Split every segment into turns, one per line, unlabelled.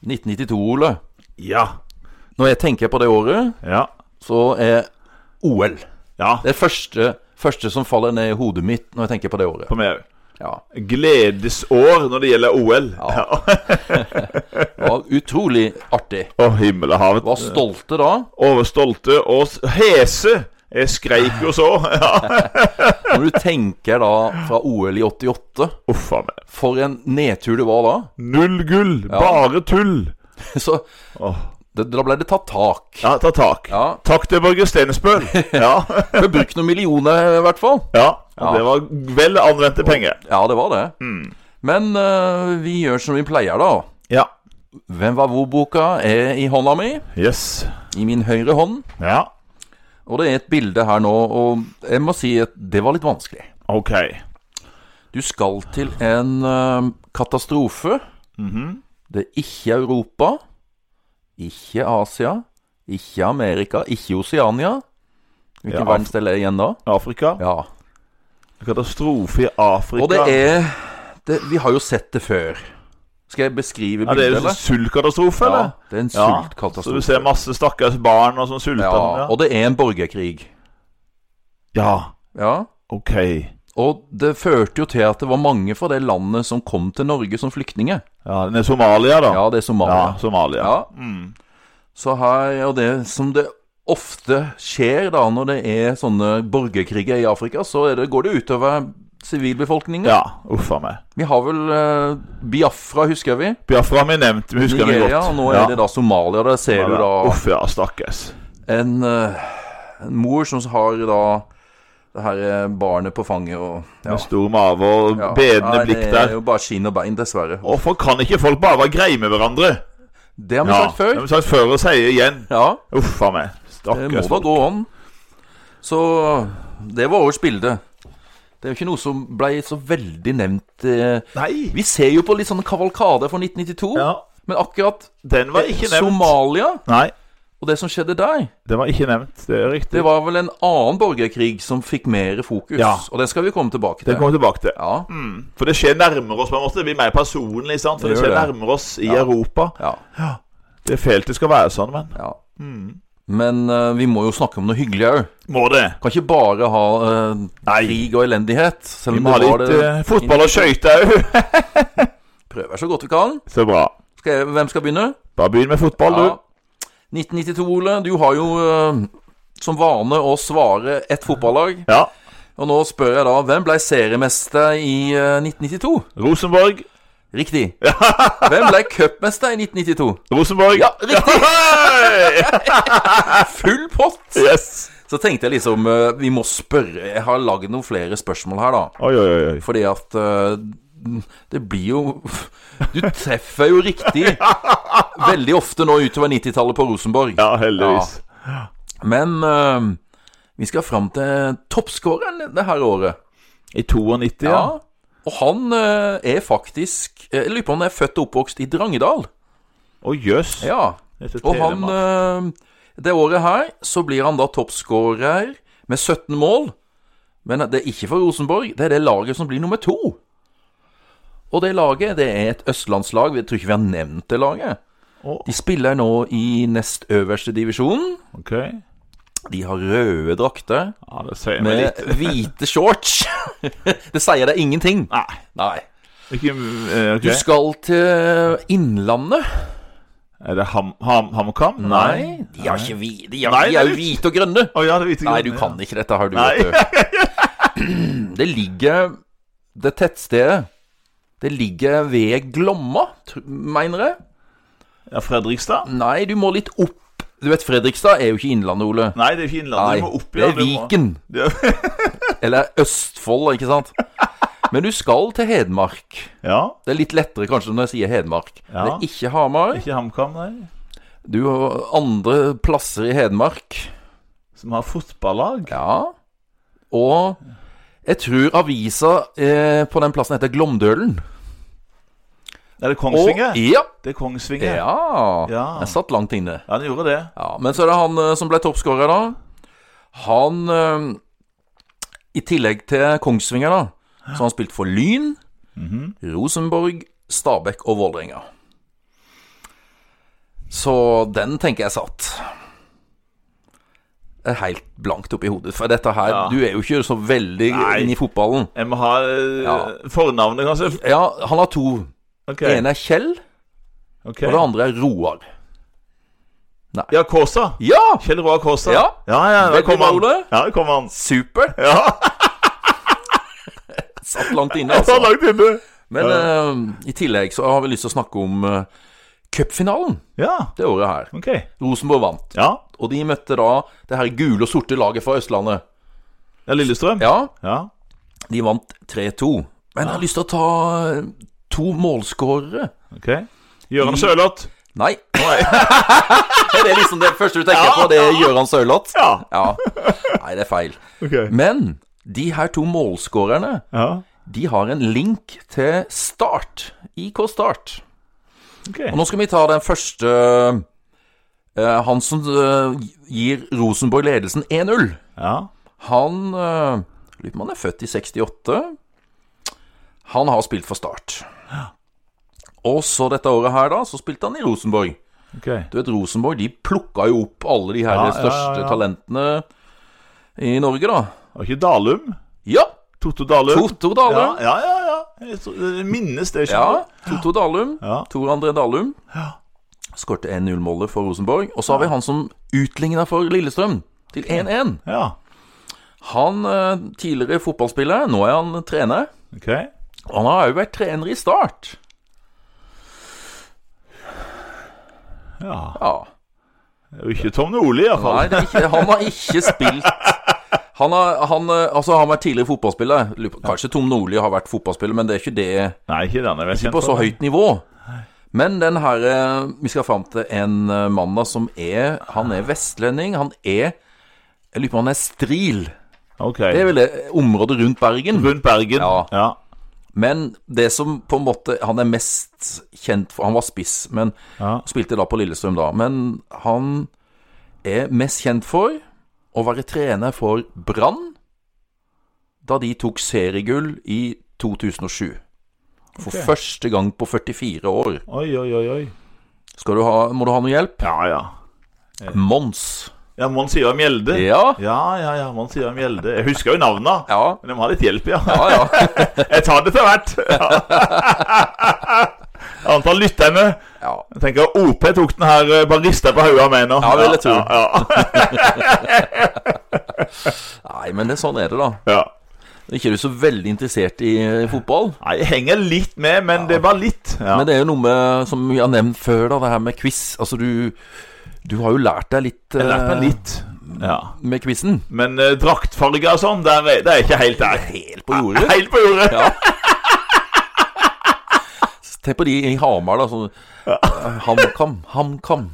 1992, Ole.
Ja.
Når jeg tenker på det året,
Ja.
så er OL
Ja.
det første, første som faller ned i hodet mitt når jeg tenker på det året.
På meg òg.
Ja,
Gledesår når det gjelder OL.
Ja.
Ja.
det var utrolig artig.
Å, himmel og havet.
Var stolte da.
Overstolte og s- hese. Jeg skreik jo så. Ja.
Når du tenker da fra OL i 88,
Uff a meg.
for en nedtur det var da.
Null gull. Bare tull.
Så
Åh.
det, da ble det tatt tak.
Ja, ta tak.
Ja.
Takk til Børge Stensbøl. Ja.
Ble brukt noen millioner i hvert fall.
ja. Det var vel anvendte penger.
Ja, det var det. Men eh, vi gjør som vi pleier, da.
Ja.
Hvem var hvor-boka er i hånda mi.
Yes.
I min høyre hånd.
Ja.
Og det er et bilde her nå, og jeg må si at det var litt vanskelig.
Ok.
Du skal til en eh, katastrofe.
Mhm.
Det er ikke Europa, ikke Asia, ikke Amerika, ikke Oseania. Hvilken
Ja, Af-
verdensdel er det igjen da?
Afrika.
Ja.
Katastrofe i Afrika.
Og det er det, Vi har jo sett det før. Skal jeg beskrive
ja, det
bildet,
er jo en
eller?
sultkatastrofe,
Ja,
eller?
det er en
Ja, Så du
sultkatastrofe.
ser masse stakkars barn og sånn sulta.
Ja,
Ja.
og det er en borgerkrig.
ja.
Ja.
Ok.
Og det førte jo til at det var mange fra det landet som kom til Norge som flyktninger.
Ja, den er Somalia, da.
Ja, det er Somalia.
Ja, Somalia.
Ja. Mm. Så her, og det som det ofte skjer da når det er sånne borgerkriger i Afrika, så er det, går det utover sivilbefolkningen.
Ja, uff a meg.
Vi har vel eh, Biafra, husker vi.
Biafra har vi nevnt, vi husker den
Nigeria.
godt.
og Nå er det da Somalia. Der ser du da
Uff ja, stakkars.
en, eh, en mor som har da det her eh, barnet på fanget og ja.
Med stor mave og
Ja.
bedende
Nei,
blikk
Det er
der.
jo bare skinn og bein, dessverre.
Hvorfor kan ikke folk bare være greie med hverandre?
Det har vi
Ja,
sagt før.
Det har vi sagt før og sier igjen.
Ja,
Uff a meg.
det må
Stakkars.
da gå an. Så det var årets bilde. Det er jo ikke noe som ble så veldig nevnt. eh.
Nei.
Vi ser jo på litt sånne kavalkader fra 1992,
Ja.
men akkurat
Den var ikke nevnt.
Somalia
Nei,
og det som skjedde der,
den var ikke nevnt. Det er riktig.
det var vel en annen borgerkrig som fikk mer fokus.
Ja.
Og det skal vi komme tilbake til.
Den kommer vi tilbake til.
Ja,
For det skjer nærmere oss på en måte. Det blir mer personlig, sant. For
Det
det,
gjør
skjer
det.
nærmere oss i Europa.
ja,
Det er fælt det skal være sånn, men
ja.
Mm.
Men eh, vi må jo snakke om noe hyggelig òg.
Må det.
Kan ikke bare ha eh,
Nei.
krig og elendighet. Selv
Vi
om
må ha
det var
litt
det
eh, fotball og skøyter òg.
prøver så godt vi kan.
Så bra.
Skal jeg, hvem skal begynne?
Bare begynn med fotball,
Ja. 1992, Ole. Du har jo eh, som vane å svare ett fotballag.
du. Ja.
Og nå spør jeg da, hvem ble seriemester i eh, 1992?
Rosenborg.
Riktig. Hvem ble cupmester i 1992?
Rosenborg.
Ja, riktig!
Hei!
Full pott!
Yes.
Så tenkte jeg liksom eh, Vi må spørre. Jeg har lagd noen flere spørsmål her, da.
Oi, oi, oi.
Fordi at eh, det blir jo Du treffer jo riktig veldig ofte nå utover 90-tallet på Rosenborg.
Ja, heldigvis.
Men eh, vi skal fram til toppskåreren det her året.
I 92, ja.
Ja. Og han eh, er faktisk eh, Jeg lurer på om han er født og oppvokst i Drangedal.
Å, jøss.
Ja.
Dette
Og han
Telemark.
eh, Det året her så blir han da toppskårer med 17 mål. Men det er ikke for Rosenborg. Det er det laget som blir nummer to. Og det laget, det er et østlandslag. Jeg tror ikke vi har nevnt det laget.
Å.
De spiller nå i nest øverste divisjon.
Ok. Ja,
De har røde drakter
det sier meg
med
litt.
hvite shorts. det sier deg ingenting.
Nei.
Nei.
Ikke, eh, ok.
Du skal til Innlandet.
Er det ham, ham, HamKam?
De har ikke hvite. De, har- de er
Nei, det
jo
er litt-
hvite og grønne.
Å ja, det hvite
Nei,
grønne,
du
ja.
kan ikke dette, har du.
Nei.
Vet du. Det ligger Det tettstedet Det ligger ved Glomma, tr- mener jeg.
Ja, Fredrikstad?
Nei, du må litt opp. Du vet, Fredrikstad er jo ikke Innlandet, Ole.
Nei, det er ikke Innlandet. Du må opp
det
igjen.
er Viken.
Viken.
Eller Østfold, ikke sant? Men du skal til Hedmark.
Ja.
Det er litt lettere kanskje når jeg sier Hedmark.
Ja.
Det er ikke Hamar.
Ikke HamKam, nei.
Du har andre plasser i Hedmark.
Som har fotballag?
Ja. Og jeg tror avisa eh, på den plassen heter Glomdølen.
Er det
Og,
Kongsvinger?
ja,
Det er Kongsvinger.
ja.
Ja.
Jeg satt langt inne.
Ja, den gjorde det.
Ja, men så er det han eh, som ble toppskårer, da. Han eh, I tillegg til Kongsvinger, da, så har han spilt
Mhm.
for Lyn, Rosenborg, Stabæk og Vålerenga. Så den tenker jeg satt. Det er helt blankt oppi hodet. For dette her
Ja.
Du er jo ikke så veldig
Nei.
inn i fotballen.
Jeg må ha eh,
Ja.
fornavnet, kanskje.
Ja, han har to.
Ok,
Den ene er Kjell,
ok.
og det andre er Roar.
Ja, Kåsa.
Ja!
Kjell Roar Kåsa.
Ja.
ja, ja der
Veldig
kom
bra,
han.
Ole.
Ja, der kom han.
Super.
Ja,
Satt langt inne,
altså.
altså.
langt inne.
Men eh, i tillegg så har vi lyst til å snakke om uh, cupfinalen
Ja,
det året her.
ok.
Rosenborg vant,
Ja,
og de møtte da det her gule og sorte laget fra Østlandet.
ja Lillestrøm.
Ja,
ja.
de vant 3-2. Men jeg har lyst til å ta eh, to målskårere.
ok. Gøran Sørloth.
Nei. er det liksom det første du tenker på? Det er Gøran Sørloth?
Ja.
Ja. Nei, det er feil.
Ok.
Men de her to målskårerne,
Ja,
de har en link til Start. IK Start.
ok.
Og nå skal vi ta den første eh, Han som eh, gir Rosenborg ledelsen 1-0.
Ja,
Han eh, Lurer på om han er født i 68. Han har spilt for Start. Og så dette året her, da, så spilte han i Rosenborg.
ok.
Du vet, Rosenborg de plukka jo opp alle de her
Ja, ja,
største
ja, ja.
talentene i Norge, da.
Og ikke Dalum.
Ja!
Toto Dalum.
Toto Dalum.
Ja, ja, ja. ja. Jeg tror- jeg minnes det ikke.
Ja, Toto Dalum.
Ja.
Tor André Dalum. Skårte 1-0-målet for Rosenborg. Og så har vi han som utligna for Lillestrøm, til 1-1.
Ja,
Han eh, tidligere fotballspiller, nå er han trener.
ok.
Og han har òg vært trener i Start.
Ja.
Ja.
Og ikke Tom Nordli, i hvert fall.
Nei, det er ikke, han har ikke spilt han har, han, eh, altså, han har vært tidligere fotballspiller. Lurer på- Kanskje Tom Nordli har vært fotballspiller, men det er ikke det
Nei, ikke den jeg vet
på så høyt nivå. Men den her eh, Vi skal fram til en eh, mann da som er Han er vestlending. Han er Jeg lurer på om han er stril.
Ok.
Det er vel det eh, området rundt Bergen.
Rundt Bergen.
Ja.
ja.
Men det som på en måte han er mest kjent for Han var spiss, men
Ja.
spilte da på Lillestrøm da. Men han er mest kjent for å være trener for Brann da de tok seriegull i 2007. For
Ok.
første gang på 44 år.
Oi, oi, oi, oi.
Skal du ha, må du ha noe hjelp?
Ja, ja.
Mons.
Ja, Mons Ivar Mjelde.
Ja.
Ja, ja, ja. Mons Ivar Mjelde. Jeg husker jo navnet.
Ja.
Men jeg må ha litt hjelp, ja.
Ja, ja.
Jeg tar det til hvert. Ja. Antall lytterne.
ja.
Jeg tenker OP tok den her, eh, bare rista på hodet av meg nå.
Ja, vil jeg tro.
Ja, ja,
Nei, men det, sånn er det, da.
ja.
Ikke er du så veldig interessert i eh, fotball?
Nei, jeg henger litt med, men det er bare litt. Ja.
Men det er jo noe med, som vi har nevnt før, da, det her med quiz. Altså, du, du har jo lært deg litt
Jeg lærte meg
eh,
litt. Ja.
med quizen.
Men eh, draktfarger og sånn, der er, det er jeg ikke helt der.
Helt på jordet.
Helt på jordet.
Ja. Se på de i Hamar, da. Sånn eh, HamKam, HamKam.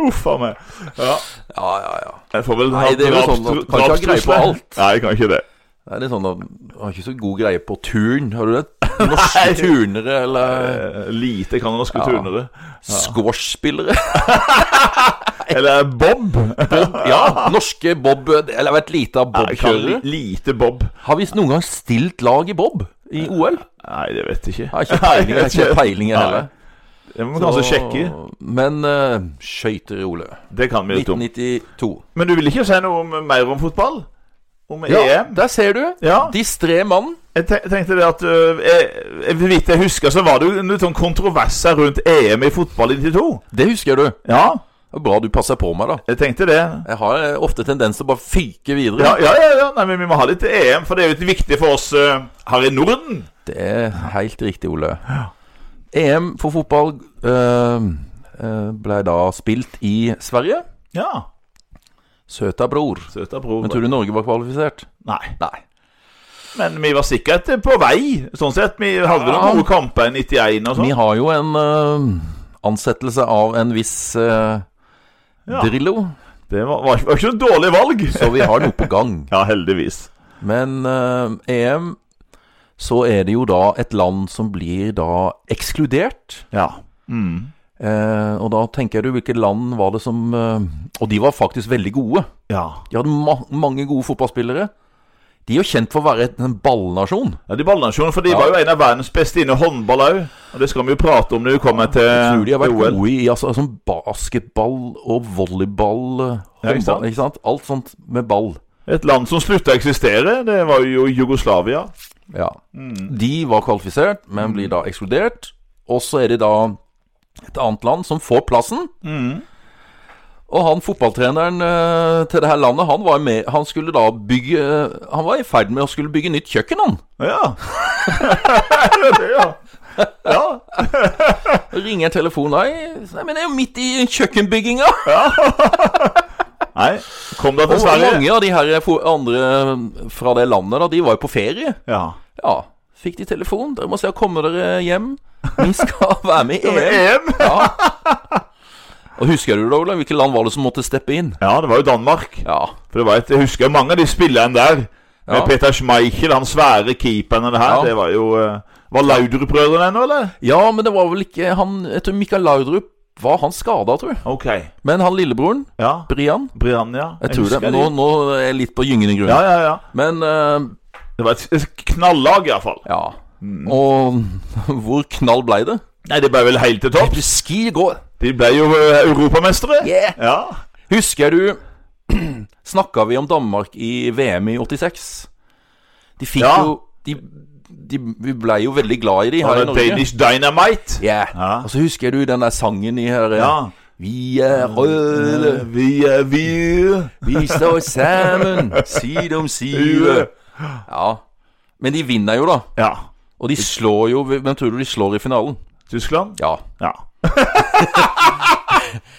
Uff a meg. Ja.
Ja, ja, ja.
Jeg får vel
Nei, det er jo sånn at du kan ikke ha greie på
drapstrusler.
alt.
Nei, jeg kan ikke det.
Det er litt sånn at Jeg har ikke så god greie på turn, har du det? Norske
Nei.
turnere, eller
Eh, Lite kan norske
Ja.
turnere.
squash-spillere.
Eller eh, Bob.
Ja, norske Bob Eller jeg vet lite av
Jeg kan li-
Bob-kjørere.
Lite Bob.
Har vi noen gang stilt lag i Bob i OL?
Nei, det vet jeg ikke.
Har ikke peiling,
Nei,
har
jeg
ikke
vet
peiling
Nei.
heller.
Det altså må vi kanskje sjekke.
Men uh, skøyter, Ole.
Det kan vi litt om.
1992.
Men du vil ikke si noe om, eh, mer om fotball? Om
Ja,
EM?
der ser du.
E Ja.
Distré mann.
Jeg te- tenkte det at øh, jeg, jeg, Så vidt jeg husker, så var det jo en litt sånn kontroverser rundt EM i fotball i 92.
Det husker du. Det
Ja,
er Bra du passer på meg, da.
jeg tenkte det.
Jeg har eh, ofte tendens til å bare fyke videre.
Ja, ja, ja, ja. Nei, men vi må ha litt EM, for det er jo litt viktig for oss øh, her i Norden.
Det er helt riktig, Ole. EM for fotball eh, eh, ble da spilt i Sverige.
Ja.
Søta bror.
Søta bror.
Men tror du Norge var kvalifisert?
Nei.
Nei.
Men vi var sikkert eh, på vei, sånn sett. Vi hadde vel
Ja.
noen gode kamper i 91 og
Vi
sånn.
har jo en eh, ansettelse av en viss eh,
Ja.
Drillo,
Det var, var, var ikke noe dårlig valg.
så vi har noe på gang.
Ja, heldigvis.
Men eh, EM så er det jo da et land som blir da ekskludert.
Ja. Mm.
Eh, og da tenker jeg du hvilket land var det som eh, Og de var faktisk veldig gode.
Ja.
De hadde ma mange gode fotballspillere. De er jo kjent for å være et- en ballnasjon.
ja de ballnasjonene, for de
Ja.
var jo en av verdens beste innen håndball òg. Og det skal vi jo prate om når vi kommer til
Jeg tror de har vært
OL.
gode i altså, altså, basketball og volleyball, eh,
Ja, ikke sant?
håndball, ikke sant? Alt sånt med ball.
Et land som slutta å eksistere, det var jo Jugoslavia.
Ja. De var kvalifisert, men blir da ekskludert. Og så er det da et annet land som får plassen. Og han fotballtreneren eh, til det her landet, han var med Han skulle da bygge eh, Han var i ferd med å skulle bygge nytt kjøkken, han.
Ja. det er det, ja. ja.
Ringer telefonen Nei, nei men det er jo midt i kjøkkenbygginga!
Nei, kom deg til
Og mange
Sverige.
av de her fo- andre fra det landet, da, de var jo på ferie.
Ja.
Ja. Fikk de telefon? 'Dere må se å komme dere hjem. Vi skal være med i
Med
EM.'
EM.
Ja. Og husker du det, Olav? Hvilket land var det som måtte steppe inn?
Ja, det var jo Danmark.
Ja.
For det var et, Jeg husker mange av de spillerne der.
Ja.
Med Peter Schmeichel, han svære keeperen og det her.
Ja.
Det var jo eh, Var Laudrup-brødrene ennå, eller?
ja, men det var vel ikke han Jeg tror Mikael Laudrup var han skada, tror jeg.
Ok.
Men han lillebroren,
Ja.
Brian
Briannia.
Jeg tror det.
husker
Nå,
de.
nå er jeg litt på gyngende grunn.
Ja, ja, ja.
Men eh,
Det var et, et knallag, iallfall.
ja. Mm. Og hvor knall blei det?
Nei, det ble vel helt til
Det
topps.
ble ski i går.
De ble jo eh, europamestere.
Yeah.
Ja.
Husker du Snakka vi om Danmark i VM i 86? De fikk
Ja.
jo de, de, Vi blei jo veldig glad i de
Og
her i
det
Norge.
Danish Dynamite.
Ja.
Ja.
Og så husker du den der sangen i her
Ja.
Vi er
Eh,
røde,
Vi er vi Mm.
vi står sammen, side om side. Ja. Men de vinner jo, da.
Ja.
Og de slår jo Hvem tror du de slår i finalen?
Tyskland?
Ja.
Ja.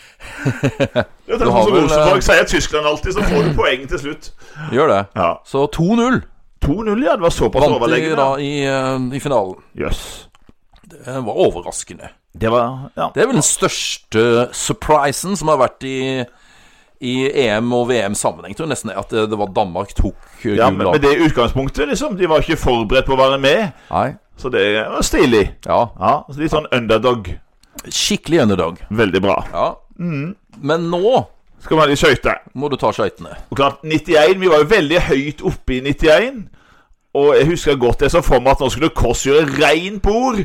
Det er
Du
sånn
har
som
vel, eh,
Rosenborg sier Tyskland alltid, så får du poeng til slutt.
Gjør det.
Ja.
Så 2-0
2-0, ja. Det var såpass
vant de da
overleggende.
i, eh, i finalen. Eh,
Jøss.
Det var overraskende.
Det var Ja.
Det er vel den største surprisen som har vært i, i EM og VM-sammenheng, tror jeg nesten. At det, det var Danmark tok eh,
ja men
gullet.
med det utgangspunktet, liksom. De var ikke forberedt på å være med,
Nei.
så det var stilig.
Ja.
Ja, så Litt sånn underdog.
Skikkelig underdog.
Veldig bra.
Ja.
Mm.
Men nå
Skal vi ha de skøyter?
må du ta skøytene.
Og klart, 91, Vi var jo veldig høyt oppe i 91. Og jeg husker godt jeg så for meg at nå skulle Kåss gjøre rein bord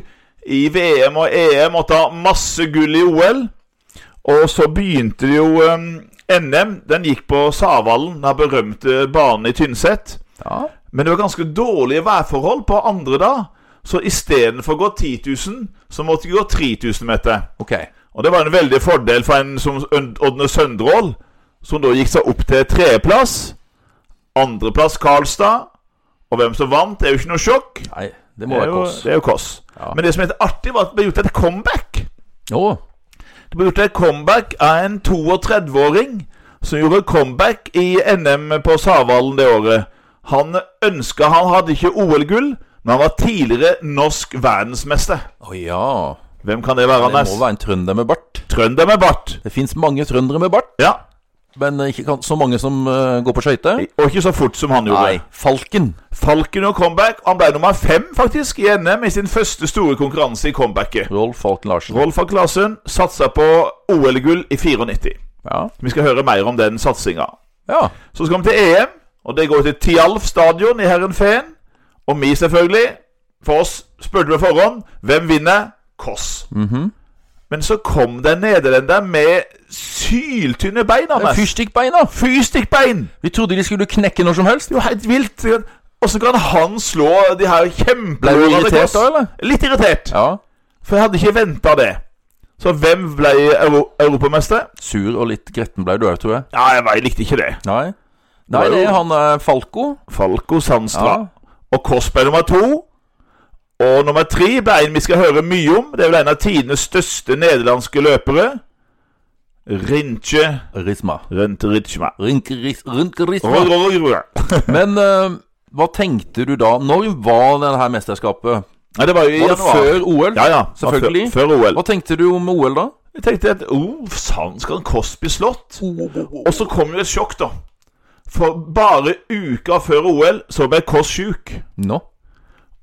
i VM og EM og ta masse gull i OL. Og så begynte det jo em, NM. Den gikk på Savalen, den berømte banen i Tynset.
Ja.
Men det var ganske dårlige værforhold på andre da. Så istedenfor å gå 10 000, så måtte vi gå 3000 meter.
Ok.
Og det var en veldig fordel for en som Ønd- Ådne Søndrål, som da gikk seg opp til tredjeplass. Andreplass Karlstad. Og hvem som vant, det er jo ikke noe sjokk.
Nei, det
Det
må
er
være
jo,
Kåss.
det er jo Kåss.
Ja.
Men det som heter artig, var at det ble gjort et comeback.
Å,
Det ble gjort et comeback av en 32-åring som gjorde comeback i NM på Savalen det året. Han ønska han hadde ikke OL-gull, men han var tidligere norsk verdensmester.
Å ja.
Hvem kan det være,
Det må
Anders?
være en trønder med bart.
Trønder med bart.
Det fins mange trøndere med bart,
Ja.
men ikke kan- så mange som eh, går på skøyter.
Og ikke så fort som han gjorde.
Nei. Falken.
Falken og comeback. Han ble nummer fem faktisk i NM i sin første store konkurranse i comebacket.
Rolf Falken Larsen.
Rolf av Klassen satsa på OL-gull i 94.
Ja.
Vi skal høre mer om den satsinga.
ja.
Så skal vi til EM, og det går til Tialf stadion i Herrenfeen. Og vi, selvfølgelig, for oss spurte på forhånd hvem vinner Kåss. Men så kom det en nederlender med syltynne bein.
Det er
Anders.
Fyrstikkbeina.
Fyrstikkbein!
Vi trodde de skulle knekke når som helst.
Det er jo helt vilt. Åssen kan han slå de her
Ble du
kjempehårene
irritert da, eller?
Litt irritert,
Ja.
for jeg hadde ikke venta det. Så hvem ble euro europamester?
Sur og litt gretten ble du òg, tror jeg.
Ja, jeg, vet, jeg likte ikke det.
Nei. Nei, det er han eh, Falco.
Falco Sandstrand.
Ja.
Og Kåss ble nummer to. Og nummer tre ble en vi skal høre mye om. Det er vel en av tidenes største nederlandske løpere. Rinche
Risma.
Rente Ritschma.
Rinkeris- Rinkerisma.
Nei,
Men eh, hva tenkte du da? Når var dette her mesterskapet?
det var jo i
Var det
januar.
før OL?
Ja, ja.
Selvfølgelig.
Før, før OL.
Hva tenkte du om OL, da?
Jeg tenkte at oh, sant skal Kåss bli slått? Og så kom jo et sjokk, da. For bare uka før OL så ble Kåss sjuk.
Nå?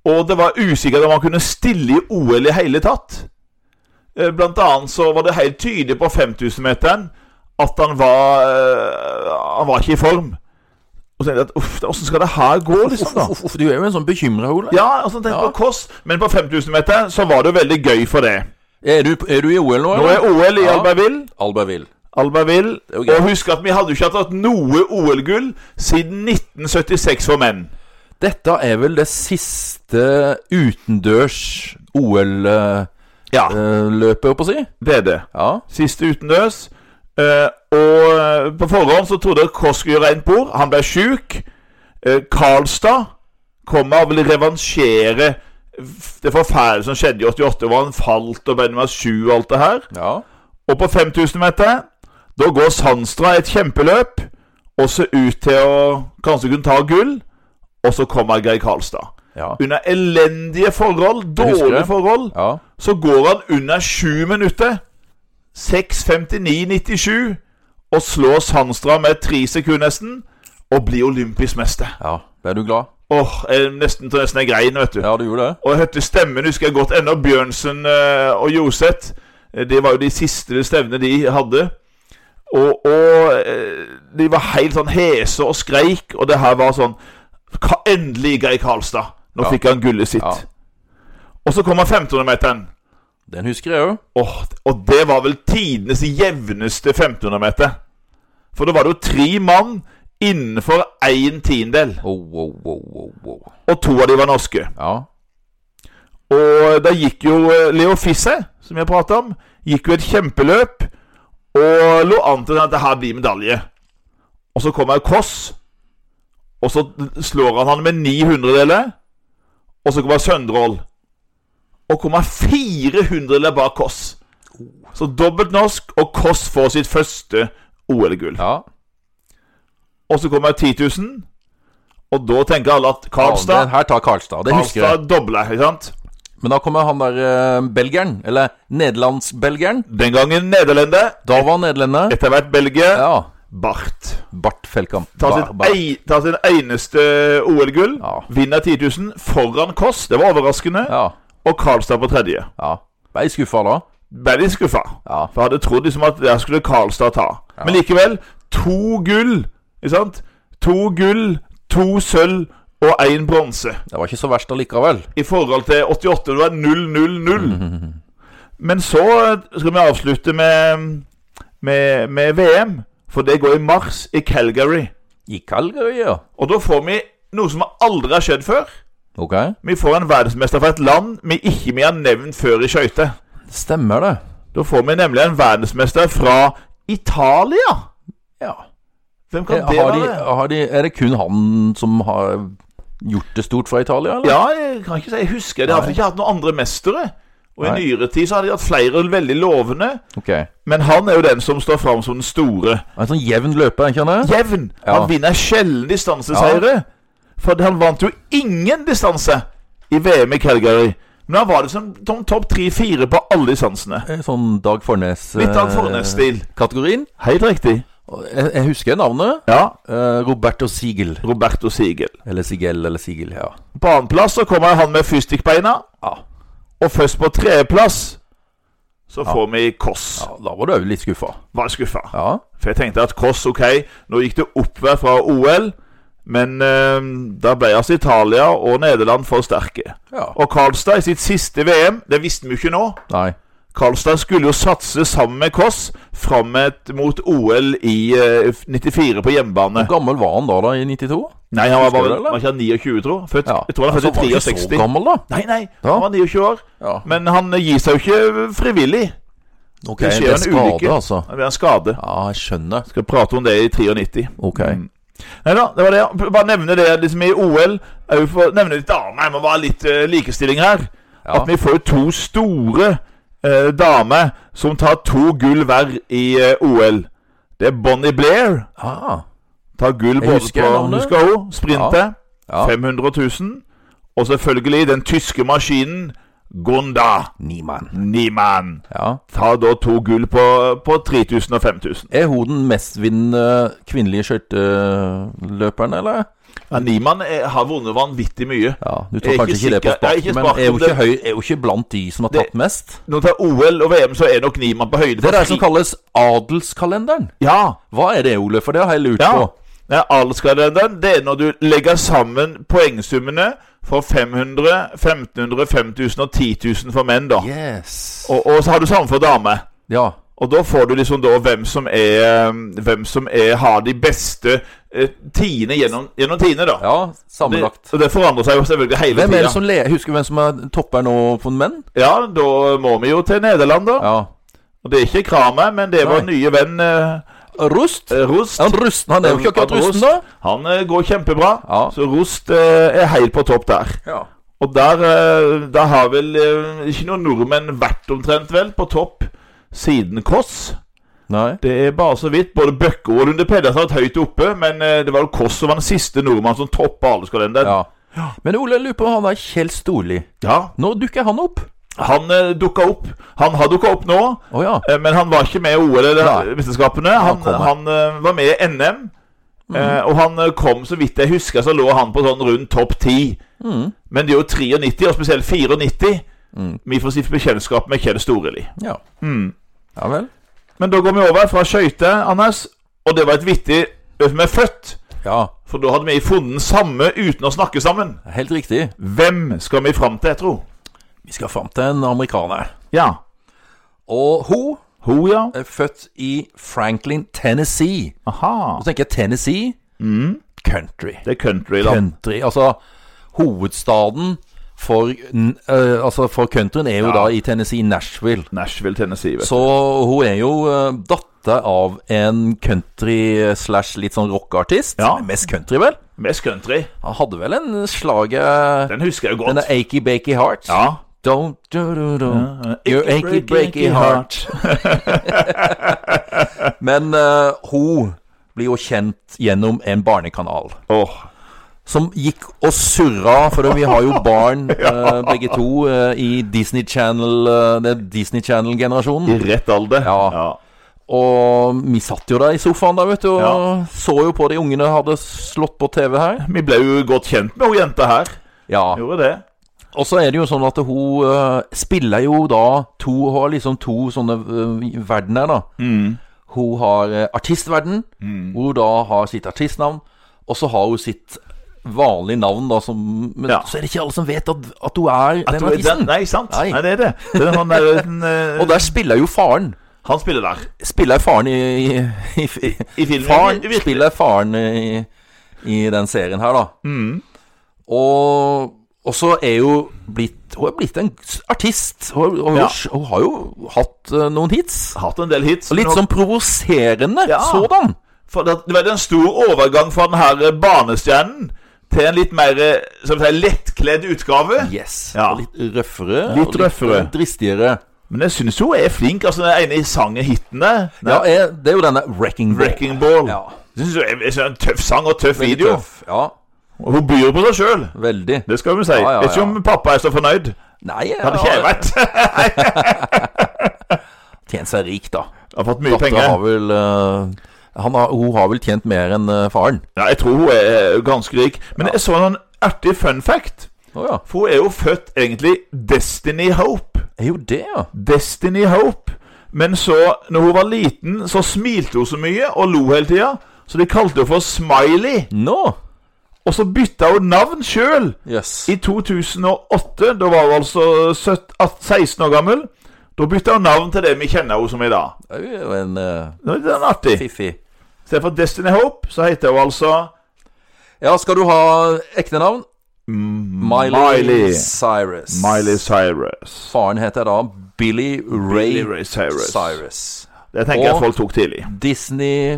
Og det var usikkert om han kunne stille i OL i hele tatt. Eh, Blant annet så var det helt tydelig på 5000-meteren at han var eh, Han var ikke i form. Og så tenkte jeg at uff, da, hvordan skal det her gå, liksom, da?
Uff, uff, du er jo en sånn bekymra, Ole.
Ja, altså tenk
Ja.
på kost, men på 5000 meter så var det jo veldig gøy for det.
Er, du, er du i OL nå?
Nå er OL i
Ja.
Albertville.
Albertville.
Albertville.
er jo gøy.
Og husk at vi hadde jo ikke hatt noe OL-gull siden 1976 for menn.
Dette er vel det siste utendørs OL-løpet,
Ja,
eh, holdt på å si?
det er det.
Ja.
Siste utendørs. Eh, og eh, på forhånd så trodde Koss skulle gjøre rent bord. Han ble sjuk. Eh, Karlstad kommer og vil revansjere f- det forferdelige som skjedde i 88, hvor han falt og ble nummer sju og alt det her.
ja.
Og på 5000 meter, da går Sandstra et kjempeløp, og ser ut til å kanskje kunne ta gull. Og så kommer Geir Karlstad.
Ja.
Under elendige forhold,
husker
dårlige
det.
forhold,
ja.
så går han under sju minutter. 6.59,97. Og slår Sandstra med tre sekunder nesten. Og blir olympisk mester.
ja. Ble du glad?
Åh, jeg er nesten til nesten jeg grein, vet du.
Ja, du gjorde det?
Og jeg hørte stemmen, husker jeg godt ennå. Bjørnsen eh, og Joseth. Eh, Det var jo de siste stevnene de hadde. Og, og eh, de var helt sånn hese og skreik, og det her var sånn "Ka- Endelig Geir Karlstad! Nå
Ja.
fikk han gullet sitt.
Ja.
Og så kommer 1500-meteren.
Den husker jeg òg.
Åh, og det var vel tidenes jevneste 1500-meter. For da var det jo tre mann innenfor én tiendedel,
Oh, oh, oh, oh, oh.
og to av de var norske.
Ja.
Og da gikk jo eh, Leo Fisse, som jeg prata om, gikk jo et kjempeløp og lå an til at det her blir medalje. Og så kommer Koss, og så slår han han med ni hundredeler. Og så kommer Søndrål, og kommer fire hundredeler bak Koss. Så dobbelt norsk, og Koss får sitt første OL-gull.
ja.
Og så kommer 10 000, og da tenker alle
Ja,
at
den
Karlstad,
her tar Karlstad. Det husker jeg.
Karlstad dobler, ikke sant?
Men da kommer han der eh, belgeren, eller nederlandsbelgeren.
Den gangen nederlender.
Da var han nederlender.
Etter hvert belgier
Ja.
Barth.
Bart Felkamp.
Tar
Ba-
sitt,
ba-
ei, tar sin eneste OL-gull.
Ja.
Vinner 10 000 foran Koss. Det var overraskende.
Ja.
Og Karlstad på tredje.
ja. Ble skuffa da.
Ble de skuffa.
Ja.
For jeg hadde trodd liksom at der skulle Karlstad ta. Men likevel. To gull, ikke sant? To gull, to sølv og én bronse.
Det var ikke så verst allikevel.
I forhold til 88, det var 0-0-0. Men så skal vi avslutte med, med, med VM. For det går i mars i Calgary.
I Calgary, ja.
Og da får vi noe som aldri har skjedd før.
Ok.
Vi får en verdensmester fra et land vi ikke vi har nevnt før i skøyter.
Stemmer det.
Da får vi nemlig en verdensmester fra Italia.
Ja. Eh,
Hvem kan det
Har de,
være?
har de, er det kun han som har gjort det stort fra Italia, eller?
Ja, jeg kan ikke si jeg husker. De
Nei.
har iallfall ikke hatt noen andre mestere. Og i
Nei.
nyere tid så har de hatt flere veldig lovende.
Ok. En
Men han er jo den som står fram som den store.
sånn jevn løper, ikke han det?
Jevn.
Ja.
Han vinner sjelden distanseseiere. For han vant jo ingen distanse i VM i Calgary. Men han var liksom tom- topp tre-fire på alle distansene.
Eh, Sånn Dag Fornes
Litt av
eh,
Fornes-stil.
Kategorien.
Helt riktig.
Og Jeg, jeg husker navnet.
Ja,
Eh, Roberto Sigel.
Roberto Sigel.
Eller Sigel, eller Sigel, ja.
På annenplass så kommer han med fyrstikkbeina.
Ja.
Og først på tredjeplass så får vi Koss.
ja da var du òg litt skuffa.
Var skuffa.
Ja.
For jeg tenkte at Koss, ok, nå gikk det oppover fra OL. Men eh, da ble altså Italia og Nederland for sterke.
ja.
Og Karlstad i sitt siste VM, det visste vi jo ikke nå
Nei.
Karlstad skulle jo satse sammen med Koss fram med- mot OL i eh, 94 på hjemmebane.
Hvor gammel var han da, da, i 92?
Nei, han var,
Husker
var,
du det,
vel-
eller?
var ikke han 29, tro? Født,
Ja.
Jeg tror han er født
Altså,
i
var ikke
63.
så gammel, da.
Nei, nei,
Da?
han var 29 år.
Ja.
Men han gir seg jo ikke frivillig.
Ok,
Det
det
skjer
skjer
en
skade,
ulykke.
altså.
Han blir en skade.
Ja, Ah, jeg skjønner.
Skal prate om det i 93.
Ok.
Mm. Nei da, det var det. B- Bare nevne det liksom i OL. Jeg vil få nevne litt damer. Jeg må bare ha litt eh, likestilling her.
Ja.
At vi får jo to store eh, damer som tar to gull hver i eh, OL. Det er Bonnie Blair.
Ah,
Tar gull både
husker
på
navnet.
Husker hun? Sprinte.
ja.
500 000. Og selvfølgelig den tyske maskinen Gonda
Niemann.
Niemann.
Ja.
Tar da to gull på, på 3000 og 5000.
Er hun den mestvinnende kvinnelige skøyteløperen, eller?
Ja, Niemann er, har vunnet vanvittig mye.
Ja, du
Jeg
tar
er
kanskje
ikke
ikke det på
sikker- jeg er ikke
sparken, men er hun
sparken,
ikke, høy, er hun ikke blant de som har
Det-
tatt mest?
Når det er OL og VM, så er nok Niemann på høyde.
Det
for
er det som
fri-
kalles adelskalenderen.
Ja,
Hva er det, Ole? For det har jeg lurt
ja.
på.
Nei, Adelskalenderen det er når du legger sammen poengsummene for 500, 1500, 5000 og 10 000 for menn. da.
Yes.
Og, og så har du samme for damer.
Ja.
Og da får du liksom da hvem som er um, Hvem som er, har de beste eh, tiende gjennom, gjennom tiende, da.
ja
det,
sammenlagt.
og det forandrer seg jo selvfølgelig hele
Hvem er det
tida.
som le Husker du hvem som er topper nå for menn?
Ja, da må vi jo til Nederland, da.
Ja.
Og det er ikke Kramer, men det er vår
Nei.
nye venn eh,
Rust?
eh, Rost.
Han, rusten, han er jo ikke akkurat
Rost,
rusten, da.
Han eh, går kjempebra,
Ja.
så Rost eh, er helt på topp der.
Ja.
Og der, eh, der har vel eh, ikke noen nordmenn vært omtrent vel på topp siden Koss.
Nei.
Det er bare så vidt. Både Bøkke og Lunde Pedersen har vært høyt oppe, men eh, det var jo Koss som var den siste nordmannen som toppa adelskalenderen.
Ja. Men Ole, jeg lurer på han der Kjell Storli.
Ja.
Nå dukker han opp.
Han eh, dukka opp. Han har dukka opp nå,
Å ja.
eh, men han var ikke med i OL eller
Nei.
mesterskapene. Han,
kommer.
han eh, var med i NM, eh,
Mhm.
og han eh, kom, så vidt jeg husker, så lå han på sånn rundt topp ti.
Mm.
Men det er jo 93, og spesielt 94.
Mm.
Vi får stifte bekjentskap med Kjell Storeli.
ja.
Mm.
Ja vel.
Men da går vi over fra skøyter, Anders. Og det var et vittig øvelse med født.
Ja,
For da hadde vi funnet den samme uten å snakke sammen.
helt riktig.
Hvem skal vi fram til, tro?
Vi skal fram til en amerikaner.
Ja.
Og hun
Ho, ja.
er født i Franklin, Tennessee.
Aha.
Nå tenker jeg Tennessee country.
Mm. Det er countryland.
Country, altså hovedstaden for, n- eh, altså for countryen er jo
Ja.
da i Tennessee, Nashville.
Nashville, Tennessee. Vet. du.
Så hun er jo eh, datter av en country slash litt sånn rockeartist.
Ja.
Mest country, vel?
Mest country.
Han hadde vel en slager
Den husker jeg jo
Den
godt.
er Achy Bakey Heart.
Ja.
Don't do do do. Your achy breaky heart. Men eh, hun blir jo kjent gjennom en barnekanal.
Åh.
Som gikk og surra, for vi har jo barn eh, begge to eh, i Disney Channel eh, Det er Disney
I
Channel-generasjonen.
rett alder.
Ja. Og vi satt jo der i sofaen da, vet du, og
Ja.
så jo på de ungene hadde slått på TV her.
Vi ble jo godt kjent med hun jenta her.
Ja.
Gjorde det.
Og så er det jo sånn at hun eh, spiller jo da to Hun har liksom to sånne eh, verdener, da. Hun har eh, artistverden, hvor hun da har sitt artistnavn, og så har hun sitt vanlige navn, da, som Men
Ja.
så er det ikke alle som vet at, at hun er den
Tror jeg
artisten.
Den, nei, sant? Nei.
Nei.
det er det. Den, han, der, den, eh,
Og der spiller jo faren.
han spiller der.
Spiller faren i, i, i,
I filmen.
Faren
Virkelig.
spiller faren i, i den serien her, da.
Mm.
Og, og så er jo blitt Hun er blitt en artist. Hun, hun,
Ja.
hun har jo hatt eh, noen hits.
Hatt en del hits.
Og litt
men-
sånn provoserende
Ja.
sådan.
For det, det var en stor overgang fra den her eh, barnestjernen til en litt mer eh, som jeg sier, lettkledd utgave.
Yes.
Ja.
Og litt røffere.
Litt
og
røffere.
Dristigere.
Men jeg syns hun er flink. Altså Den ene i sangen hiten der.
Ja, jeg, det er jo denne Wrecking Ball.
Wrecking Ball.
Ja.
Jeg synes hun er- jeg synes det er en tøff sang og tøff
Veldig
video.
tøff. Ja,
Og hun byr på seg sjøl.
veldig.
Det skal vi si.
Ja, ja,
Vet ikke
ja.
om pappa er så fornøyd.
Nei, eh, jeg
Hadde ikke jeg vært. Jeg
tjent seg rik, da.
har fått mye
Dattera
penger.
har vel eh, han har, Hun har vel tjent mer enn eh, faren.
Ja, jeg tror hun er ganske rik. Men jeg så en sånn artig fun fact.
Å ja.
For hun er jo født egentlig Destiny Hope.
Er jo det, ja.
Destiny Hope. Men så, når hun var liten, så smilte hun så mye og lo hele tida. Så de kalte henne for Smiley.
Nå.
Og så bytta hun navn sjøl.
Jøss.
I 2008, da var hun altså 17 at- 16 år gammel, da bytta hun navn til det vi kjenner henne som i dag.
Det er jo en eh,
Det er artig.
fiffig.
I stedet for Destiny Hope, så heter hun altså
Ja, skal du ha ekte navn? Mm, Miley,
Miley.
Cyrus.
Miley Cyrus.
Faren heter da Billy Ray,
Billy Ray Cyrus.
Cyrus.
Det tenker jeg
Og-
folk tok tidlig.
Disney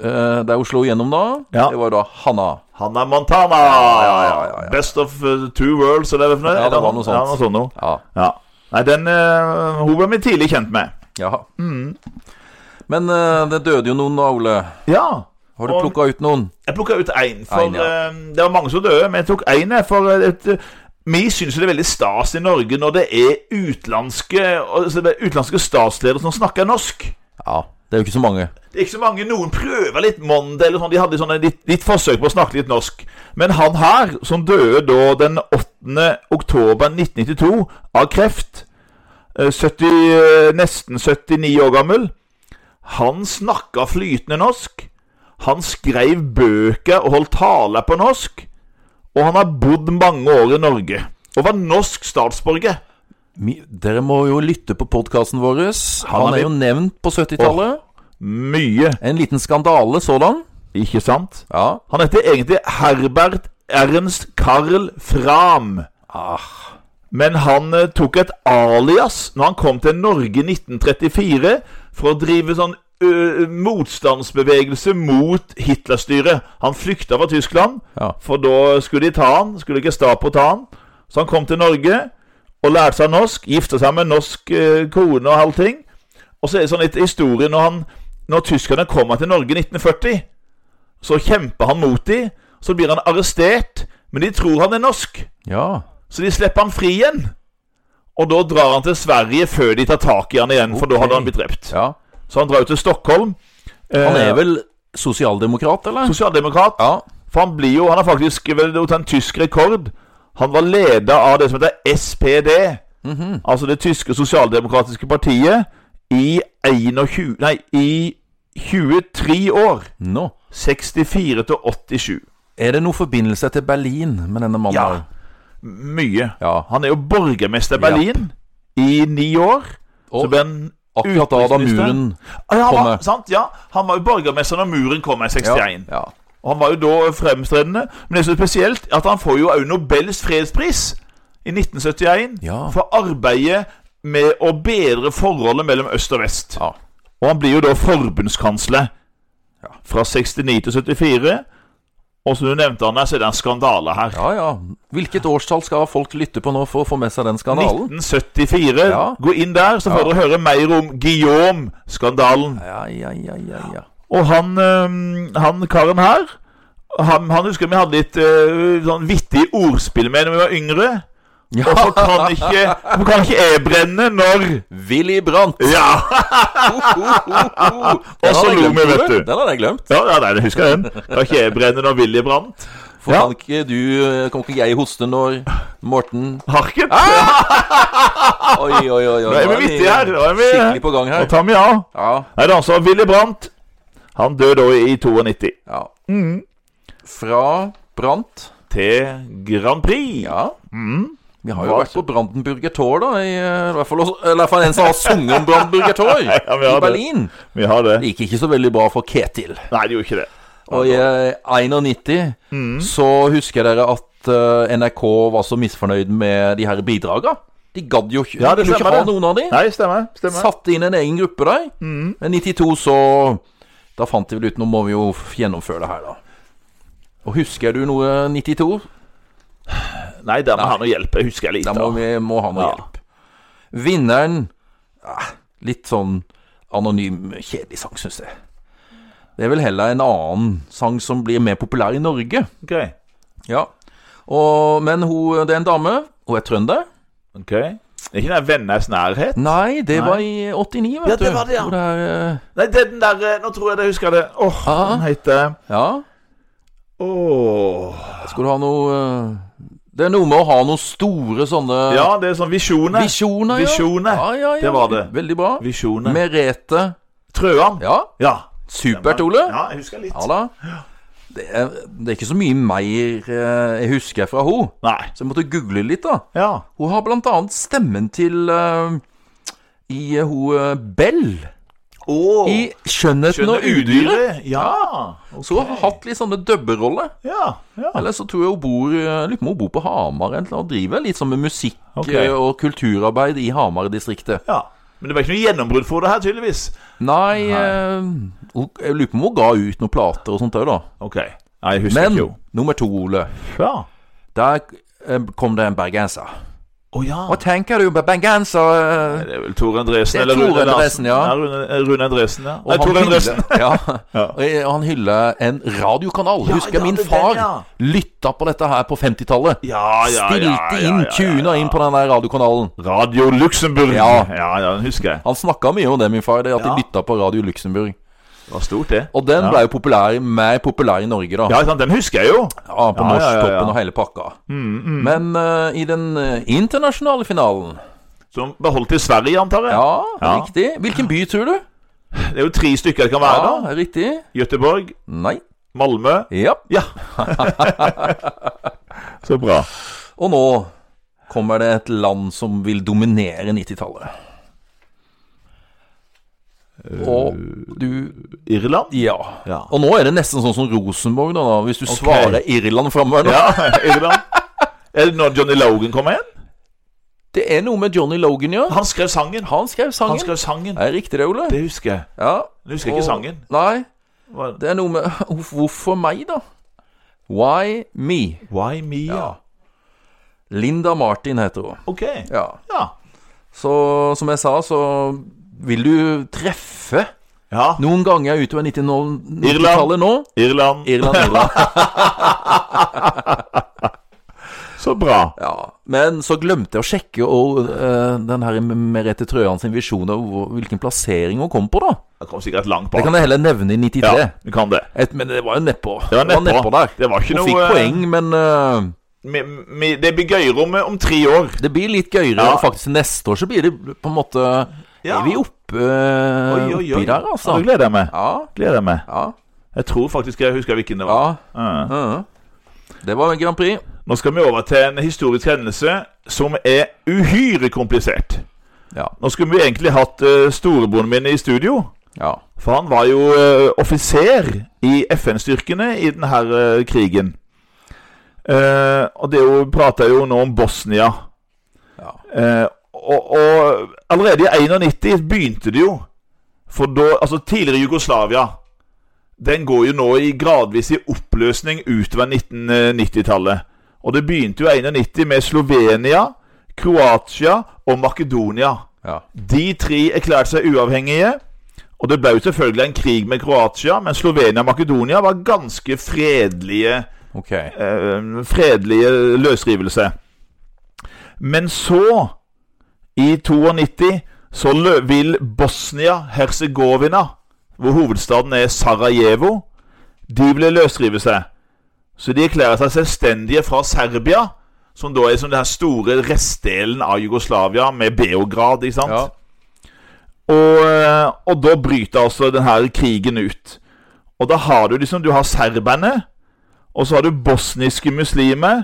eh, Der hun slo igjennom da,
Ja.
det var jo da Hanna.
Hanna Montana!
ja, ja, ja, ja.
Best of uh, two worlds, eller hva for noe?
Ja, det
Er
var noe sånt.
Ja, noe sånt noe.
Ja.
Ja. Nei, den eh, Hun ble vi tidlig kjent med.
Jaha. Men eh, det døde jo noen da, Ole.
Ja.
Har du
Og-
plukka ut noen?
Jeg plukka ut én, for
En, ja.
eh, det var mange som døde. Men jeg tok én, for et, eh, vi syns det er veldig stas i Norge når det er utenlandske altså, det er utenlandske statsledere som snakker norsk.
Ja. Det er jo ikke så mange.
Det er ikke så mange. Noen prøver litt Monday, eller sånn. De hadde sånn en litt, litt forsøk på å snakke litt norsk. Men han her, som døde da den 8. oktober 1992 av kreft, eh, 70, eh, nesten 79 år gammel, han snakka flytende norsk. Han skrev bøker og holdt taler på norsk. Og han har bodd mange år i Norge. Og var norsk statsborger.
Mi- Dere må jo lytte på podkasten vår.
Han
Han
er
er jo nevnt på 70-tallet.
Mye,
En liten skandale sådan.
ikke sant?
Ja.
Han heter egentlig Herbert Ernst Karl Fram. Men han eh, tok et alias når han kom til Norge i 1934 for å drive sånn ø, motstandsbevegelse mot Hitlerstyret. Han flykta fra Tyskland,
Ja.
for da skulle de ta han, skulle Gestapo ta han. Så han kom til Norge og lærte seg norsk, gifta seg med en norsk eh, kone og allting. Og så er det sånn litt historie når han Når tyskerne kommer til Norge i 1940, så kjemper han mot dem. Så blir han arrestert, men de tror han er norsk.
ja.
Så de slipper han fri igjen. Og da drar han til Sverige før de tar tak i han igjen, for da
Ok.
hadde han blitt drept.
ja.
Så han drar jo til Stockholm.
Han er
Eh,
vel sosialdemokrat, eller?
Sosialdemokrat.
Ja.
For han blir jo Han har faktisk vel gjort en tysk rekord. Han var leder av det som heter SPD.
Mhm.
Altså det tyske sosialdemokratiske partiet. I 21 Nei, i 23 år.
Nå.
64 til 87.
Er det noen forbindelse til Berlin med denne mannen?
Ja.
her?
Mye.
ja.
Han er jo borgermester i
Ja.
Berlin i ni år. så
Og
ble han
akkurat da da
utenriksminister.
muren
Ah, ja, han var,
Komme.
sant, ja. han var jo borgermester når muren kom i 61.
ja. ja.
Og han var jo da fremstredende. Men det som er spesielt, er at han får jo også Nobels fredspris i 1971
Ja.
for arbeidet med å bedre forholdet mellom øst og vest.
ja.
Og han blir jo da forbundskansler fra 69 til 74. Og som du nevnte, Anna, så er det en skandale her.
Ja, ja. Hvilket årstall skal folk lytte på nå for å få med seg den skandalen?
1974.
Ja.
Gå inn der, så får
Ja.
dere høre mer om Guillaume-skandalen.
Ja, ja, ja, ja, ja.
Og han, øhm, han karen her han, han husker vi hadde litt øh, sånn vittig ordspill med da vi var yngre.
Ja.
Hvorfor kan ikke, hvorfor kan ikke jeg brenne når
Willy Brandt!
Ja!
Den
Og så
hadde jeg
lo
glemt,
vi,
Tore.
vet du.
Den hadde jeg glemt.
Ja, ja, nei, det husker jeg den. Kan ikke jeg brenne når Willy brant?
For
Ja.
kan ikke du eh, Kan ikke jeg hoste når Morten
Harket?
Ah! Oi, oi, oi. oi.
Nå er Ah! vi vittige her. Nå er vi
Skikkelig på gang her.
Nå tar vi av.
Ja,
Nei, det er altså Willy Brandt. Han døde da i 92.
ja.
Mm.
Fra Brant
Til Grand Prix.
Ja. Vi har jo
Mm. Hva
vært på Brandenburger Tor, da. I, eh, hvert fall, også- eller i hvert fall en som har sunget om Brandenburger Tor
vi har
i
det.
Berlin.
Vi har det.
Det gikk ikke så veldig bra for Ketil.
Nei, det gjorde ikke det.
Og i eh, 91
Mm.
så husker dere at eh, NRK var så misfornøyd med de her bidraga. De gadd jo ikke,
Ja,
de
det
ville ikke
stemmer
ha
det.
noen av de.
Nei, stemmer. stemmer. Mm.
Satte inn en egen gruppe der. Men 92 så Da fant de vel ut Nå må vi jo f- gjennomføre det her, da. Og husker du noe 92?
Nei, der må han noe hjelp. Jeg husker jeg lite.
Da må
av.
vi må ha noe
Ja.
hjelp. Vinneren eh, Litt sånn anonym, kjedelig sang, syns jeg. Det er vel heller en annen sang som blir mer populær i Norge.
Ok.
Ja. Og, men hun, det er en dame. Hun er trønder.
Ok. Er Ikke den Vennes nærhet?
Nei, det var i 89, vet
Ja,
du.
det var det, ja.
Hvor det er, eh,
Nei, det er den der eh, Nå tror jeg det husker jeg det. Åh,
Ah.
den heter
ja.
Åh
Skal du ha noe eh, Det er noe med å ha noen store sånne
Ja, det er sånn visjoner.
visjoner. Ja.
Visjoner.
Ja, ja, ja.
Det var det.
Veldig bra.
Visjoner.
Merete.
Trøan.
Ja,
Ja.
supert, Ole.
Ja, jeg husker litt.
Ja da. Det er, det er ikke så mye mer eh, jeg husker fra henne,
Nei.
så jeg måtte google litt, da.
Ja.
Hun har blant annet stemmen til eh, i eh, hun eh, Bell
Åh
i 'Skjønnheten
Skjønner
og udyret'.
udyret. Ja.
Så hun har hatt litt sånne dubberoller.
Ja. ja.
Eller så tror jeg hun bor, eh, lurer på om hun bor på Hamar eller noe, og driver litt sånn med musikk
Ok.
eh, og kulturarbeid i Hamar-distriktet.
ja. Men det var ikke noe gjennombrudd for det her, tydeligvis.
Nei, eh, hun, jeg lurer på om hun ga ut noen plater og sånt òg, da.
Ok. Nei, jeg husker
Men
ikke jo.
nummer to, Ole.
Ja.
Der eh, kom det en bergenser.
Å ja.
Hva tenker du om bergenser? eh,
Det er vel Tore Endresen
Det er
eller
Tore
Rune Larsen.
Endresen, ja.
Rune, Rune Endresen, ja. Nei,
han
Tore
hyller-
Endresen.
ja.
Ja.
Og jeg- og han hyller en radiokanal.
Ja,
Husker
ja,
min
det er
far
den, ja.
lytta på dette her på 50-tallet.
Ja, ja, ja, ja,
Stilte inn,
ja, ja,
tuna
ja.
inn på den der radiokanalen.
Radio Luxembourg.
Ja.
ja, ja, den husker jeg.
Han snakka mye om det, min far, det at
Ja.
de lytta på Radio Luxembourg.
Det var stort, det.
Og den
Ja.
ble jo populær, mer populær i Norge, da.
Ja, ikke sant, den husker jeg jo.
Ja, på
Ja, ja, ja, Mm,
Norsktoppen
ja.
og hele pakka. Men eh, i den eh, internasjonale finalen
Som ble holdt i Sverige, antar jeg.
ja,
Ja.
riktig. Hvilken by tror du?
Det er jo tre stykker det kan være,
Ja,
da.
er riktig.
Göteborg,
Nei.
Malmö
Ja.
Ja. Så bra.
Og nå kommer det et land som vil dominere 90-tallet.
Eh,
Og du
Irland?
Ja.
Ja.
Og nå er det nesten sånn som Rosenborg, da, da hvis du svarer Irland framover.
Ja, Irland. Er det når Johnny Logan kommer igjen?
Det er noe med Johnny Logan, ja.
Han skrev sangen.
Han skrev sangen.
Han skrev sangen.
Er det riktig det, Ole?
Det husker jeg.
Ja.
Jeg husker ikke
Og-
sangen.
Nei.
Hva-
Det er noe med Uff, Hvorfor meg, da? Why me?
Why me? Ja.
Linda Martin heter hun.
Ok.
Ja.
Ja.
Så som jeg sa, så vil du treffe
ja.
noen ganger utover 90-tallet nå.
Irland.
Irland, Irland.
Så bra.
Ja. Men så glemte jeg å sjekke og, eh, den her Merete Trøan sin visjon av hvor- hvilken plassering hun kom på, da.
Det kom sikkert langt
Det
bak.
kan jeg heller nevne i 93.
Ja, du kan det.
Et, men det var jo nedpå.
Det var nedpå.
der.
Det var
Hun
ikke noe
fikk
eh,
poeng, men eh,
mi- mi- Det blir gøyrommet om tre år.
det blir litt gøyere.
Ja.
Og faktisk neste år så blir det på en måte
Ja.
Er vi oppe, eh,
Oi, oi, oi.
oppi der,
Ja,
altså?
det gleder jeg meg.
Ja.
Gleder jeg meg.
Ja.
Jeg tror faktisk jeg husker hvilken
ja.
det var. Ja.
Mhm. Det var Grand Prix.
Nå skal vi over til en historisk hendelse som er uhyre komplisert.
Ja.
Nå skulle vi egentlig hatt eh, storebroren min i studio.
ja.
For han var jo eh, offiser i FN-styrkene i denne her, eh, krigen. Eh, og det er jo, prater jo nå om Bosnia.
Ja.
Eh, og, og allerede i 91 begynte det jo. For da Altså, tidligere Jugoslavia Den går jo nå i gradvis i oppløsning utover 1990-tallet. Og det begynte jo i 91 med Slovenia, Kroatia og Makedonia.
Ja.
De tre erklærte seg uavhengige. Og det ble jo selvfølgelig en krig med Kroatia, men Slovenia og Makedonia var ganske fredelige
Ok.
eh, fredelige løsrivelse. Men så, i 92, så lø vil Bosnia-Hercegovina, hvor hovedstaden er Sarajevo, de vil løsrive seg. Så de erklærer seg selvstendige fra Serbia, som da er som den her store restdelen av Jugoslavia, med Beograd, ikke sant?
Ja.
Og, eh, og da bryter altså den her krigen ut. Og da har du liksom Du har serberne, og så har du bosniske muslimer,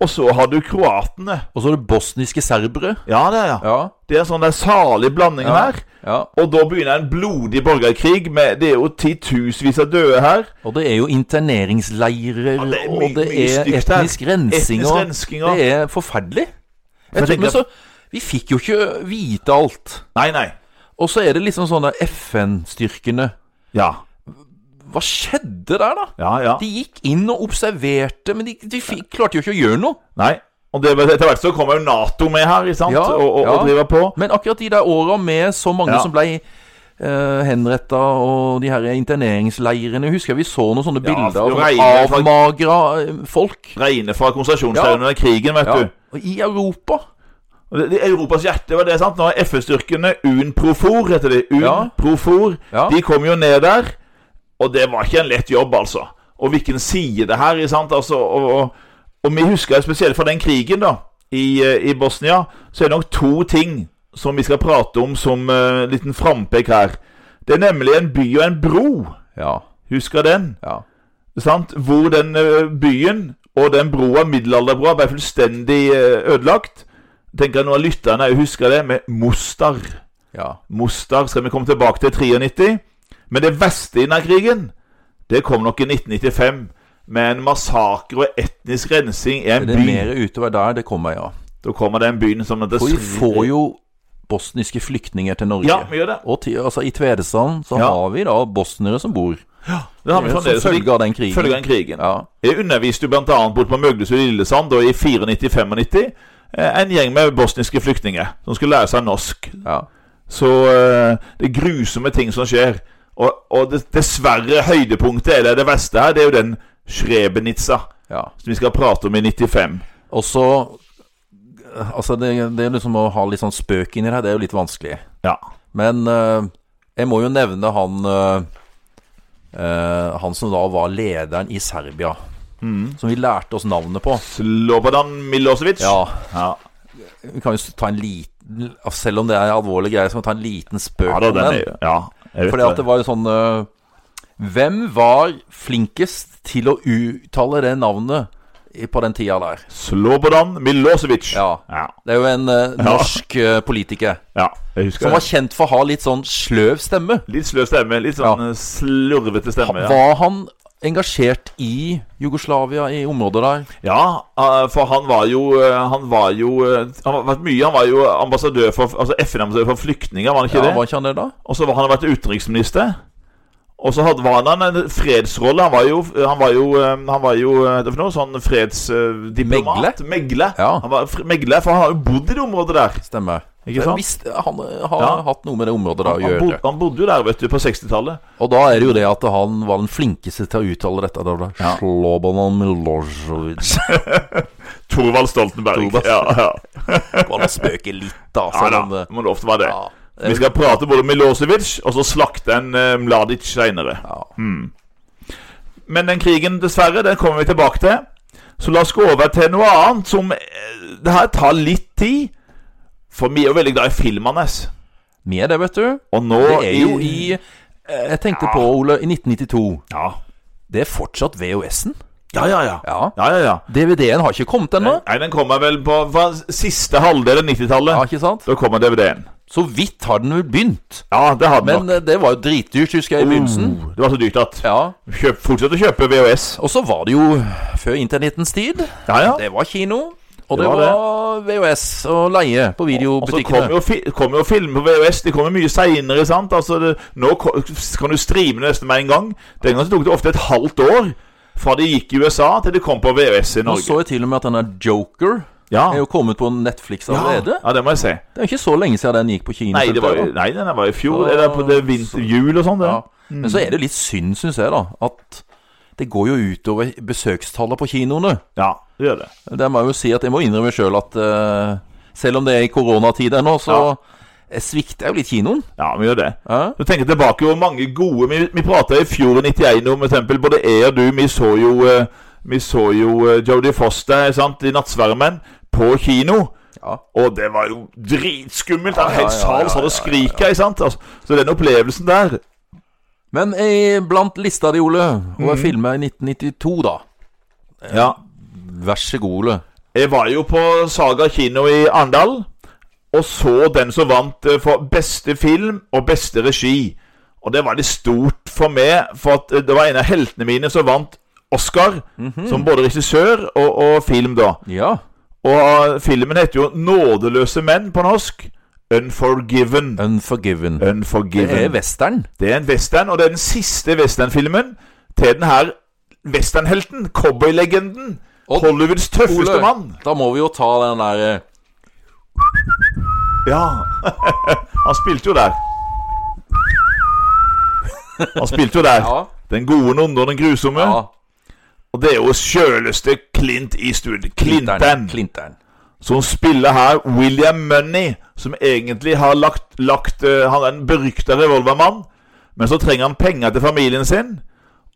og så har du kroatene.
Og så er det bosniske serbere.
Ja, det er, ja.
Ja.
Det er en sånn der salig blanding
Ja.
her.
ja.
Og da begynner en blodig borgerkrig med Det er jo titusenvis av døde her.
Og det er jo interneringsleirer,
det er mye-
og det
mye
er
stygt her.
etnisk rensing.
Etnisk
og-
rensing, ja.
Det er forferdelig. Jeg
jeg
tror, men
tenker
så, vi fikk jo ikke vite alt.
Nei, nei.
Og så er det liksom sånn der FN-styrkene
Ja.
Hva skjedde der, da?
Ja, ja.
De gikk inn og observerte, men de, de fikk, klarte jo ikke å gjøre noe.
Nei. Og det, etter hvert så kommer jo Nato med her, ikke sant?
Ja,
og, og,
ja.
og driver på.
Men akkurat de der åra med så mange
Ja.
som blei Uh, henretta og de her interneringsleirene. Husker jeg vi så noen sånne
Ja,
bilder av
det
sånne
regner fra-
avmagra eh, folk
Reine fra konsentrasjonsleirene under krigen, vet
ja.
du.
og i Europa.
Og Det, det er Europas hjerte, var det sant? Nå er FN-styrkene UNPROFOR, heter de. UNPROFOR.
Ja.
De kom jo ned der, og det var ikke en lett jobb, altså. Og hvilken side det her, ikke sant? Altså, og, og, og vi husker spesielt fra den krigen, da, i, eh, i Bosnia, så er det nok to ting som vi skal prate om som eh, liten frampek her. Det er nemlig en by og en bro.
Ja,
Husker den?
ja.
sant? Hvor den ø, byen og den broa, middelalderbroa, ble fullstendig ø, ødelagt. Tenker jeg noen av lytterne også husker det, med Mostar.
Ja.
Mostar skal vi komme tilbake til 93. Men det verste i denne krigen, det kom nok i 1995. Med en massakre og etnisk rensing i en
Det er mer
by.
utover der det kommer, ja.
Da kommer den byen som heter
Og vi får jo bosniske flyktninger til Norge.
Ja, vi gjør det.
Og til, altså, i Tvedestrand så
Ja.
har vi da bosnere som bor. Eh,
sånn Det har vi
Som
fremdeles.
følge av den krigen.
Følge av den krigen.
Ja.
Jeg underviste jo blant annet borte på Møgles og Lillesand da i 94-95 eh, en gjeng med bosniske flyktninger som skulle lære seg norsk.
ja.
Så eh, det er grusomme ting som skjer. Og, og det, dessverre høydepunktet, eller det verste her, det er jo den Srebrenica
ja.
som vi skal prate om i 95.
Og så Altså, det, det er liksom å ha litt sånn spøk inni her, det er jo litt vanskelig.
Ja.
Men eh, jeg må jo nevne han eh, eh, Han som da var lederen i Serbia.
Mm.
Som vi lærte oss navnet på.
Slobodan Milosevic.
Ja,
ja.
altså Vi kan jo ta en liten Selv om det er alvorlige greier, så kan vi ta en liten spøk
Ja da,
om
den
den.
er ja. Jeg vet
Fordi at
det.
det var jo sånn eh, Hvem var flinkest til å uttale det navnet i- på den tida der?
Slobodan Milosevic.
Ja.
ja.
Det er jo en eh, norsk eh, politiker
ja, jeg husker
som
det.
var kjent for å ha litt sånn sløv stemme.
Litt sløv stemme. Litt sånn
Ja.
eh, slurvete stemme. Ja,
Var han engasjert i Jugoslavia, i området der?
ja eh, for han var jo eh, Han var jo eh, Han har vært mye. Han var jo ambassadør for Altså FN-ambassadør for flyktninger, var han ikke
Ja,
det?
var ikke han det da?
Og så var han har vært utenriksminister. Og så hadde, var han en fredsrolle. Han var jo, han var jo, eh, han var jo eh, det er for noe, sånn fredsdiplomat. Megle.
Ja.
Han var fr- megler, for han har jo bodd i det området der.
Stemmer.
Ikke
Men
sant?
Hvis han eh, har
Ja.
hatt noe med det området da å
Han, bod,
gjøre.
han bodde jo der, vet du, på 60-tallet.
Og da er det jo det at han var den flinkeste til å uttale dette. Da var det
Ja.
Slobodan Milosevic.
Thorvald Stoltenberg.
Thorvald.
Ja, ja.
Går an å spøke litt, da.
ja
Selv
da,
om det
må det ofte være det.
ja,
Vi skal prate både om Milosevic og så slakte en eh, Mladic seinere.
ja.
Men den krigen, dessverre, den kommer vi tilbake til. Så la oss gå over til noe annet som eh, Det her tar litt tid. For vi er jo veldig glad i filmene. ass.
Vi er det, vet du.
Og nå
Det er jo i eh, Jeg tenkte på, Ole, i 1992.
Ja,
Det er fortsatt VHS-en.
ja, ja. ja.
Ja.
ja, ja, ja.
DVD-en har ikke kommet ennå.
Nei, den kommer vel på fra siste halvdel av
Ja,
90-tallet.
ikke sant?
Da kommer DVD-en.
Så vidt har den vel begynt.
Ja, det hadde
Men
nok.
eh, det var jo dritdyrt, husker jeg, i begynnelsen.
Oh, det var så dyrt at
Ja.
Kjøp, Fortsett å kjøpe VHS.
Og så var det jo før internettens tid.
Ja, ja.
Det var kino, og
Det
det,
var
var,
det.
VHS og leie på
Og så kom
videobutikkene.
jo, fi kom jo filmer på VHS. De kommer mye seinere, sant. Altså, det, nå ko- kan du streame det nesten med en gang. Den gangen så tok det ofte et halvt år fra de gikk i USA til de kom på VHS i
Nå
Norge.
så jeg til og med at denne Joker
Ja.
er jo kommet på Netflix allerede.
ja, ja, det må jeg si.
Det er jo ikke så lenge siden den gikk på kino.
Nei, det var, jo-
selvfølgelig, da.
nei, den var i fjor.
Så-
Eller på det vinter, jul og sånn, det.
ja. Men så er det jo litt synd, syns jeg, da, at det går jo utover besøkstallet på kinoene.
Ja, det gjør det.
Der må jeg jo si at jeg må innrømme sjøl at eh, selv om det er i koronatid ennå, så
Ja.
jeg svikter jeg jo litt kinoen.
Ja, vi gjør det.
Ja.
Så tenker jeg tilbake hvor mange gode Vi, vi prata i fjor i 91 om for eksempel både jeg og du. Vi så jo, eh, vi så jo eh, Jodie Foster sant, i 'Nattsvermen' på kino.
Ja.
Og det var jo dritskummelt. En
Ja, ja,
hel
ja,
sal
ja,
satt
ja,
og skrik her. ikke sant? Altså, så den opplevelsen der
Men eh, blant lista di, Ole,
Mhm.
over filmer i 1992, da.
Ja.
Vær så god, Ole.
Jeg var jo på Saga kino i Arendal og så den som vant eh, for beste film og beste regi. Og det var litt stort for meg, for at eh, det var en av heltene mine som vant Oscar.
Mhm.
Som både regissør og, og film, da.
Ja.
Og eh, filmen heter jo 'Nådeløse menn' på norsk. Unforgiven.
Unforgiven. Det
Unforgiven.
er western.
Det er en western, og det er den siste westernfilmen til den her westernhelten, cowboylegenden,
Og-
Hollywoods tøffeste mann.
da må vi jo ta den der eh,
Ja. Han spilte jo der. Han spilte jo der.
Ja.
Den gode, den onde og den grusomme.
ja
Og det er jo sjøleste Clint Eastwood. Clinton.
Clinton.
Som spiller her William Money, som egentlig har lagt, lagt eh, Han er en berykta revolvermann, men så trenger han penger til familien sin.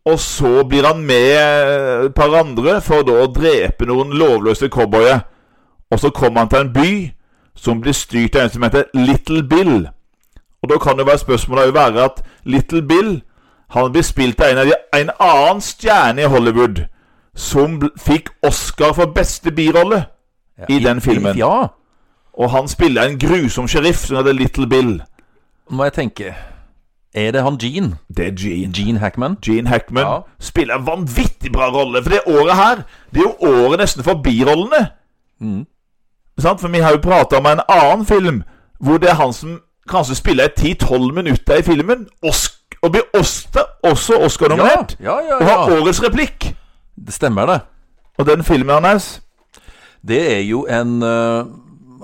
Og så blir han med eh, et par andre for da å drepe noen lovløse cowboyer. Og så kommer han til en by som blir styrt av en som heter Little Bill. Og da kan det være spørsmålet jo være at Little Bill han blir spilt av en, av de, en annen stjerne i Hollywood, som bl- fikk Oscar for beste birolle.
Ja,
I den filmen.
Ja.
Og han spiller en grusom sheriff som heter Little Bill.
Må jeg tenke Er det han Gene?
Det er Gene.
Gene Hackman?
Gene Hackman
Ja.
spiller en vanvittig bra rolle. For det året her, det er jo året nesten for birollene.
Mm.
Sant? For vi har jo prata om en annen film hvor det er han som kanskje spiller 10-12 minutter i filmen, Osk og blir Osta også
Ja,
Oscar-nominert.
ja, ja,
Og har
ja.
årets replikk.
Det stemmer, det.
Og den filmen hans
Det er jo en eh,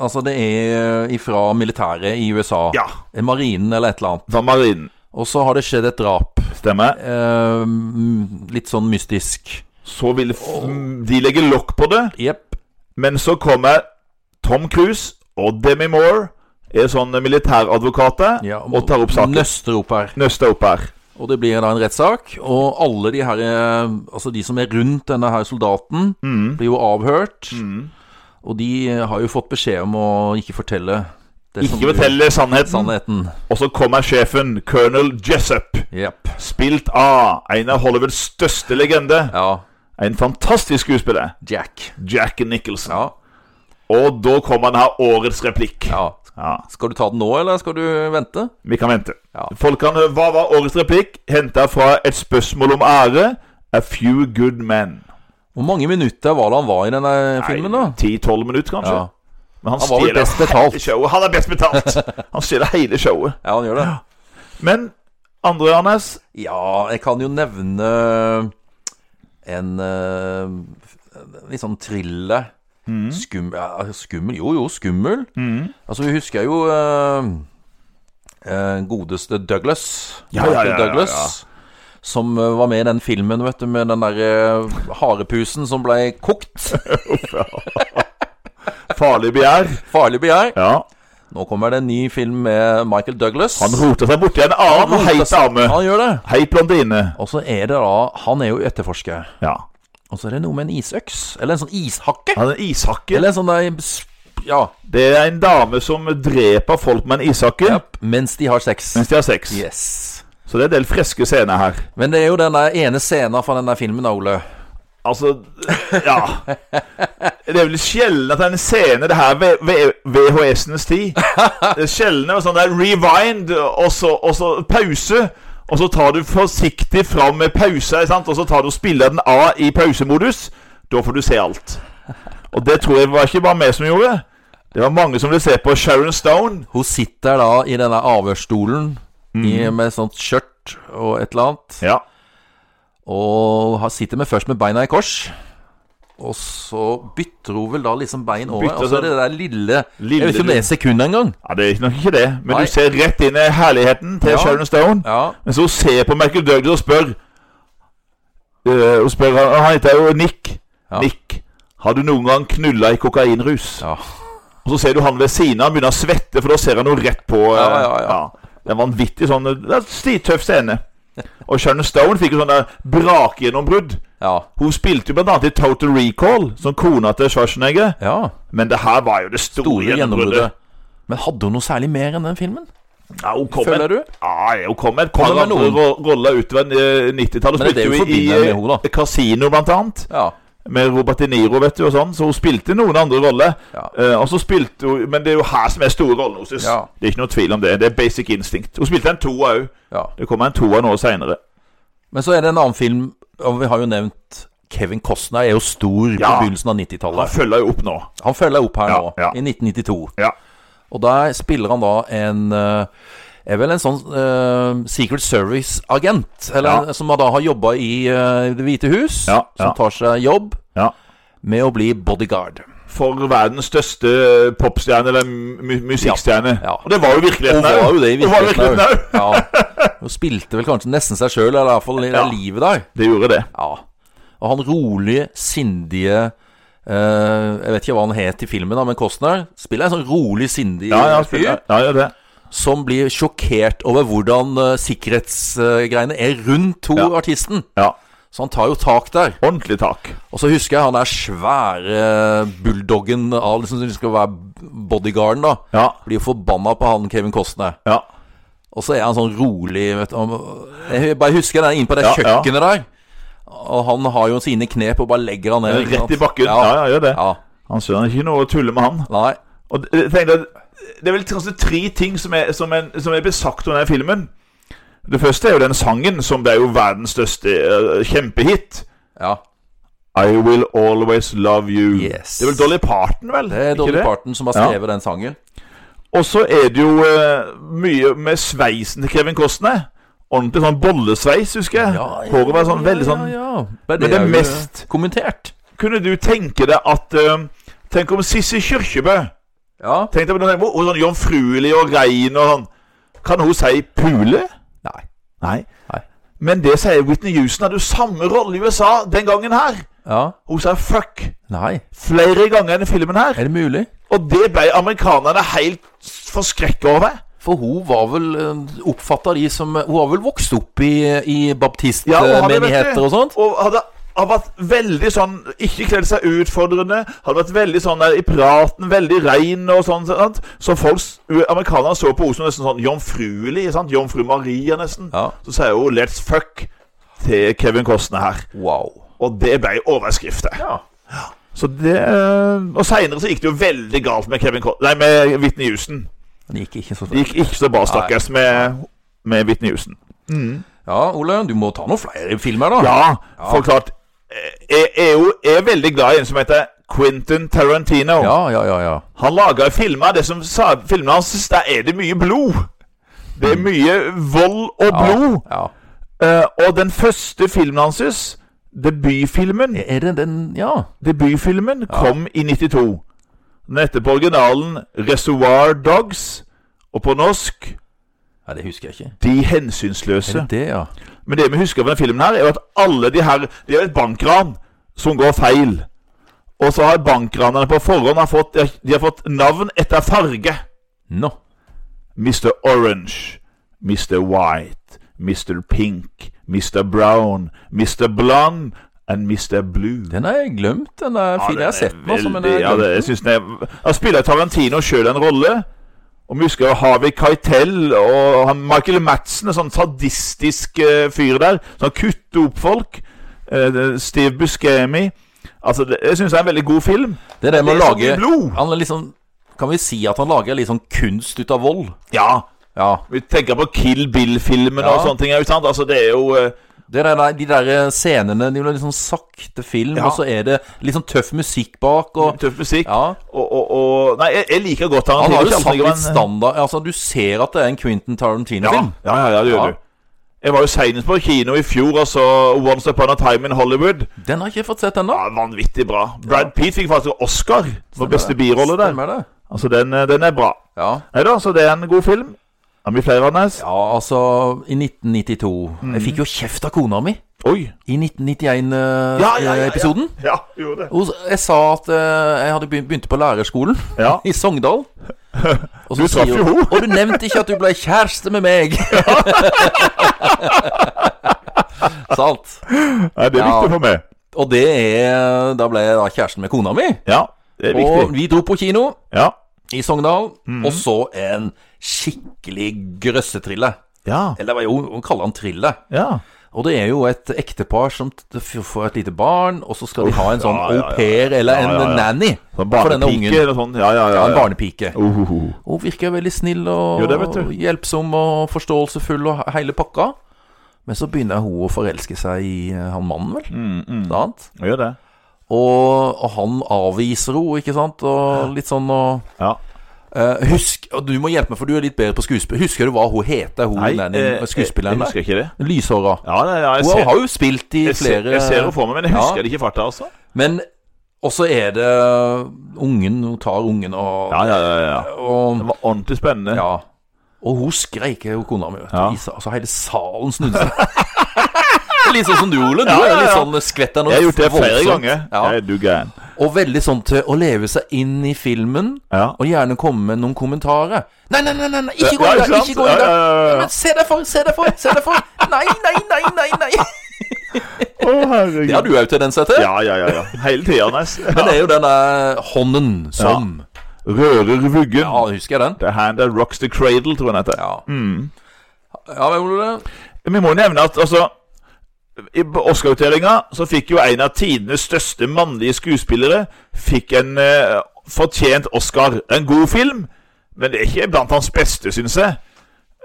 Altså, det er ifra militæret i USA.
Ja.
Eh, Marinen eller et eller annet.
Van Marinen.
Og så har det skjedd et drap.
Stemmer.
Eh, mm, litt sånn mystisk.
Så vil f de legge lokk på det.
Jepp.
Men så kommer Tom Cruise og Demi Moore, er sånne militæradvokater,
Ja,
og tar opp saken.
Nøster opp her.
Nøsta opp her.
Og det blir da en rettssak, og alle de her eh, Altså de som er rundt denne her soldaten, Mm. blir jo avhørt. Og de eh, har jo fått beskjed om å ikke fortelle Det som
Ikke fortelle sannheten.
sannheten.
Og så kommer sjefen, colonel Jessup,
Jepp.
spilt av en av Hollywoods største legende.
Ja.
En fantastisk skuespiller,
Jack.
Jack Nicholson.
Ja.
Og da kommer han her årets replikk.
ja.
Ja,
Skal du ta den nå, eller skal du vente?
Vi kan vente.
Ja.
Folk kan høre Hva var årets replikk? Henta fra et spørsmål om ære. A few good men.
Hvor mange minutter var det han var i denne filmen, da?
10-12 minutter, kanskje.
Ja.
Men han,
Han var vel
stjeler
best betalt.
hele showet. Han er best betalt. Han stjeler hele showet.
ja, han gjør det.
Men andre, Arnes
Ja, jeg kan jo nevne en eh, litt sånn thriller.
Mm.
Skum, ja, altså skummel Jo, jo, skummel. Altså, vi husker jo eh, eh, godeste Douglas.
Ja, ja, ja,
Michael
ja, ja.
Douglas. Som eh, var med i den filmen, vet du, med den derre harepusen som ble kokt.
Farlig begjær.
Farlig begjær.
Ja.
Nå kommer det en ny film med Michael Douglas.
Han roter seg borti en arm og heit dame.
Han gjør det.
Heit blondine.
Og så er det da Han er jo etterforsker.
Ja.
Og så er det noe med en isøks. Eller en sånn ishakke.
Han er en ishakke.
Eller en sånn der sp- Ja.
Det er en dame som dreper folk med en ishakke
japp, Mens de har sex.
mens de har sex.
Yes.
Så det er en del friske scener her.
Men det er jo den der ene scenen fra den der filmen, da, Ole.
Altså Ja. Det er vel sjelden at det er en scene det her ved, ved VHS-enes tid. Det er sjelden det er sånn der rewind, og så, og så pause. Og så tar du forsiktig fram med pauser, ikke sant? og så tar du og spiller den av i pausemodus. Da får du se alt. Og det tror jeg var ikke bare meg som gjorde. Det var mange som ville se på Sharon Stone.
Hun sitter da i denne avhørsstolen i-
Mm.
med sånt skjørt og et eller annet.
Ja.
Og har- sitter med, først med beina i kors. Og så bytter hun vel da liksom bein over.
Bytter
Og så er
sånn-
det der lille, Jeg
Lille
vet ikke om det er sekundet engang.
ja, det er ikke nok ikke det, men
Nei.
du ser rett inn i herligheten til
Ja.
Sharon Stone.
Ja.
Men så ser jeg på Michael Douglas og spør Eh, Og spør han, han heter jo Nick.
Ja.
Nick, har du noen gang knulla i kokainrus?
ja.
Og så ser du han ved siden av, han begynner å svette, for da ser han jo rett på. eh,
Ja, ja, ja.
Det er en vanvittig sånn eh, det er en stitøff scene. Og Sharon Stone fikk jo sånn der brakgjennombrudd.
Ja.
Hun spilte jo blant annet i Total Recall, som kona til Schwarzenegger.
ja.
Men det her var jo det store,
Store
gjennombruddet.
gjennombruddet. Men hadde hun noe særlig mer enn den filmen?
Ja, hun kom
Føler
med-
du?
Ja, hun kom med et par
Kommer med
andre
noen.
ro- roller utover eh, 90-tallet.
Men det er det vi
Spilte jo i
forbinder med
eh,
henne, da.
Casino, blant annet.
Ja.
Med Robert De Niro, vet du, og sånn. Så hun spilte noen andre roller.
Ja.
Eh, og så spilte hun Men det er jo her som er store rollen hennes.
Ja.
Det er ikke noe tvil om det. Det er basic instinct. Hun spilte en toer òg.
ja.
Det kommer en toer nå seinere.
Men så er det en annen film og Vi har jo nevnt Kevin Costner er jo stor
Ja.
på begynnelsen av
Han
90-tallet.
følger jo opp nå.
Han følger opp her
Ja,
nå,
ja.
i 1992.
Ja.
Og der spiller han da en eh, Er vel en sånn eh, Secret Service-agent. Eller
Ja.
som da har jobba i eh, Det hvite hus.
Ja, ja.
Som tar seg jobb
ja.
med å bli bodyguard.
For verdens største popstjerne, eller mu musikkstjerne.
Ja.
Og det var jo
Hun
virkeligheten
var
òg.
jo det i
Hun var jo virkeligheten
virkeligheten
òg.
Ja. Hun spilte vel kanskje nesten seg sjøl, eller i hvert fall i det
Ja.
livet der.
Det gjorde det.
Ja. Og han rolige, sindige eh, Jeg vet ikke hva han het i filmen, da, men Costner spiller en sånn rolig, sindig
Ja, ja,
fyr
spiller- ja, ja, det.
som blir sjokkert over hvordan eh, sikkerhetsgreiene er rundt hun
Ja.
artisten.
ja.
Så han tar jo tak der.
Ordentlig tak.
Og så husker jeg han der svære bulldoggen av liksom, som skal være bodyguarden, da.
Ja.
Blir jo forbanna på han Kevin Costner.
Ja.
Og så er han sånn rolig vet du. han- Jeg bare husker den inn på det
Ja, ja.
kjøkkenet der. Og han har jo sine knep og bare legger han ned. ikke
Rett i
sant?
bakken. Ja, ja, gjør det.
Ja,
Han skjønner ikke noe å tulle med han.
nei
Og d- jeg tenkte at Det er vel kanskje tre ting som er, som er, som er besagt under denne filmen. Det første er jo den sangen, som det er jo verdens største eh, kjempehit.
Ja,
I Will Always Love You.
Yes.
Det er vel Dolly Parton, vel?
det er
Ikke
Dolly Parton som har
Ja.
skrevet den sangen
Og så er det jo eh, mye med sveisen til Kevin Costner. Ordentlig sånn bollesveis, husker jeg. Håret var sånn veldig sånn
ja, ja. Men
det
er jo
mest-
Kommentert
Kunne du tenke deg at eh, Tenk om Sissy Kyrkjebø
Ja,
Tenk deg på noe hvor sånn jomfruelig og rein og sånn. Kan hun si pule?
nei
Nei.
Nei.
Men det sier Whitney Houston. Hadde jo samme rolle i USA den gangen her.
Ja,
Hun sa fuck
nei
flere ganger enn i filmen her.
Er det mulig?
Og det ble amerikanerne helt forskrekka over.
For hun var vel eh, Oppfattet de som Hun har vel vokst opp i, i
Ja, hun hadde, vet
baptistmenigheter
du.
og sånt
Og hadde har vært veldig sånn Ikke kledd seg utfordrende. Har vært veldig sånn der i praten, veldig rein og sånn. Sant? Så folk, s- u- amerikanerne så på henne som nesten sånn jomfruelig. sant? Jomfru Maria, nesten.
Ja.
Så sier hun 'let's fuck' til Kevin Costner her.
Wow.
Og det ble overskrifter.
Ja.
Så det eh, Og seinere så gikk det jo veldig galt med Kevin Costner Nei, med Whitney Houston.
Det gikk ikke så
Det gikk ikke så bra, stakkars, med, med Whitney Houston.
Ja, Ole, du må ta noen flere filmer, da.
Ja, for klart. Jeg jeg er jo jeg er veldig glad i en som heter Quentin Tarantino.
ja, ja, ja. ja.
Han lager filmer det som sa, filmene hans Der er det mye blod. Det er mye vold og
Mm. ja.
blod.
ja.
Eh, og den første filmen hans, debutfilmen,
Er det den Ja.
debutfilmen kom i 92. Den heter på originalen 'Reservoir Dogs', og på norsk
Nei, det husker jeg ikke.
'De
Er det
hensynsløse'.
det, ja?
Men det vi husker fra denne filmen, her er jo at alle de her Det er jo et bankran som går feil. Og så har bankranerne på forhånd har fått, de har fått navn etter farge.
Nå.
Mr. Orange, Mr. White, Mr. Pink, Mr. Brown, Mr. Blonde and Mr. Blue.
Den har jeg glemt. Den er fin. Jeg har sett den, altså, men jeg
ja,
har
det, jeg
glemt den.
synes den er, Han spiller Tarantino sjøl en rolle. Og vi husker Harvey Keitel og han Michael Madsen, en sånn sadistisk eh, fyr der. Som kutter opp folk. Eh, det- Steve Buscemi. Altså, det, jeg syns det er en veldig god film.
Det er det med å
Det er så mye
lage
blod.
Han er liksom Kan vi si at han lager litt sånn kunst ut av vold?
Ja,
Ja.
vi tenker på Kill Bill-filmen
Ja.
og sånne ting. ikke sant? Altså, det er jo eh,
Det er der, de der eh, scenene De blir litt sånn sakte film,
Ja.
og så er det litt sånn tøff musikk bak. Og,
tøff musikk.
ja.
Og, og, og Nei, jeg, jeg liker godt
Han
Tarantino.
har jo
ikke
satt
alltid,
litt
men-
standard Altså, du ser at det er en Quentin Tarantino-film.
Ja, ja, ja, det gjør
Ja.
du. Jeg var jo senest på kino i fjor og så Once Upon a Time in Hollywood.
Den har jeg ikke fått sett ennå.
Ja, Vanvittig bra. Brad Pitt fikk faktisk Oscar for beste birolle der.
Stemmer det?
Altså, den, eh, den er bra.
Ja.
Nei da, så det er en god film. Er vi flere, Anders?
ja, altså I 1992
Mhm.
Jeg fikk jo kjeft av kona mi
Oi.
i eh, 1991-episoden.
Ja, gjorde det.
Jeg sa at eh, jeg hadde begynt, begynte på lærerskolen
Ja.
i Sogndal. Og så
Du traff
sier
jo henne.
Og du nevnte ikke at du ble kjæreste med meg! Sant.
Nei, det er
Ja.
viktig for meg.
Og det er Da ble jeg da kjæresten med kona mi.
Ja, det er
Og
viktig. Mhm.
vi dro på kino
Ja.
i Sogndal, og så en skikkelig grøssetrille.
Ja.
Eller hva jo, hun kaller han trille.
ja.
Og det er jo et ektepar som t- f- får et lite barn, og så skal de ha en sånn
ja, ja, ja.
au pair eller en
Ja, ja, ja.
nanny
Sånn
for denne ungen.
barnepike eller sånn. Ja, ja, ja. Oh,
Ja, en
ja.
barnepike.
Ohoho.
Hun virker veldig snill og
Jo, det vet du.
hjelpsom og forståelsesfull og he- hele pakka. Men så begynner hun å forelske seg i eh, han mannen, vel.
Mm,
Sant?
Jeg Gjør det.
Og, og han avviser henne, ikke sant? Og litt sånn og
Ja.
eh, Husk og Du må hjelpe meg, for du er litt bedre på skuespill. Husker du hva hun heter, hun
eh,
nannyen- skuespilleren
jeg
der?
husker ikke det.
Lyshåra.
Ja, det, ja, jeg
Hun
ser,
har jo spilt i
jeg ser,
flere
jeg ser det for meg, men jeg husker
Ja.
det ikke i farta, altså.
Men også er det ungen Hun tar ungen og
Ja, ja, ja, ja.
Og,
Det var ordentlig spennende.
ja. og hun skreik, jo kona mi. vet du.
Ja.
I sa- Altså, hele salen snudde seg. litt sånn som du, Ole. Du
Ja, ja,
er litt
ja.
sånn skvett av noe
Jeg har gjort det flere
voldsomt.
ganger. Jeg
Ja.
er du gæren.
Og veldig sånn til å leve seg inn i filmen.
Ja.
Og gjerne komme med noen kommentarer. Nei, nei, nei, nei, nei ikke gå
Ja,
inn
ikke
der!
sant?
Ikke gå inn
Ja,
der!
ja, ja, ja.
Men se deg for, se deg for, se deg for! Nei, nei, nei, nei! nei
Å, herregud.
Det har du òg tendens til.
Ja, ja, ja. ja. Hele tida, Nes.
Men det er jo denne hånden som
Rører vuggen.
Ja, husker jeg den?
The hand that rocks the cradle, tror jeg den heter.
Ja. Ja, men Ole
Vi må nevne at altså i på Oscar-utdelinga så fikk jo en av tidenes største mannlige skuespillere Fikk en eh, fortjent Oscar. En god film, men det er ikke blant hans beste, syns jeg.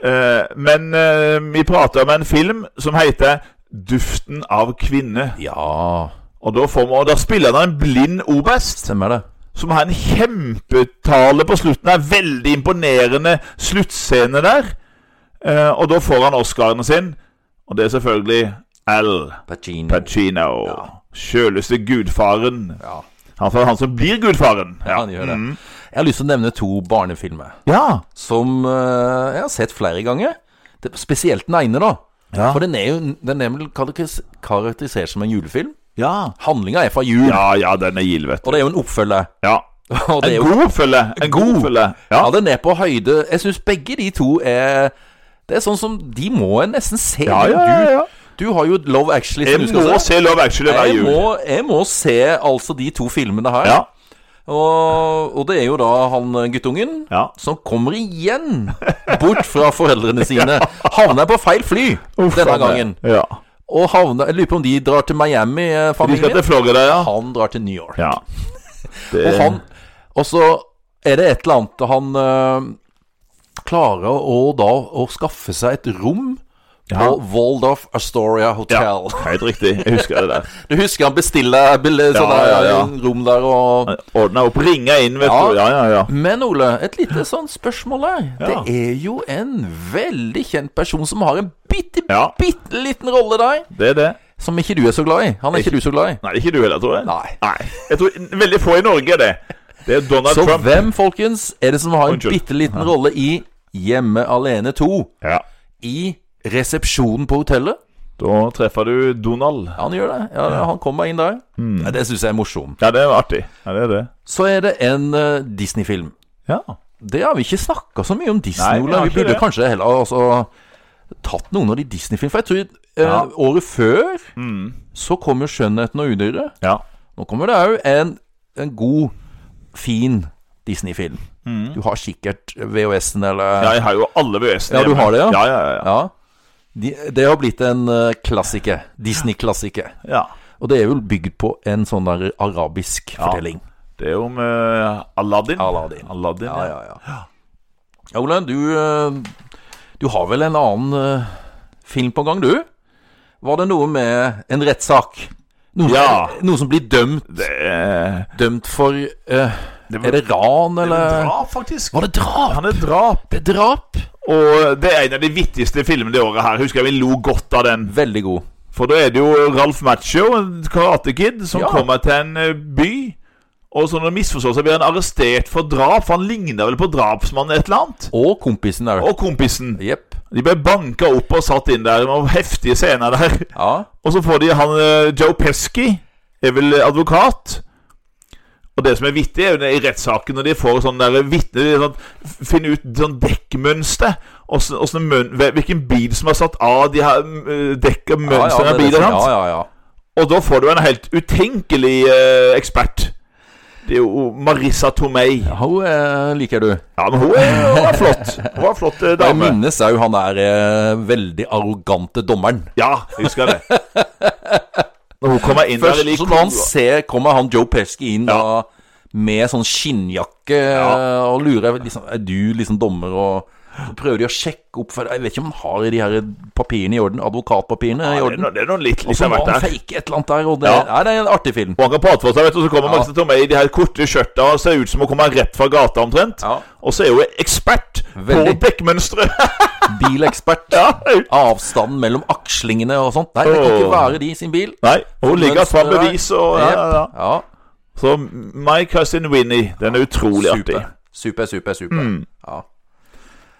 Eh, men eh, vi prater om en film som heter 'Duften av kvinne'.
Ja,
Og da, får man, og da spiller han en blind oberst
stemmer det.
som har en kjempetale på slutten. Det er en veldig imponerende sluttscene der. Eh, og da får han Oscaren sin, og det er selvfølgelig Al
Pacino.
Pacino. Sjøleste gudfaren.
Ja.
Han er han som blir gudfaren. Mm.
Ja, han gjør det. Jeg har lyst til å nevne to barnefilmer
Ja.
som eh, jeg har sett flere ganger. Det, spesielt den ene, da.
Ja.
For den er jo den er vel karakteris- karakterisert som en julefilm.
Ja.
Handlinga er fra jul,
ja, ja, den er gild, vet du.
og det er jo en oppfølger.
Ja.
Og det er
En
jo,
god oppfølger. En god oppfølger. Ja.
ja, den er på høyde Jeg syns begge de to er Det er sånn som De må en nesten se.
Ja,
Det er jo
ja, ja,
du-
ja.
Du har jo Love Actually. som du
Jeg
skal
må se Love Actually hver
jeg
jul.
må, jeg må se altså de to filmene her.
Ja.
Og, og det er jo da han eh, guttungen
Ja.
som kommer igjen bort fra foreldrene sine. Havner på feil fly denne
Faen,
gangen.
Ja.
Og havner, Jeg lurer på om de drar til Miami, eh,
De skal
familien.
til Florida, ja.
Han drar til New York.
ja.
Og
Det-
han Og så er det et eller annet han eh, klarer å da å skaffe seg et rom på
Ja.
Waldorf Astoria Hotel.
ja. Helt riktig. Jeg husker det der.
Du husker han bestiller bille- sånne
ja, ja.
rom der og
Ordna opp. Ringa inn, vet
Ja.
du. Ja, ja, ja.
Men Ole, et lite sånn spørsmål der.
Ja.
Det er jo en veldig kjent person som har en bitte,
Ja.
bitte liten rolle der,
Det er det.
som ikke du er så glad i. Han er ikke du så glad i.
Nei, det er ikke du heller, tror jeg.
Nei.
Jeg tror Veldig få i Norge er det. Det er Donald
Så
Trump.
hvem, folkens, er det som har en
Unnskyld.
bitte liten rolle i Hjemme alene 2?
Ja.
I resepsjonen på hotellet?
Da treffer du Donald.
Ja, han gjør det. Ja, Han kommer inn der.
Hmm.
Ja, det syns jeg er morsomt.
Ja, det er artig. Ja, det er det.
Så er det en eh, Disney-film.
Ja.
Det har vi ikke snakka så mye om Disney,
Nei, vi
Ole.
har
Vi
ikke
burde
det.
kanskje heller altså, tatt noen av de Disney-filmene. For jeg tror eh,
Ja.
året før så kom jo 'Skjønnheten og udyret'.
Mm. ja.
Nå kommer det òg en, en god, fin Disney-film. Du har sikkert VHS-en eller
Mm. Ja, jeg har jo alle VHS-ene.
Ja, du har det, ja?
Ja, ja, ja.
Ja. De, det har blitt en eh, klassiker. Disney-klassiker.
ja.
Og det er vel bygd på en sånn der arabisk fortelling.
Det er jo om eh, Aladdin.
Aladdin.
Aladdin ja,
Ja, ja, ja. ja Ole, du, eh, du har vel en annen eh, film på gang, du? Var det noe med en rettssak? Noe,
Ja.
noe som blir dømt,
Det, er-
dømt for eh,
det
Er det ran, eller
drap, faktisk.
Var det drap?
Han er drap.
Det er drap?
Og det er en av de vittigste filmene det året her. Husker jeg vi lo godt av den.
Veldig god.
For da er det jo Ralf Macho, en karatekid, som
Ja.
kommer til en eh, by. Og så når det misforstår seg, blir han arrestert for drap, for han ligner vel på drapsmannen et eller annet.
Og kompisen der.
Og kompisen.
Jepp.
De ble banka opp og satt inn der med heftige scener der.
Ja.
Og så får de han eh, Joe Pesky, er vel advokat. Og det som er vittig, er jo det i rettssaken når de får sånn der vitne de sånn, Finne ut sånn dekkmønster. Og så- og sånn møn- hvilken bil som har satt av de her eh, dekk og
Ja, ja,
mønstrene
det er
av
det
bilen
som-
hans.
Ja, ja, ja.
Og da får du en helt utenkelig eh, ekspert. Det er jo Marissa Tomei. Ja,
Ja, Hun eh, liker du.
men hun er, hun er flott. Hun er en flott eh,
Jeg
dame.
minnes òg han der eh, veldig arrogante dommeren.
Ja, jeg husker det. Når hun kommer inn der
Først
i lik
så når han
klo-
ser, kommer han Joe Pesky inn da med sånn skinnjakke
Ja.
og lurer liksom, Er du liksom dommer og så prøver de å sjekke opp for Jeg vet ikke om han har de her papirene i orden, advokatpapirene i
Ja, det, er
orden.
noe- det er noe litt,
Og
litt
så
av
må
hvert
han
der.
fake et eller annet der, og det,
Ja.
ja. det er en artig film.
Og han kan prate for seg, vet du, og så kommer
Ja.
Marissa Tomei i de her korte skjørta og ser ut som hun kommer rett fra gata omtrent.
Ja.
Og så er hun ekspert
Veldig.
på dekkmønstre.
Bilekspert.
Ja.
Avstanden mellom akslingene og sånt. Nei, det kan ikke
Åh.
være de sin bil.
Nei, hun ligger fram
Mønsteret der.
bevis og ja, ja, ja.
Jep. ja.
Så My Cousin Winnie, den er utrolig artig.
Super, super, super. super. Ja.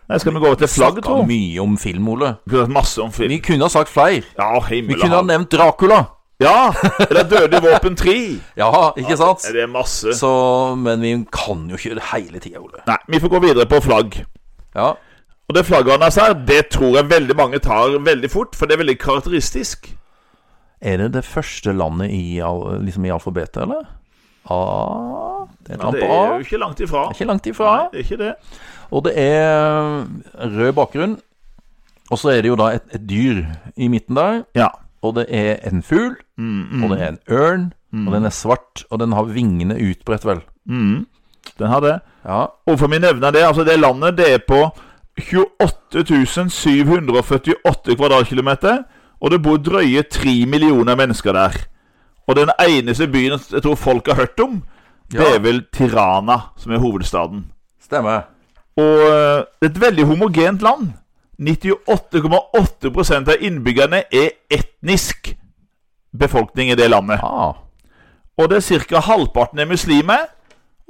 Nei, skal vi gå over til
Snakket
flagget, tro? Vi
mye om film, Ole.
kunne hatt masse om film.
Vi kunne ha sagt flere.
Ja, himmel
Vi
og
kunne ha
hav.
nevnt Dracula.
Ja! Eller Dødelig våpen 3.
Ja, ikke sant?
Det er masse.
Så, men vi kan jo ikke det hele tida, Ole.
Nei, vi får gå videre på flagg.
Ja.
Og det flagget hans her, det tror jeg veldig mange tar veldig fort, for det er veldig karakteristisk.
Er det det første landet i, al- liksom i alfabetet, eller? A Det er et
Men
land
det
på
er
A.
jo ikke langt ifra.
Ikke langt
Nei,
ifra.
det er ikke det.
Og det er eh, rød bakgrunn. Og så er det jo da et, et dyr i midten der.
Ja. Mm,
Og det er en fugl. Og det er en ørn. Og den er svart. Og den har vingene utbredt, vel.
mm. Den har det.
Ja.
Hvorfor vi nevner det? Altså, det landet, det er på 28 748 kvadratkilometer, og det bor drøye 3 millioner mennesker der. Og den eneste byen jeg tror folk har hørt om, det
Ja.
er vel Tirana, som er hovedstaden.
Stemmer.
Og eh, det er et veldig homogent land. 98,8 av innbyggerne er etnisk befolkning i det landet.
Ah.
Og det er ca. halvparten er muslimer,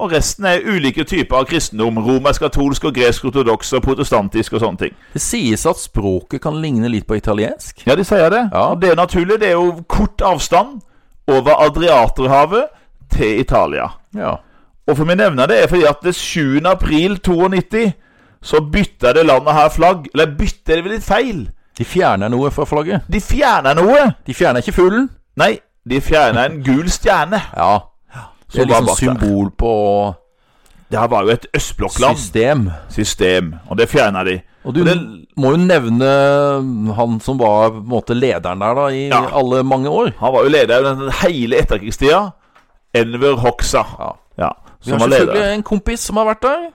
og resten er ulike typer av kristendom. Romersk, katolsk og gresk, ortodoks og protestantisk og sånne ting.
Det sies at språket kan ligne litt på italiensk.
Ja, de sier det.
Ja.
Og det er naturlig. Det er jo kort avstand over Adriaterhavet til Italia.
Ja.
Og for vi nevner det er fordi at det 7. april 92 så bytta det landet her flagg. Eller bytte er det vel litt feil?
De fjerner noe fra flagget.
De fjerner noe!
De fjerner ikke fuglen.
Nei, de fjerner en gul stjerne.
Ja. Det
som
er
var
liksom
bak der.
symbol på
Det her var jo et østblokkland.
system.
System. Og det fjerner de.
Og du
Og det-
må jo nevne han som var på en måte lederen der da i
Ja.
alle mange år.
Han var jo leder i den hele etterkrigstida. Enver Hoxha.
Ja.
Ja,
Vi
som
har
var leder.
selvfølgelig en kompis som har vært der.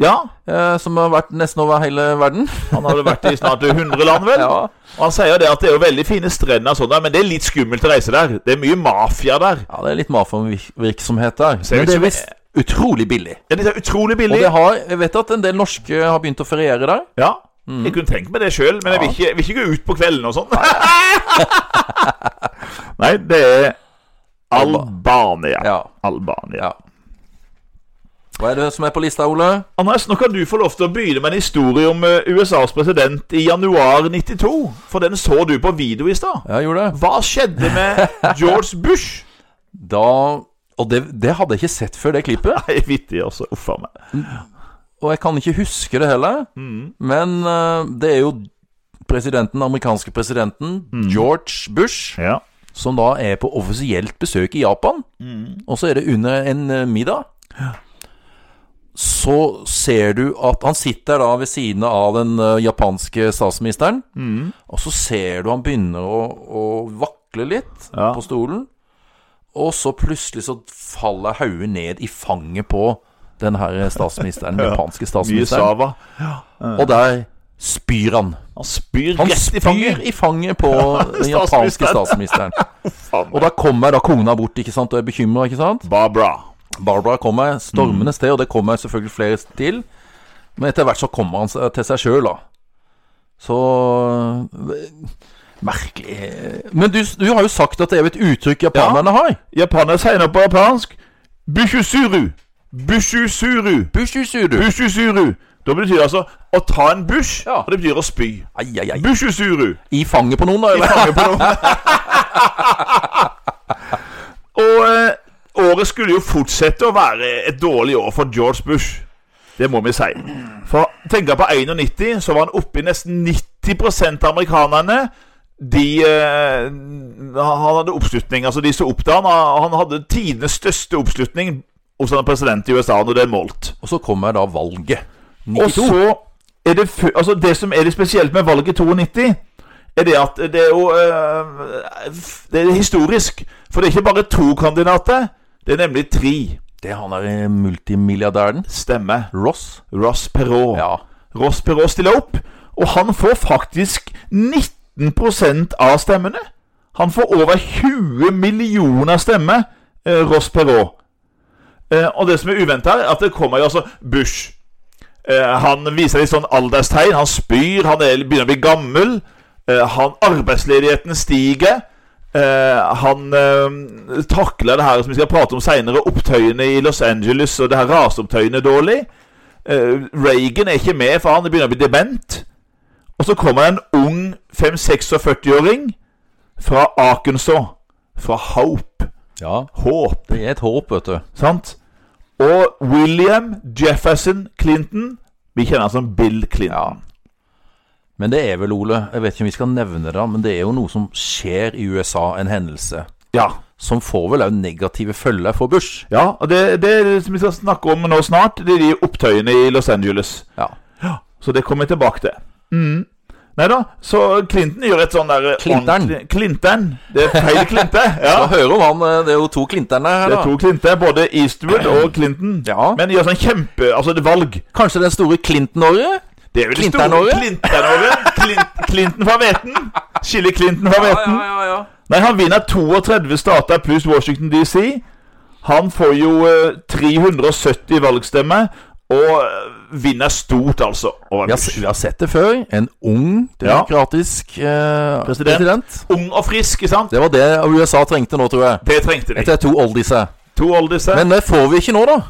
Ja,
Eh, som har vært nesten over hele verden.
Han hadde vært i snart 100 land, vel?
Ja.
Og han sier jo det at det er jo veldig fine strender, og sånt, der, men det er litt skummelt å reise der. Det er mye mafia der.
ja, det er litt mafiavirksomhet der.
Ser
Men
ut
det
som-
er visst utrolig billig.
Ja, Det er utrolig
Og
billig.
det har, jeg vet at en del norske har begynt å feriere der.
Ja,
Mm.
Jeg kunne tenkt meg det sjøl, men jeg vil ikke, vil ikke gå ut på kvelden og sånn. Nei, det er Albania.
Ja.
Albania.
Ja. Hva er det som er på lista, Ole?
Anders, nå kan du få lov til å begynne med en historie om eh, USAs president i januar 92. For den så du på video i stad.
Ja, jeg gjorde det.
Hva skjedde med George Bush?
Da Og det, det hadde jeg ikke sett før, det klippet.
Nei, vittig, altså. Uff a meg.
Og jeg kan ikke huske det heller. Men eh, det er jo presidenten, den amerikanske presidenten, George Bush,
Ja.
som da er på offisielt besøk i Japan.
Mm.
Og så er det under en eh, middag. Så ser du at han sitter da ved siden av den eh, japanske statsministeren.
Mm.
Og så ser du han begynner å, å vakle litt
Ja.
på stolen. Og så plutselig så faller hodet ned i fanget på den her statsministeren, den japanske
Mye
statsministeren.
sava.
Og der spyr han.
Han spyr
Han
rett i
spyr
fanget.
i fanget på den japanske statsministeren.
Faen meg.
Og da kommer da kona bort ikke sant, og er bekymra, ikke sant?
Barbara.
Barbara kommer stormende
Mm.
til, og det kommer selvfølgelig flere til. Men etter hvert så kommer han seg- til seg sjøl, da. Så øh, Merkelig Men du, du har jo sagt at det er jo et uttrykk japanerne har.
Japaner sier noe på japansk. Bushusuru. Bushusuru.
Bushu, sier du.
Bushusuru. Da betyr det altså å ta en bush,
Ja.
og det betyr å spy.
Ai, ai, ai.
Bushusuru.
I fanget på noen, da? Eller?
Fange på noen. og eh, året skulle jo fortsette å være et dårlig år for George Bush. Det må vi si. For tenk på 91, så var han oppe i nesten 90 av amerikanerne. De eh, Han hadde oppslutning. Altså, de så opp til han. Han hadde tidenes største oppslutning hos en president i USA når det er målt.
Og så kommer da valget.
Og
92.
så er det fø- Altså, det som er det spesielt med valget 92, er det at det er jo eh, f- Det er historisk. For det er ikke bare to kandidater, det er nemlig tre.
Det er han der eh, multimilliardæren.
Stemmer.
Ross.
Ross Perot.
Ja.
Ross Perot stiller opp, og han får faktisk 19 av stemmene. Han får over 20 millioner stemmer, eh, Ross Perot. Eh, og det som er uventa, er at det kommer jo altså Bush. Eh, han viser litt sånn alderstegn. Han spyr, han er, begynner å bli gammel. Eh, han, arbeidsledigheten stiger. Eh, han eh, takler det her som vi skal prate om seinere, opptøyene i Los Angeles og det her raseopptøyene dårlig. Eh, Reagan er ikke med, for han begynner å bli dement. Og så kommer en ung 5-46-åring fra Arkansas. Fra Hope.
ja.
Håp,
Det er et håp, vet du.
sant? Og William Jefferson Clinton Vi kjenner han som Bill Clinton.
Men det er vel, Ole, jeg vet ikke om vi skal nevne det, men det er jo noe som skjer i USA, en hendelse.
Ja.
Som får vel òg negative følger for Bush.
ja og det, det er det som vi skal snakke om nå snart, det er de opptøyene i Los Angeles.
Ja.
Så det kommer jeg tilbake til. Mm. Nei da, så Clinton gjør et sånn der
Clinton.
ordentlig- Clinton. Det er feil Klinte. Ja.
Da hører om han, eh, det er jo to Clinterne her,
Det
da.
er to Clinton, både Eastwood og Clinton.
Ja.
Men de har sånn kjempe Altså, det er valg.
Kanskje den store Clinton-året?
Det er jo det
Clinton-året?
store Clinton-året. Clin- Clinton fra hveten. Skiller Clinton fra hveten.
ja, ja.
Nei, han vinner 32 stater pluss Washington DC. Han får jo eh, 370 valgstemmer, og eh, vinner stort, altså. over
Vi har,
Bush.
vi har sett det før. En ung, demokratisk eh,
President.
president.
Ung og frisk, ikke sant?
Det var det USA trengte nå, tror jeg.
Det trengte de.
Etter to oldiser.
To oldiser.
Men det får vi ikke nå, da.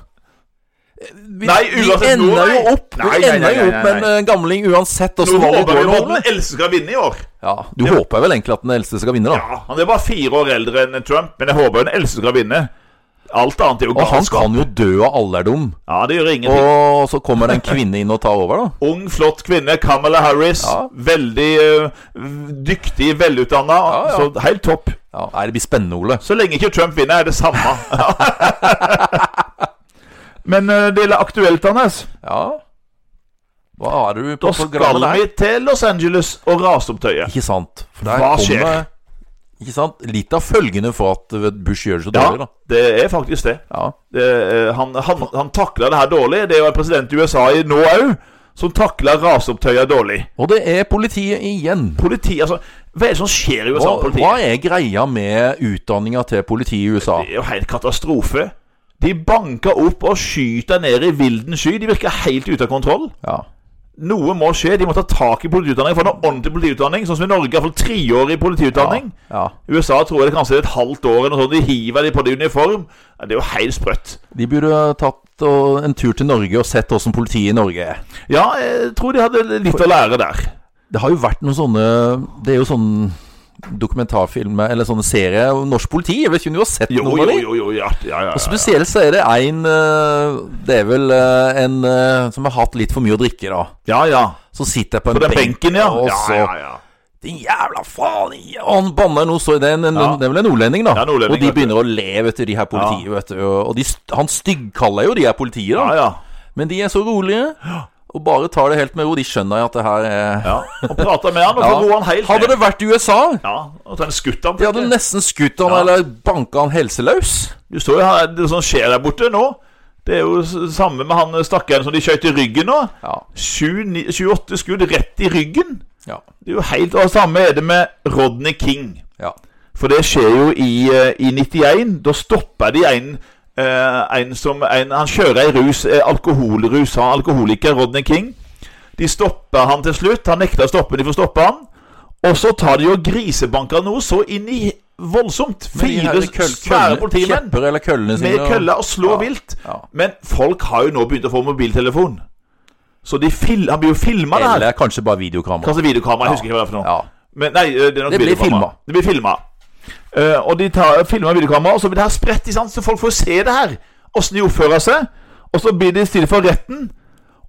Vi,
Nei, uansett
vi ender
nå,
jo
nei.
opp
Nei,
Vi
nei,
ender jo
nei,
opp
nei,
med en eh, gamling uansett
Nå
åssen valget
håper
går.
vi
nå,
på at
Ole.
den eldste skal vinne i år.
Ja, du håper vel egentlig at den eldste skal vinne, da?
Ja, Han er bare fire år eldre enn Trump, men jeg håper jo den eldste skal vinne. Alt annet er jo
Og han
galskap.
kan jo dø av alderdom.
Ja, det gjør ingenting.
Og så kommer det en kvinne inn og tar over, da.
Ung, flott kvinne. Kamala Harris.
Ja.
Veldig eh, dyktig, velutdanna.
Ja, ja.
Så helt topp.
Ja, nei, det blir spennende, Ole.
Så lenge ikke Trump vinner, er det samme. Men eh, det er aktuelt, Anders.
Ja. Hva er du på
Da skal
programmet der?
vi til Los Angeles og rase opp tøyet.
Ikke sant. For der
Hva
kommer
skjer?
Ikke sant? Litt av følgende for at eh, Bush gjør det så
Ja,
dårlig, da.
det er faktisk det.
Ja.
det eh, han han, han takla det her dårlig. Det er jo en president i USA i nå òg som takler raseopptøyer dårlig.
Og det er politiet igjen.
Politi, altså, Hva er det som skjer i
Hva,
USA?
hva
med politiet?
er greia med utdanninga til politiet i USA?
Det er jo helt katastrofe. De banker opp og skyter ned i vilden sky. De virker helt ute av kontroll.
Ja.
Noe må skje. De må ta tak i politiutdanningen. Få noe ordentlig politiutdanning. Sånn som i Norge, iallfall treårig politiutdanning.
ja.
I USA tror jeg det kanskje er et halvt år eller noe sånt. De hiver de på det i uniform. Ja, Det er jo helt sprøtt.
De burde tatt og, en tur til Norge og sett åssen politiet i Norge er.
Ja, jeg tror de hadde litt å lære der.
Det har jo vært noen sånne Det er jo sånn dokumentarfilmer eller sånne serier om norsk politi. Jeg vet ikke om du har sett
Jo,
noen
jo,
av dem?
jo. jo ja, ja, ja,
Og
ja.
Spesielt så er det en eh, Det er vel eh, en eh, som har hatt litt for mye å drikke, da.
ja, ja.
Så sitter jeg på en
På den benken, ja.
og så
ja, ja, ja.
Din jævla faen! i-" Og han banner noe så Det er, en, en,
Ja.
det er vel en nordlending, da.
Ja, nordlending,
og de
vet du.
begynner å le, vet du, de her politiet, vet du. Og de, st- han styggkaller jo de her politiet,
ja,
da.
ja.
Men de er så rolige. Og bare tar det helt med ro. De skjønner jo at det her er
ja. Og prata med han, og så roer han helt
Hadde
ned.
det vært i USA,
Ja, og så er det skutt han.
de hadde nesten skutt han eller banka han helseløs.
Du står jo her, det som skjer der borte nå Det er jo s- samme med han stakkaren som de skjøt i ryggen nå
Ja.
Sju ni- 28 skudd rett i ryggen
Ja.
Det er jo helt, og samme er det med Rodney King
ja.
For det skjer jo i, eh, i 91 Da stopper de en, eh, en som en, Han kjører en rus, eh, alkoholrus Han er alkoholiker, Rodney King De stopper han til slutt Han nekter å stoppe, de får stoppe han Og så tar de jo grisebanker noe så inn i voldsomt
Men de
Fire
her køll-
svære
køllene-
politimenn
Kjepper eller køllene sine.
med
og-
kølla og slå
Altså, Ja,
vilt.
ja.
Men folk har jo nå begynt å få mobiltelefon. Så de fil han blir jo filma der.
Eller kanskje bare videokamera.
Kanskje videokamera. Jeg husker ikke hva det er for noe.
Ja.
Men nei, eh, det er nok
Det blir
videokamera.
filma.
Det blir filma. Eh, og de tar, filmer videokamera, og så blir det her spredt, ikke sant? så folk får se det her. Åssen de oppfører seg. Og så blir de stilt for retten.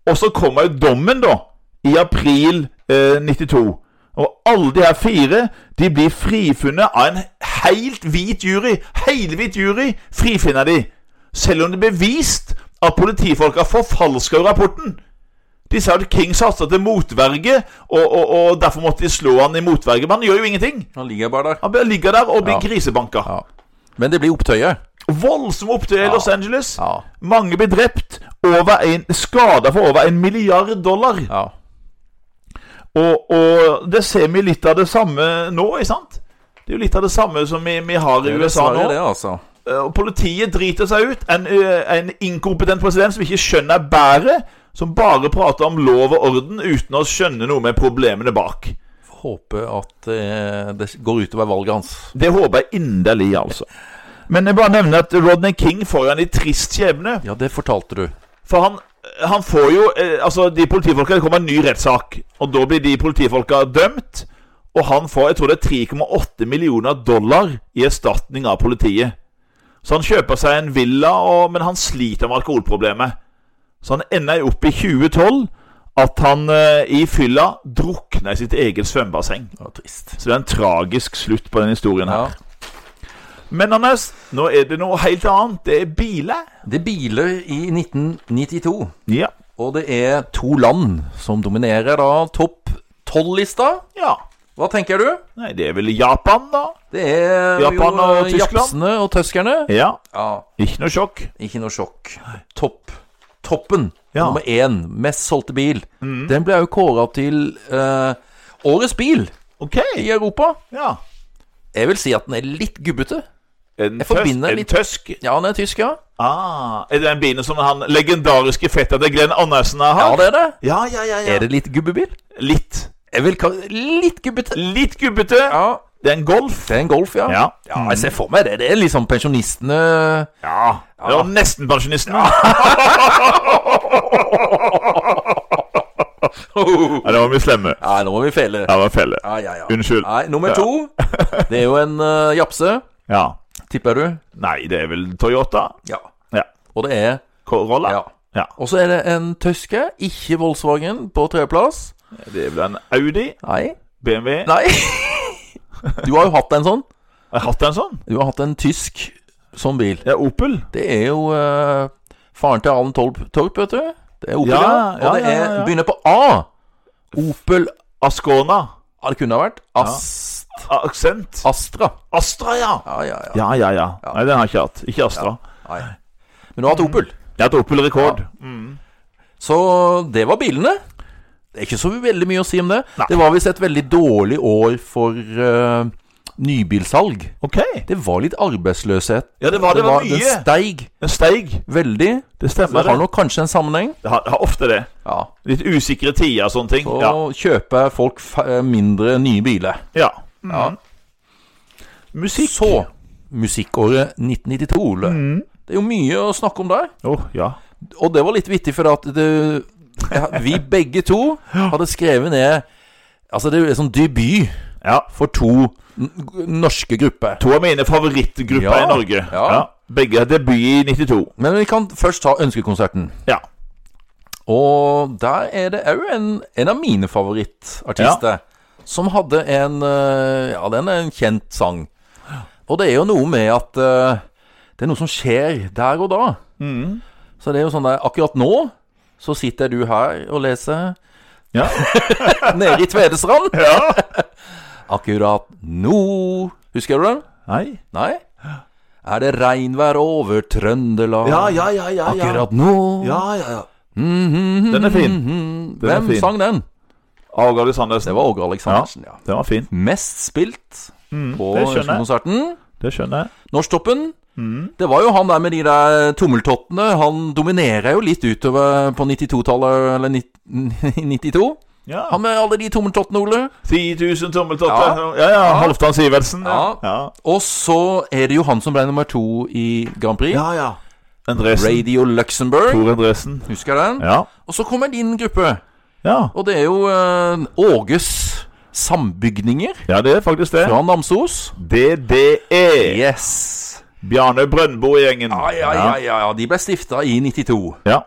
Og så kommer jo dommen, da. I april eh, 92. Og alle de her fire De blir frifunnet av en helt hvit jury. Helhvit jury frifinner de. Selv om det er bevist at politifolka forfalska jo rapporten. De sa at King satsa til motverge, og, og, og derfor måtte de slå han i motverge. Men han gjør jo ingenting.
Han ligger bare der.
Han bare ligger der og blir
Ja.
grisebanka.
Ja. Men det blir opptøyer.
Voldsom opptøy i Los Angeles.
Ja.
Mange blir drept. Over en, skader for over en milliard dollar.
ja.
Og, og det ser vi litt av det samme nå, ikke sant? Det er jo litt av det samme som vi, vi har i
Det er
USA
dessverre
nå.
Det, altså.
Eh, Og politiet driter seg ut. En, eh, en inkompetent president som ikke skjønner bæret. Som bare prater om lov og orden uten å skjønne noe med problemene bak.
Får Håpe at eh, det går utover valget hans.
Det håper jeg inderlig, altså. Men jeg bare nevner at Rodney King får jo en litt trist skjebne.
Ja, det fortalte du.
For han, han får jo eh, Altså, de politifolka Det kommer en ny rettssak, og da blir de politifolka dømt. Og han får jeg tror det er 3,8 millioner dollar i erstatning av politiet. Så han kjøper seg en villa, og, men han sliter med alkoholproblemet. Så han ender jo opp i 2012 at han eh, i fylla drukner i sitt eget svømmebasseng.
Det var trist.
Så det er en tragisk slutt på den historien her.
Ja.
Men Anders, nå er det noe helt annet. Det er biler.
Det er biler i 1992.
Ja.
Og det er to land som dominerer da topp tolv-lista.
ja.
Hva tenker du?
Nei, det er vel Japan, da.
Det er
Japan
jo
og
eh,
Tyskland?
japsene og tyskerne.
Ja.
Ja,
Ikke noe sjokk.
ikke noe sjokk. Topp. Toppen,
Ja.
nummer én, mest solgte bil. Den ble jo kåra til eh, årets bil
OK.
i Europa.
Ja.
Jeg vil si at den er litt gubbete.
En
Jeg forbinder
en
litt-
tøsk.
Ja, den er tysk, ja.
Ah, er det den bilen som han legendariske fetteren til Glenn Andersen har
Ja,
hatt?
det er det.
Ja, ja, ja, ja.
Er det litt gubbebil?
Litt.
Jeg vil kalle litt gubbete.
Litt gubbete.
Ja,
Det er en Golf.
det er en Golf, ja.
Ja.
ja jeg ser for meg det. Det er liksom pensjonistene
Ja. Det var nesten pensjonisten. Nei, det var mye slemme. Ja,
Nei, nå må vi fele.
Det var en felle.
Ja, ja, ja.
Unnskyld.
Nei, nummer to. Det er jo en eh, japse.
Ja.
tipper du?
Nei, det er vel Toyota?
Ja.
Ja.
Og det er
Corolla?
Ja.
Ja.
Og så er det en tysker, ikke Volkswagen, på tredjeplass.
Det er vel en Audi?
Nei.
BMW?
Nei. Du har jo hatt en sånn.
Har jeg hatt en sånn?
Du har hatt en tysk sånn bil.
Ja, Opel?
Det er jo eh, faren til Alen Torp, Torp, vet du. Det er Opel,
Ja, ja,
Og det er,
ja, ja.
begynner på A. Opel
Ascona?
ja, Det kunne ha vært Ast,
Aksent?
Astra.
Astra, ja!
Ja, ja, ja.
Ah. Ja, ja, ja. Nei, den har jeg ikke hatt. Ikke Astra.
Nei. Men du har hatt Opel.
Jeg har hatt Opel-rekord.
Så det var bilene. Det er ikke så veldig mye å si om det.
Nei.
Det var visst et veldig dårlig år for eh, nybilsalg.
Ok.
Det var litt arbeidsløshet.
Ja, det var- det var mye.
Den steig
Den steig.
veldig.
Det
Det
stemmer.
har
Det
nok kanskje en sammenheng.
Det har, har ofte det.
Ja.
Litt usikre tider og sånne ting.
Og
Ja.
kjøper folk fa- eh, mindre nye biler.
ja.
Ja.
Musikk.
Så musikkåret 1992, Ole.
Mm.
Det er jo mye å snakke om der.
Å, ja.
Og det var litt vittig, for at det, ja, vi begge to hadde skrevet ned Altså, det er jo en sånn debut
ja.
for to n- norske grupper.
To av mine favorittgrupper
Ja,
i Norge.
ja.
Begge har debut i 92.
Men vi kan først ta Ønskekonserten.
Ja.
Og der er det òg en, en av mine favorittartister som hadde en eh, Ja, den er en kjent sang. Og det er jo noe med at eh, det er noe som skjer der og da.
Mm.
Så det er jo sånn der Akkurat nå så sitter du her og leser
Ja.
nede i Tvedestrand.
ja.
Akkurat nå Husker du den?
Nei.
Nei? Er det regnvær over Trøndelag?
ja, ja, ja.
Akkurat nå
ja, ja. Den er fin. Den er
Hvem
fin.
sang den?
Åge Aleksandersen.
Det var Åge Aleksandersen, ja.
Den var fin.
Mest spilt på
det skjønner Mm. jeg. Mm.
Ønskekonserten.
Det skjønner jeg.
Norsktoppen. Det var jo han der med de der tommeltottene. Han dominerer jo litt utover på 92-tallet, eller 90, 92.
Ja.
Han med alle de tommeltottene, Ole.
10 000 tommeltotter.
Ja.
Ja, ja. Halvdan Sivertsen.
Ja.
ja.
Og så er det jo han som ble nummer to i Grand Prix.
Ja, ja. Endresen.
Radio Luxembourg.
Tor Endresen.
Husker jeg den?
Ja.
Og så kommer din gruppe.
ja.
Og det er jo eh, Åges Sambygninger
Ja, det er faktisk det.
fra Namsos.
DDE.
Yes.
Bjarne Brøndbo-gjengen.
Ja, ja, ja, ja, ja. De ble stifta i 92.
Ja.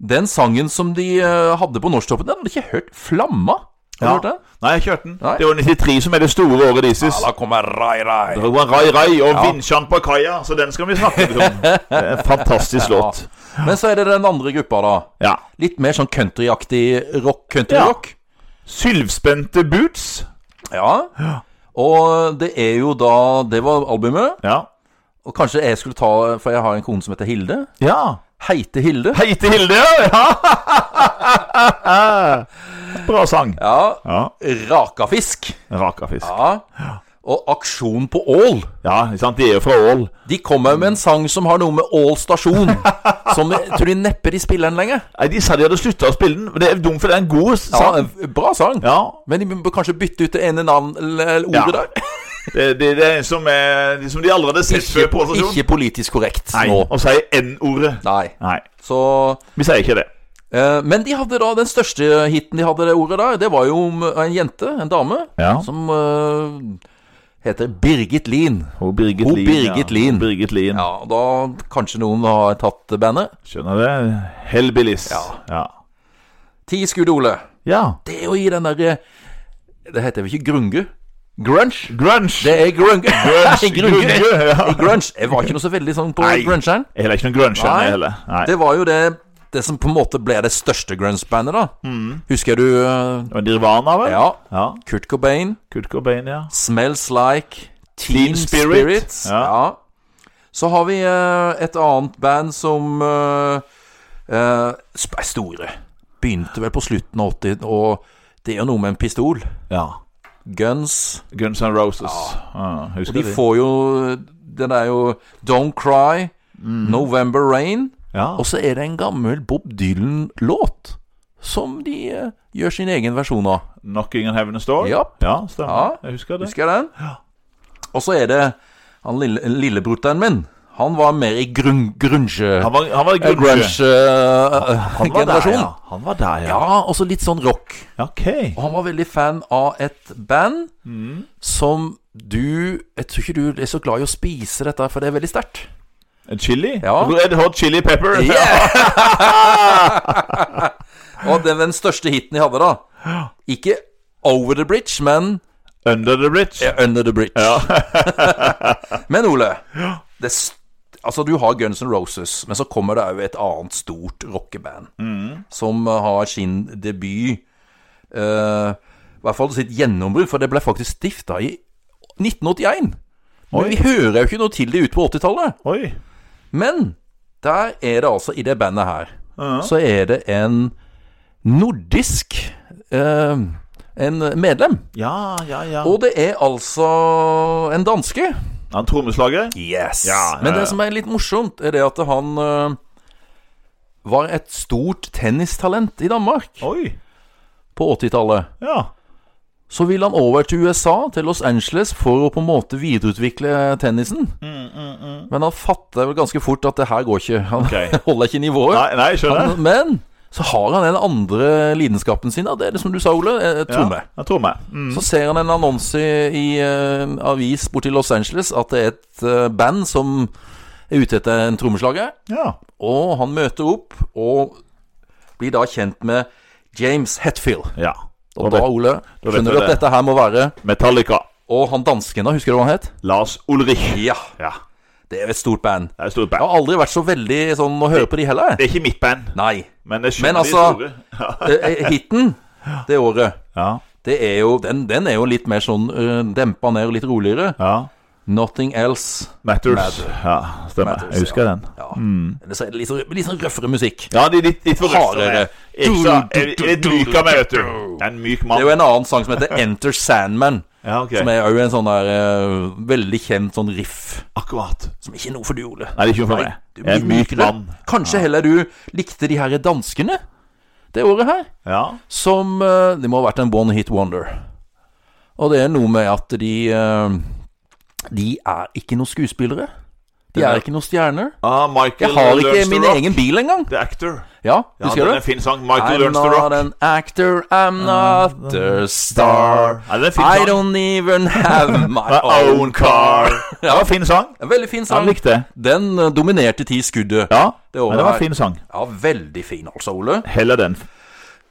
Den sangen som de eh, hadde på Norsktoppen, den hadde jeg ikke hørt. Flamma. Har du
Ja.
hørt den?
Nei, jeg kjørte den.
Nei.
Det var 93 som er det store året deres.
da kommer Rai Rai.
Det var Rai Rai og Vinsjan på kaia, så den skal vi snakke litt om. Det er en fantastisk låt.
Men så er det den andre gruppa, da.
Ja.
Litt mer sånn countryaktig rock. Countryrock.
Sylvspente boots.
Ja. Og det er jo da Det var albumet.
Ja.
Og kanskje jeg skulle ta For jeg har en kone som heter Hilde.
ja.
Heite Hilde.
Heite Hilde, ja! Bra sang.
Ja.
Ja.
Rakafisk.
Rakafisk.
Ja. Og Aksjon på Ål.
Ja, ikke sant? De er jo fra Ål.
De kommer med en sang som har noe med Ål stasjon. Som jeg tror de neppe de spiller den lenger.
Nei, De sa de hadde slutta å spille den. men Det er dumt, for det er en god
Ja,
sang.
en bra sang.
Ja,
Men de bør kanskje bytte ut det ene navn, eller ordet
Ja.
der.
Det, det, det er en som, er, de som de aldri hadde sett
Ikke,
før på stasjonen.
ikke politisk korrekt
Nei,
nå.
og sier N-ordet.
Nei.
Nei,
Så
vi sier ikke det.
eh, Men de hadde da den største hiten de hadde det ordet der, det var jo om en jente, en dame,
Ja.
som eh, heter Birgit Lien.
Hun Birgit
Ho
Lien.
Birgit Lien.
Ho Birgit Lien.
Ja, da kanskje noen har tatt bandet.
Skjønner det? Hellbillies. Ja. Ja.
Ti skudd, Ole.
ja.
Det er jo i den derre Det heter vel ikke grunge? Grunge?
Grunge.
Det er grunge.
Grunge.
grunge.
Grunge, ja.
grunge. Jeg var ikke noe så veldig sånn på
Nei.
grungeren.
Jeg er heller ikke noen grunge
Nei.
jeg heller. Nei.
Det var jo det Det som på en måte ble det største grunge-bandet, da.
Mm.
Husker du eh,
Det var Nirvana, vel?
Ja.
ja.
Kurt Cobain,
Kurt Cobain, ja.
Smells Like, Teen,
Teen Spirit.
Spirit.
Ja.
Så har vi eh, et annet band som eh, eh, sp- er store. Begynte vel på slutten av 80, og det er jo noe med en pistol.
ja.
Guns.
Guns N' Roses. Ja. husker
De får jo Den er jo Don't Cry, November Rain.
ja.
Og så er det en gammel Bob Dylan-låt som de eh, gjør sin egen versjon av.
Knocking on Heaven's Door.
Ja.
ja, stemmer.
Ja.
Jeg husker det.
Husker jeg den? Og så er det han lille, lillebruteren min, Han var mer i grun grunge...
Han var, han var
eh,
grunge. Han var der,
grunge-generasjon.
ja. Han var der, ja.
ja, og så litt sånn rock.
Ok.
Og han var veldig fan av et band Mm. som du Jeg tror ikke du er så glad i å spise dette, for det er veldig sterkt.
Chili?
Ja.
Red Hot Chili Pepper.
og det var den største hiten de hadde, da. Ikke Over the Bridge, men
Under the Bridge.
Under the Bridge. men Ole, det, s- altså du har Guns N' Roses, men så kommer det òg et annet stort rockeband som eh, har sin debut eh, I hvert fall sitt gjennombrudd, for det ble faktisk stifta i 1981. Men
Oi.
vi hører jo ikke noe til det ut på 80-tallet.
Oi.
Men der er det altså, i det bandet her, så er det en nordisk eh, en medlem.
Ja, ja, ja.
Og det er altså en danske.
Han trommeslager.
Yes.
Ja, ja,
Men
ja.
det som er litt morsomt, er det at han eh, var et stort tennistalent i Danmark
Oi.
på 80-tallet.
Ja.
Så ville han over til USA, til Los Angeles, for å på en måte videreutvikle tennisen.
Mm.
Men han fatter vel ganske fort at det her går ikke. Han
Ok.
holder ikke nivået.
Nei, nei skjønner.
Han, men så har han den andre lidenskapen sin, da. det er det som du sa, Ole, eh, tromme.
Ja, tromme. Mm.
Så ser han en annonse i eh, en avis borti Los Angeles at det er et eh, band som er ute etter en trommeslager,
Ja.
og han møter opp og blir da kjent med James Hetfield.
ja.
Og
Da
da,
vet-
Ole,
vet
skjønner
du
du at
det.
dette her må være
Metallica.
Og han dansken, da, husker du hva han het?
Lars Ulrich.
Ja,
Ja.
det er jo et stort band.
Det er et stort
Jeg
band.
har aldri vært så veldig sånn å høre på de heller.
Det er ikke mitt band,
Nei.
men
Men
jeg skjønner de
altså-
store.
Eh, eh, Hiten det året
Ja.
Det er jo, den, den er jo litt mer sånn øh, dempa ned og litt roligere.
ja.
Nothing else.
Matters.
Matter.
Ja, stemmer.
Matters,
jeg husker den.
Ja.
Mm.
Eller så er det litt, sånn- litt sånn røffere musikk.
Ja, de er litt, litt for
Hardere.
røffere. Ikke så- Jeg jeg er myk av meg, vet du. Jeg er en myk
Det er jo
mann.
en annen sang som heter Enter Sandman.
Ja, ok.
Som er jo en sånn der øh, veldig kjent sånn riff.
Akkurat.
Som ikke er noe for du, Ole.
Nei, det er ikke noe for
Nei,
meg.
du
Jeg er en
blir
myk
mykere.
mann.
Kanskje heller du likte de her danskene det året her.
Ja.
Som eh, Det må ha vært en one hit wonder. Og det er noe med at de eh, De er ikke noen skuespillere. De er ikke noen stjerner.
Ah, Michael
Jeg har ikke
Learns to
min
Rock.
egen bil engang.
The Actor.
Ja,
Ja,
husker
den
du?
er en fin sang. Michael
I'm
Learns to
not
Rock.
an actor, I'm not a star.
Ja, den er en fin
I
sang.
don't even have my
My
own car.
Det var en fin sang.
En Veldig fin
Han
sang.
likte det.
Den eh, dominerte ti skuddet.
Ja,
Det var
men det var
her.
en fin sang.
Ja, veldig fin altså, Ole.
Heller den.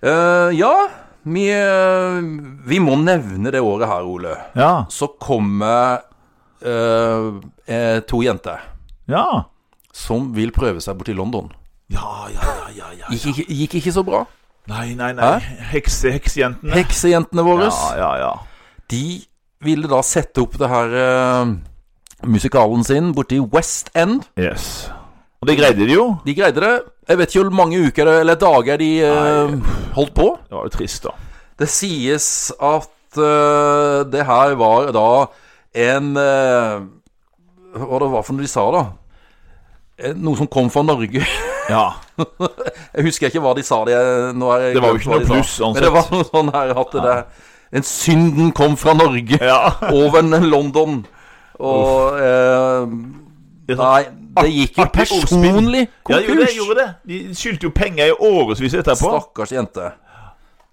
Eh, ja, vi, eh, vi må nevne det året her, Ole.
Ja.
Så kommer eh, eh, to jenter
Ja.
som vil prøve seg borti London.
Ja, ja, ja, ja, ja.
Gikk, ikke- gikk ikke så bra.
Nei, nei, nei. Hekse, heksejentene.
Heksejentene våre,
Ja, ja, ja.
de ville da sette opp det her eh, musikalen sin borti West End.
Yes. Og det greide de jo.
De greide det. Jeg vet ikke hvor mange uker eller dager de eh, holdt på.
Det var jo trist, da.
Det sies at eh, det her var da en eh, Hva det var for noe de sa, da? Eh, Noe som kom fra Norge.
Ja.
Jeg husker ikke hva de sa. Det, nå har jeg
Det var jo
glemt hva
ikke noe
de sa.
pluss,
Men det var noe sånn her at det En synden kom fra Norge
ja.
over London. Og eh,
Det er sånn-
Nei, det gikk jo
Artig ordspill.
personlig
Ja, jo, det
konkurs.
gjorde det. De skyldte jo penger i årevis etterpå.
Stakkars jente.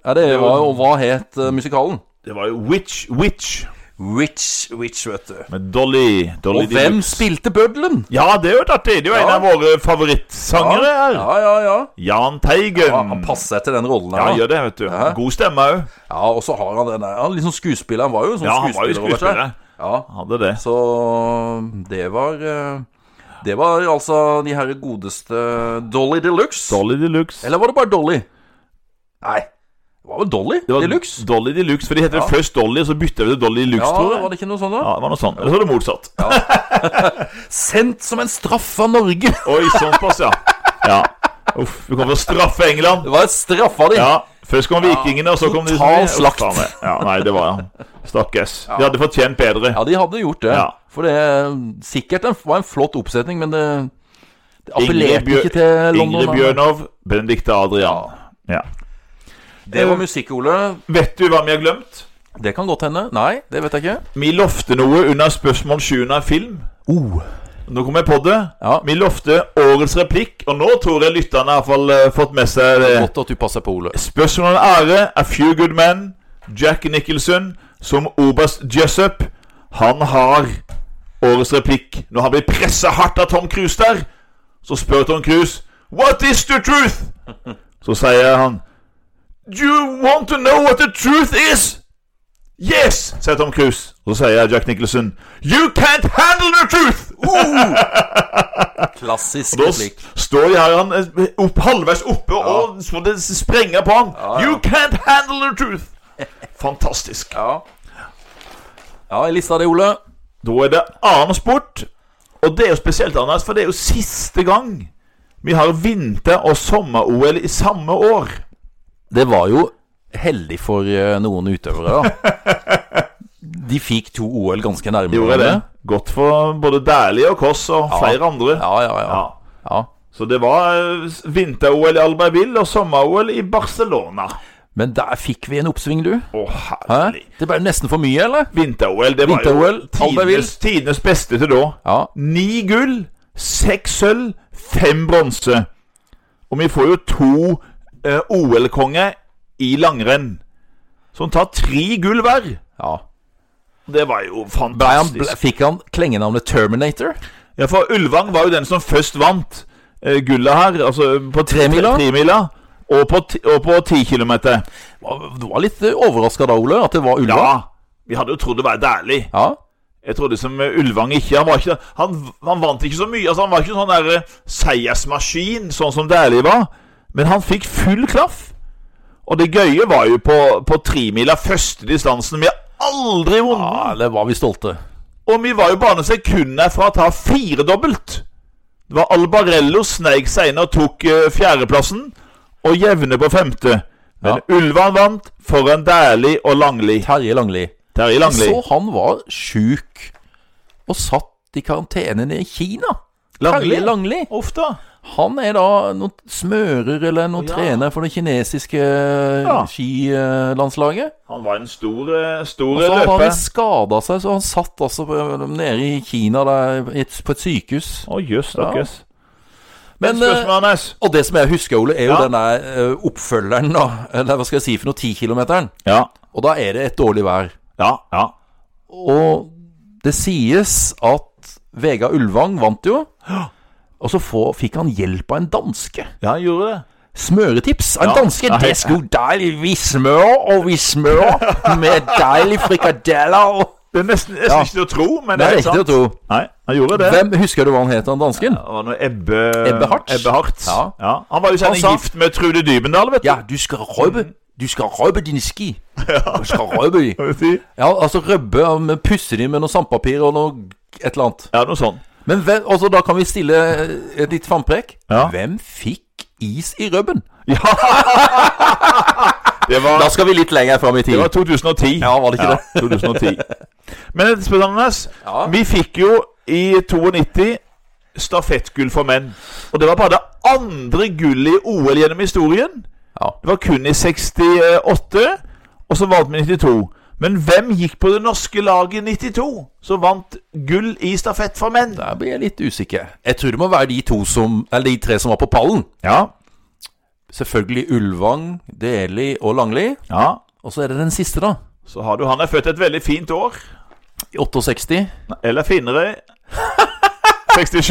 Ja, det var jo Hva het eh, musikalen?
Det var jo Witch, Witch
Witch, witch, vet du.
med Dolly. Dolly
Og hvem
Deluxe.
spilte bøddelen?
Ja, det er jo artig. Det er jo en
Ja.
av våre favorittsangere her.
ja, ja, ja.
Jan Teigen.
Ja, Han passer til den rollen
Ja,
her.
han
Mm. Ja,
gjør det, vet du. God stemme òg.
og så har han den der Han er liksom skuespiller. Han var jo en sånn
Ja, han var jo
skuespiller. over seg.
skuespiller.
Ja,
Hadde det.
så det var eh, Det var altså de herre godeste Dolly Deluxe
Dolly Deluxe.
Eller var det bare Dolly? Nei, det var vel Dolly
Det var
Deluxe?
Dolly Deluxe, for de heter først Dolly, og så bytter vi til Dolly Deluxe,
Ja,
tror jeg.
var det ikke noe sånt da?
Ja, det var noe sånt. Eller så var det motsatt.
Sendt som en straff av Norge!
Oi, såpass, ja. ja. Uff, vi kommer til å straffe England.
Det var straffa di!
Ja, Først kom vikingene, og så kom de
Total
Uff,
slakt.
faen meg. Ja, nei, det var ja. Stakkars. De hadde fortjent bedre.
Ja, de hadde gjort det.
Ja.
For det sikkert en, var en flott oppsetning, men det, det
Ingrid
appellerte
Bjør-
ikke til London.
Ingrid
da.
Bjørnov, Benedicte Adrian. Ja.
Det var musikk, Ole.
Vet du hva vi har glemt?
Det kan godt hende. Nei, det vet jeg ikke.
Vi lovte noe under spørsmål 7 av film.
Oh.
Nå kom jeg på det.
Ja.
Vi lovte årets replikk, og nå tror jeg lytterne har i hvert fall eh, fått med seg det.
Godt at du passer på, Ole.
Spørsmål og ære A Few Good Men, Jack Nicholson, som oberst Jessup. Han har årets replikk. Når han blir pressa hardt av Tom Cruise der, så spør Tom Cruise What is the truth? Så sier han Do you want to know what the truth is? Yes, sier Tom Cruise. Og så sier Jack Nicholson You can't handle the truth!
Klassisk
Da
replikk.
s- står jeg her han er opp, halvveis oppe, og så det sprenger på han.
ja.
You can't handle the truth! Fantastisk.
Ja. ja, jeg lista det, Ole.
Da er det annen sport, og det er jo spesielt annerledes, for det er jo siste gang vi har vinter- og sommer-OL i samme år.
Det var jo heldig for eh, noen utøvere, da. De fikk to OL ganske nærme.
Gjorde jeg det?
hverandre.
Godt for både Dæhlie og Koss og flere andre.
Ja, ja, ja.
Ja.
ja.
Så det var eh, vinter-OL i Albertville og sommer-OL i Barcelona.
Men der fikk vi en oppsving, du.
Å,
Hæ?
herlig.
Det ble nesten for mye, eller?
Vinter-OL, det var
Vinter-OL,
jo
Albertville.
tidenes, tidenes beste til da.
Ja.
Ni gull, seks sølv, fem bronse. Og vi får jo to eh, OL-konger i langrenn. Som tar tre gull hver.
ja.
Det var jo
Ble han,
fantastisk.
ble, fikk han klengenavnet Terminator?
Ja, for Ulvang var jo den som først vant eh, gullet her. Altså på
Tremila?
tremila og på, ti- og på ti kilometer.
Hva- Du var litt overraska da, Ole, at det var
Ja.
Ulva?
Vi hadde jo trodd det var dæhlig.
Ja.
Jeg trodde som eh, Ulvang ikke Han, var ikke, han, han vant ikke så mye. Altså, han var ikke sånn der eh, seiersmaskin, sånn som Dæhlie var. Men han fikk full klaff. Og det gøye var jo på, på tremila, første distansen. Vi har aldri
ja,
vunnet.
det var vi stolte.
Og vi var jo bare noen sekunder fra å ta firedobbelt. Det var Albarello sneik seg inn og tok eh, fjerdeplassen, og jevne på femte. Men
Ja.
Ulvan vant foran Dæhlie og Langli.
Terje Langli.
Terje Langli.
Så han var sjuk og satt i karantene nede i Kina. Terje Langli.
Ofte.
Han er da noen smører eller noen
Å, ja.
trener for det kinesiske ja. skilandslaget.
Han var en stor, eh, stor
Og så hadde
løper.
han skada seg, så han satt altså på- nede i Kina der, i et- på et sykehus.
Å, jøss, stakkars.
Men,
Men eh, spørsmålet hans
Og det som jeg husker, Ole, er jo
Ja.
den der eh, oppfølgeren, da. Eller hva skal jeg si for noe, 10-kilometeren.
Ja,
Og da er det et dårlig vær.
ja, ja.
Og det sies at Vegard Ulvang vant jo. Og så få, fikk han hjelp av en danske.
Ja, han gjorde det.
Smøretips av en
Ja.
danske.
Ja, hei.
Det skulle deilig Vi smører, og vi smører med deilig frikadeller. og-
Det er nesten, nesten
Ja.
ikke til å tro,
Det
men det
er
er
riktig å
sant.
tro.
Nei, han gjorde det.
Hvem husker du hva han het, han dansken?
Det var noe Ebbe
Ebbe Hartz.
Ebbe Hartz. Ja.
Ja.
Han var jo
Han
kjent
sa-
gift med Trude Dybendal, vet du.
Ja, du skal røpe Du skal røpe dine ski. Du skal røpe de.
Kan vi si.
Ja, altså røbbe, ja, men pusse de med noe sandpapir og noe et eller annet.
Ja, noe sånn.
Men hvem, altså, da kan vi stille eh, et litt framprek.
Ja.
Hvem fikk is i røbben?
Ja! Det var,
Da skal vi litt lenger fram i
det
tid.
var 2010.
Ja, var det ikke det?
2010. Men et spørsmål hans
Ja.
Vi fikk jo i 92 stafettgull for menn. Og det var bare det andre gullet i OL gjennom historien.
Ja.
Det var kun i 68, og så vant vi 92. Men hvem gikk på det norske laget i 92, som vant gull i stafett for menn?
Der blir jeg litt usikker. Jeg tror det må være de to som Eller de tre som var på pallen.
Ja,
Selvfølgelig Ulvang, Deli og Langli.
ja.
Og så er det den siste, da.
Så har du Han er født et veldig fint år.
I 68.
Eller finere 67.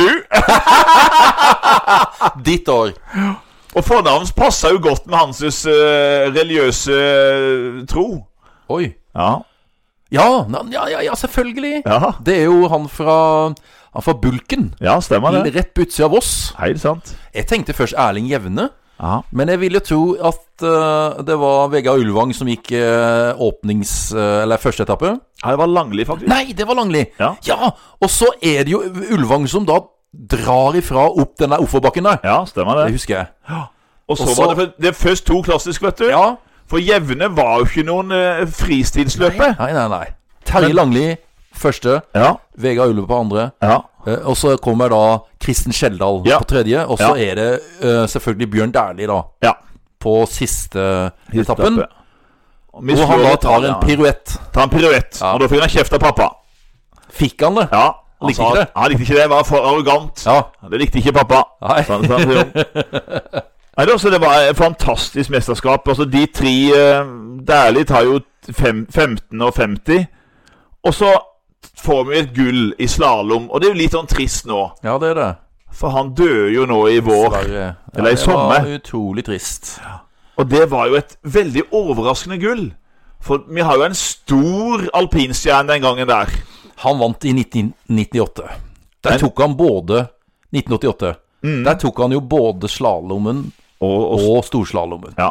Ditt år.
Og fornavnet passer jo godt med hans eh, religiøse eh, tro.
Oi.
Ja.
Ja, na- ja, ja, ja selvfølgelig.
Ja,
Det er jo han fra Han fra Bulken.
ja stemmer det.
Rett på utsida av Voss.
Helt sant.
Jeg tenkte først Erling Jevne.
Ja.
Men jeg ville tro at eh, det var Vegard Ulvang som gikk eh, åpnings... eh, eller første etappe.
Ja, det var Langli, faktisk.
Nei, det var Langli!
Ja.
Og så er det jo Ulvang som da drar ifra opp den der offerbakken der.
Ja, stemmer
Det
det.
husker jeg.
Og så
og
var
så-
det, for- det er først to klassisk, vet du.
Ja.
For Jevne var jo ikke noen eh, fristilsløper.
Nei, nei, nei. Terje
Men-
Langli første.
Ja,
Vegard Ulve på andre.
ja.
Eh, og så kommer da Kristen Skjeldal
Ja.
på tredje. Og så
Ja.
er det eh, selvfølgelig Bjørn Dæhlie, da.
Ja.
På siste etappen.
Og vi
Hvor han
slår
da
litt
tar en
av, ja.
piruett.
Tar en piruett.
Ja.
Og da fikk han kjeft av pappa.
Fikk han det?
Ja.
Han
likte
sa
ikke
at-
det. Han likte ikke det, var for arrogant.
Ja.
Det likte ikke pappa.
Nei.
sa han- sa han til Jon. Nei, det, altså, det var et fantastisk mesterskap. Altså, de tre eh, Dæhlie tar jo fem, 15 og 50. Og så får vi et gull i slalåm, og det er jo litt sånn trist nå.
Ja, det er det.
For han døde jo nå i vår.
Dessverre. Ja,
Eller i
Det
sommer.
var utrolig trist.
Og det var jo et veldig overraskende gull. For vi har jo en stor alpinstjerne den gangen der.
Han vant i 1998. Der
Men- Mm.
tok han både 1988. Der tok han jo både slalåmen
Og, og,
og storslalåmen.
ja.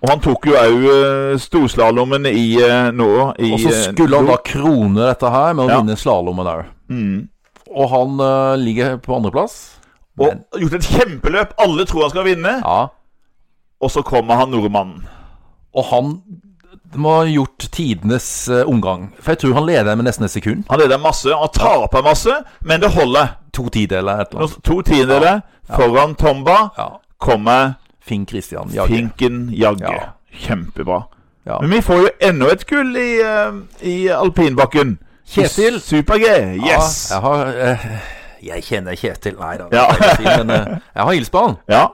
og han tok jo òg uh, storslalåmen i eh, nå i,
Og så
eh,
skulle han da krone dette her med å
Ja.
vinne slalåmen òg.
Mm.
Og han eh, ligger på andreplass. Men-
Og gjort et kjempeløp. Alle tror han skal vinne.
Ja.
Og så kommer han nordmannen.
Og han må ha gjort tidenes eh, omgang. For jeg tror han leder med nesten et sekund.
Han leder masse, han taper masse, men det holder.
To tideler, et eller
Nå,
annet.
to tiendedeler foran Tomba
Ja.
kommer
Finn Christian Jagger.
Finken Jagge.
Ja.
Kjempebra.
Ja.
Men vi får jo enda et gull i, eh, i alpinbakken.
Kjetil.
I Super-G. Yes.
Ja, jeg har eh, Jeg kjenner Kjetil, nei da.
Ja.
det er ikke å si, Men eh, jeg har hilst på han.
Ja.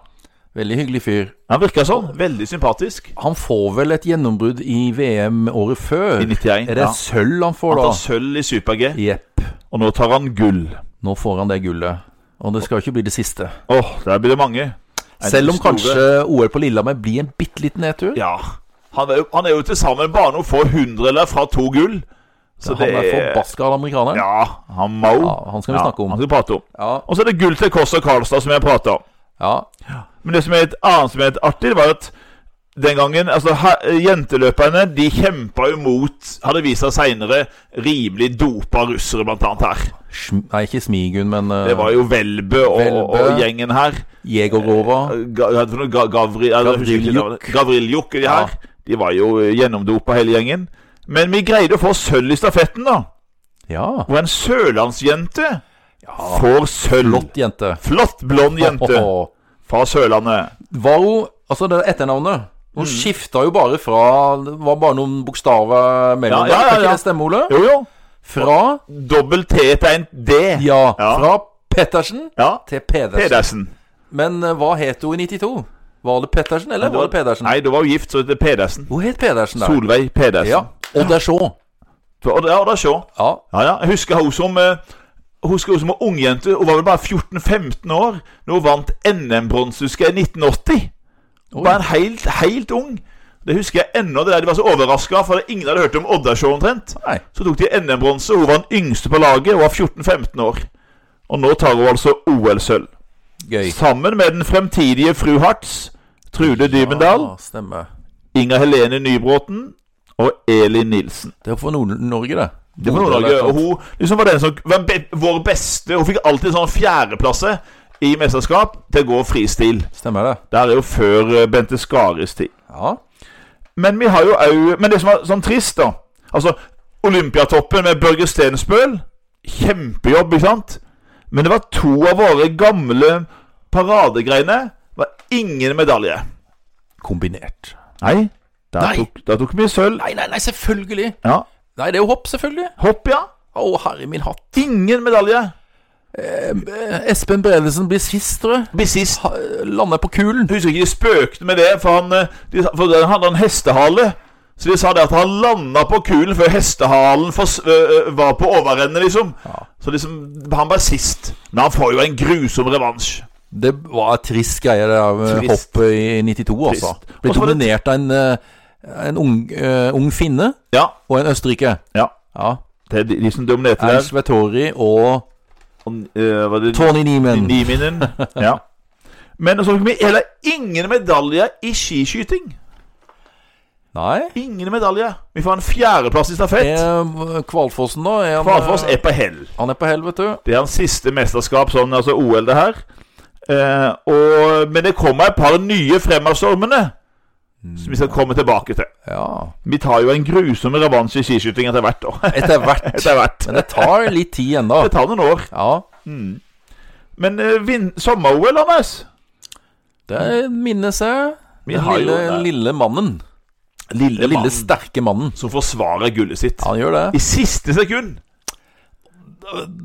Veldig hyggelig fyr.
Han virker sånn. Veldig sympatisk.
Han får vel et gjennombrudd i VM året før.
I 91,
er det
ja.
sølv han får
Han
da?
tar sølv i Super-G,
Jepp.
og nå tar han gull.
Nå får han det gullet. Og det skal jo ikke bli det siste.
Åh, der blir det mange. Nei,
Selv om
store-
kanskje OL på Lillehammer blir en bitte liten nedtur.
Ja. Han er, jo, han er jo til sammen bare noen få hundredeler fra to gull. Så
han er forbaska av amerikaneren.
Ja, han må.
Ja, han skal vi
Ja,
snakke om.
Han skal vi prate om.
Ja.
Og så er det gull til Kåss og Karlstad, som jeg prata om.
ja.
Men det som er et annet som er et artig, det var at den gangen altså her, Jenteløperne de kjempa jo mot, har det vist seg seinere, rimelig dopa russere, blant annet her.
Sm nei, ikke Smigun, men uh,
Det var jo Welbø og,
Welbø.
og gjengen her.
Jegorova.
Ga- hva heter det nå? Ga- Gavri, eller, jeg husker ikke
Gavriljuk.
navnet. Gavriljuk, de
Ja.
her. De var jo eh, gjennomdopa, hele gjengen. Men vi greide å få sølv i stafetten, da.
Ja.
Hvor en sørlandsjente
ja.
får sølv.
Flott jente.
Flott blond jente
Åhåhå.
fra Sørlandet.
Var hun Altså, det etternavnet Hun
Mm.
skifta jo bare fra Det var bare noen bokstaver mellom
Ja, ja,
der.
ja,
Kan ikke
ja.
det stemme, Ole?
Jo, jo.
Fra
Dobbel T til en D.
Ja.
Ja.
Fra Pettersen
Ja.
til Pedersen.
Pedersen.
Men eh, hva het hun i 92? Var det Pettersen, eller var det Pedersen?
Nei, du var jo gift, så det er Pedersen.
Hun het Pedersen, der.
Solveig Pedersen.
Ja. Og det er så.
Og da, og da sjå.
Ja.
Ja, ja. Jeg husker hun som eh, Husker hun som var ungjente. Hun var vel bare 14-15 år Når hun vant NM-bronse, husker jeg, i 1980. Hun var en helt, helt ung. Det husker jeg ennå. det der De var så overraska, for ingen hadde hørt om Odda-show omtrent.
Nei.
Så tok de NM-bronse. Hun var den yngste på laget. Hun var 14-15 år. Og nå tar hun altså OL-sølv.
Gøy.
Sammen med den fremtidige fru Hartz, Trude Dybendal,
Ja, stemmer.
Inger Helene Nybråten og Elin Nilsen.
Det er for Nord-Norge, det.
Det var
Bodø,
Nord-Norge,
eller
og
noe sånt.
Hun liksom var den som var be vår beste. Hun fikk alltid sånn fjerdeplasse i mesterskap til å gå fristil.
Stemmer det.
Det her er jo før eh, Bente Skares tid.
Ja.
Men vi har jo au Men det som var sånn trist, da Altså, Olympiatoppen med Børge Stensbøl. Kjempejobb, ikke sant? Men det var to av våre gamle paradegreiner. Var ingen medalje.
Kombinert.
Nei. Da
Nei.
tok, da tok vi sølv.
Nei, nei, nei, selvfølgelig.
Ja.
Nei, det er jo hopp, selvfølgelig.
Hopp, ja.
Å, herre min hatt.
Ingen medalje.
Eh, Espen Bredesen blir sist, tror jeg.
Blir sist.
Ha- Lander på kulen.
Jeg husker ikke de spøkte med det, for han, eh, de, sa- for han hadde en hestehale. Så de sa det at han landa på kulen før hestehalen fors- ø, ø, var på overrennet, liksom. Så liksom, han var sist. Men han får jo en grusom revansj.
Det var et trist greie, det der med
Trist.
hoppet i 92, altså.
Trist.
Ble
Og så var det-
dominert av en, eh, en ung, eh, ung finne
Ja.
og en østerriker.
ja.
Ja.
Det er de, de som dominerte der.
Ernst Vettori og
Han, eh, var det
Tony Niemann.
Niminen? Ja. Men så fikk vi heller ingen medalje i skiskyting.
Nei.
Ingen medalje. Vi får en fjerdeplass i stafett.
Er Eh, Kvalfossen, da? Er han, eh,
Kvalfoss er på hell.
han er på hell, vet du.
Det er hans siste mesterskap, sånn altså OL, det her. Eh, og, men det kommer et par nye fremadstormende som vi skal komme tilbake til.
Ja.
Vi tar jo en grusom revansj i skiskyting etter hvert. Da.
Etter hvert.
Etter hvert.
Men det tar litt tid ennå.
Det tar noen år.
Ja.
Men eh, vin- sommer-OL, Anders
Det minnes jeg.
Vi
Den
har jo
lille,
det.
lille mannen.
Lille,
Den lille, sterke mannen.
som forsvarer gullet sitt.
Han gjør det.
I siste sekund.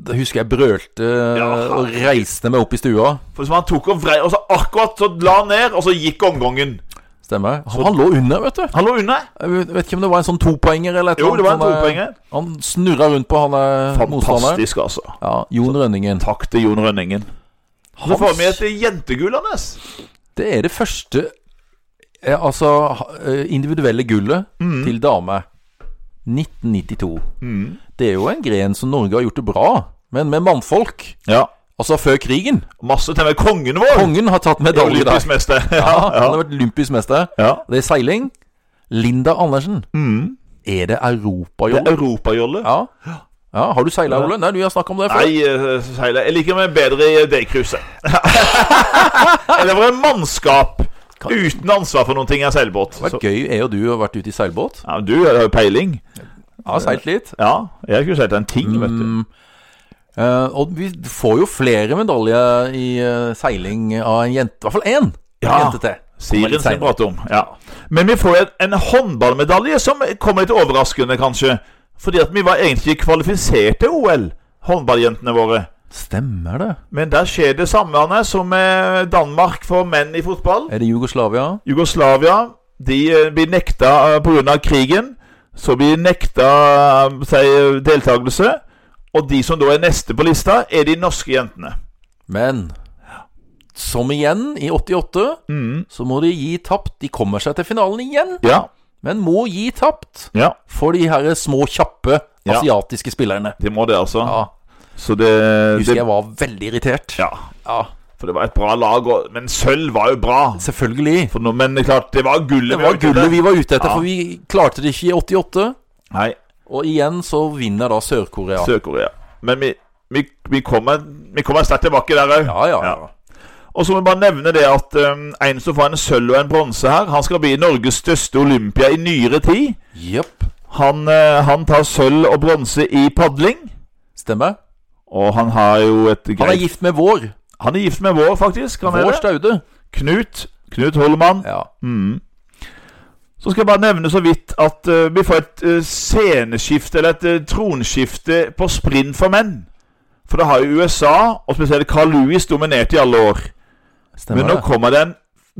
Da husker jeg brølte eh,
Ja.
og reiste meg opp i stua.
For som han tok og vrei Og så akkurat så la han ned, og så gikk omgangen.
Stemmer. Han, han lå under, vet du.
Han lå unna.
Jeg vet- vet ikke om det var en sånn topoenger eller et
Jo, det var en
sånn, eh,
topoenger.
Han snurra rundt på han eh, motstanderen.
Fantastisk, altså.
Ja, Jon Rønningen.
Takk til Jon Rønningen. Så får vi
Hans,
et jentegull, Anders.
det er det første eh, altså ha- eh, individuelle gullet
Mm.
til dame. 1992. Det er jo en gren som Norge har gjort det bra, men med mannfolk.
Ja.
Altså før krigen.
Masse til og med kongen vår.
Kongen har tatt
er
medalje der.
Olympisk mester. Ja,
Ja,
ja.
han har vært olympisk mester.
ja.
Det er seiling. Linda Andersen.
Mm.
Er det
Det er
europajolle?
europajolle.
Ja. ja. Har du seila, Ole? Nei, du har snakket om det før.
Nei, eh, Seile. Jeg liker meg bedre i daycruiset. Eller for en mannskap uten ansvar for noen ting er seilbåt.
Det har
Så,
vært gøy. Jeg og du har vært ute i seilbåt.
ja, men du har jo peiling.
Jeg har seilt litt.
Ja, jeg har ikke seilt en ting, vet du.
Eh, og vi får jo flere medaljer i eh, seiling av en jente. I hvert fall én
Ja.
jente til. Kommer
Siren
litt
som vi
senere.
prater om. Ja. Men vi får en, en håndballmedalje som kommer litt overraskende, kanskje. Fordi at vi var egentlig ikke kvalifisert til OL, håndballjentene våre.
Stemmer det?
Men der skjer det samme Anders, som med Danmark for menn i fotball.
Er det Jugoslavia?
Jugoslavia de eh, blir nekta pga. krigen. Så blir de nekta eh, si, deltakelse. Og de som da er neste på lista, er de norske jentene.
Men som igjen, i 88, så må de gi tapt. De kommer seg til finalen igjen,
Mm. Ja,
men må gi tapt
ja,
for de her små, kjappe
Ja.
asiatiske spillerne.
de må det, altså.
Ja,
Så det,
husker
det
jeg var veldig irritert.
Ja,
Ja,
for det var et bra lag. Og, men sølv var jo bra.
selvfølgelig.
For nå- men det er klart, det var gullet.
Det var gullet vi var ute etter,
Ja.
for vi klarte det ikke i 88.
Nei,
Og igjen så vinner da Sør-Korea.
Sør-Korea. Men vi, vi, vi kommer, vi kommer sterkt tilbake der òg.
Ja, ja,
Ja. Og så må jeg bare nevne det at um, en som får en sølv og en bronse her, han skal bli Norges største Olympia i nyere tid.
Jepp.
Han, eh, han tar sølv og bronse i padling.
Stemmer.
Og han har jo et
Han er
greit
gift med vår.
Han er gift med vår, faktisk. Han
Vår
er det.
Staude.
Knut. Knut Holmann.
Ja.
Mm. Så skal jeg bare nevne så vidt at eh, vi får et eh, sceneskifte, eller et eh, tronskifte, på sprint for menn. For det har jo USA, og spesielt Carl Lewis, dominert i alle år. Men
Stemmer
nå
det.
kommer det en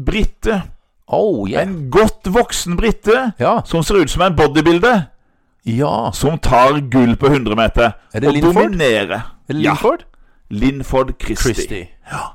brite.
Oh, yeah.
En godt voksen brite
Ja.
som ser ut som en bodybuilder,
ja.
som tar gull på 100 meter.
Er det
og
Lindford?
dominerer.
Er det
Ja.
Linford?
Linford Christie.
Christie.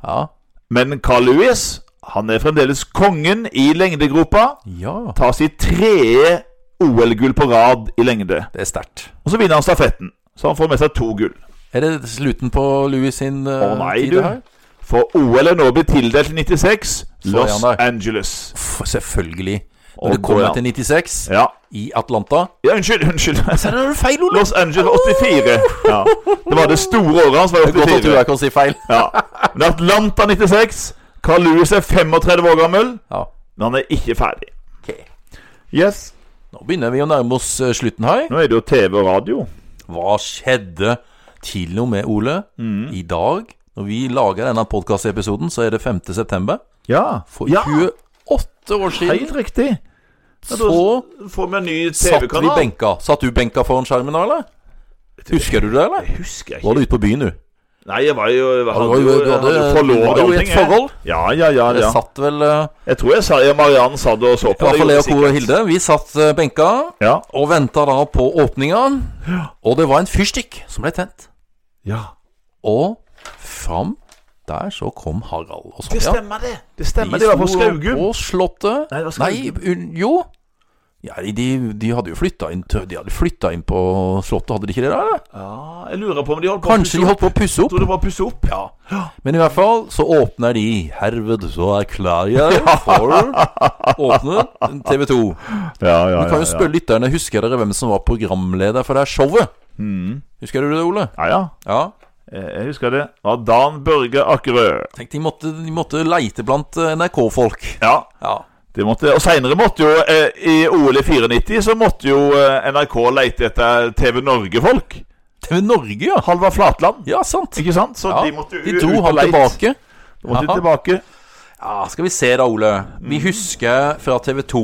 Ja.
Men Carl Lewis han er fremdeles kongen i lengdegropa.
Ja.
Tar sitt tredje OL-gull på rad i lengde.
Det er sterkt.
Og så vinner han stafetten, så han får med seg to gull.
Er det slutten på Louis sin eh,
Å nei,
tid
du.
her?
For OL er nå blitt tildelt i 96.
er
Los
han der.
Angeles.
F selvfølgelig. Når
Å,
det kommer
ja.
til 96
Ja.
i Atlanta
ja, unnskyld. Unnskyld.
Der er det feil, Ole!
Los Angeles 84. Ja. Det var det store året hans. var
Det er godt at du
84
jeg kan si feil.
ja. Men Atlanta 96. Carl Lewis er 35 år gammel,
Ja.
men han er ikke ferdig.
Ok.
Yes.
Nå begynner vi å nærme oss eh, slutten her.
Nå er det jo TV og radio.
Hva skjedde til og med, Ole? I dag, når vi lager denne podkastepisoden, så er det 5. september.
Ja.
For
ja.
28 år
Helt
siden
riktig.
så
Får vi en ny
satt vi
TV-kanal?
benka. Satt du benka foran skjermen da, eller? Husker du det, eller?
Husker
Var
jeg ikke.
du ute på byen, du?
Nei, jeg var jo Jeg
var jo- du hadde-
hadde forlovet
du hadde jo
og
et
allting, jeg.
forhold.
Ja, ja, ja.
Det
ja.
satt vel eh,
Jeg tror jeg sa ja, Mariann satt og så
I
på.
hvert
det
fall jeg
gjorde
og Kor og
sikkert.
Hilde. Vi satt eh, benka
Ja.
og venta da på åpninga. Og det var en fyrstikk som ble tent.
ja.
Og fram der så kom Harald og
Det
Sonja.
stemmer, det. Det stemmer,
De
det var på
sto
Skaugum.
På Slottet.
Nei, det var
Nei,
Skaugum.
un- jo. Ja, de- de, de hadde jo flytta inn, til- de hadde flyttet inn på Slottet, hadde de ikke det der? eller?
Ja, jeg lurer på om de holdt på å
Kanskje de
pusse opp.
holdt på å pusse opp?
Tror det var å pusse opp. Ja.
Men i hvert fall så åpner de Herved så erklærer jeg for åpne TV 2.
Ja, ja,
Du kan jo spørre lytterne Husker dere hvem som var programleder for det her showet.
Mm.
Husker du det, Ole?
Ja, ja.
Ja.
Eh, Jeg husker det. Det var Dan Børge Akerø.
Tenk, de måtte, de måtte leite blant eh, NRK-folk.
Ja.
Ja.
Det måtte, og seinere måtte jo eh, I OL i 94 så måtte jo eh, NRK leite etter TV Norge-folk.
TV Norge, ja.
Halvard Flatland.
Ja, sant.
Ikke sant? Så
Ja,
de måtte jo
de
ut
dro
og
han
leite.
tilbake.
De måtte
Aha.
tilbake.
Ja, skal vi se da, Ole. Vi
Mm.
husker fra TV 2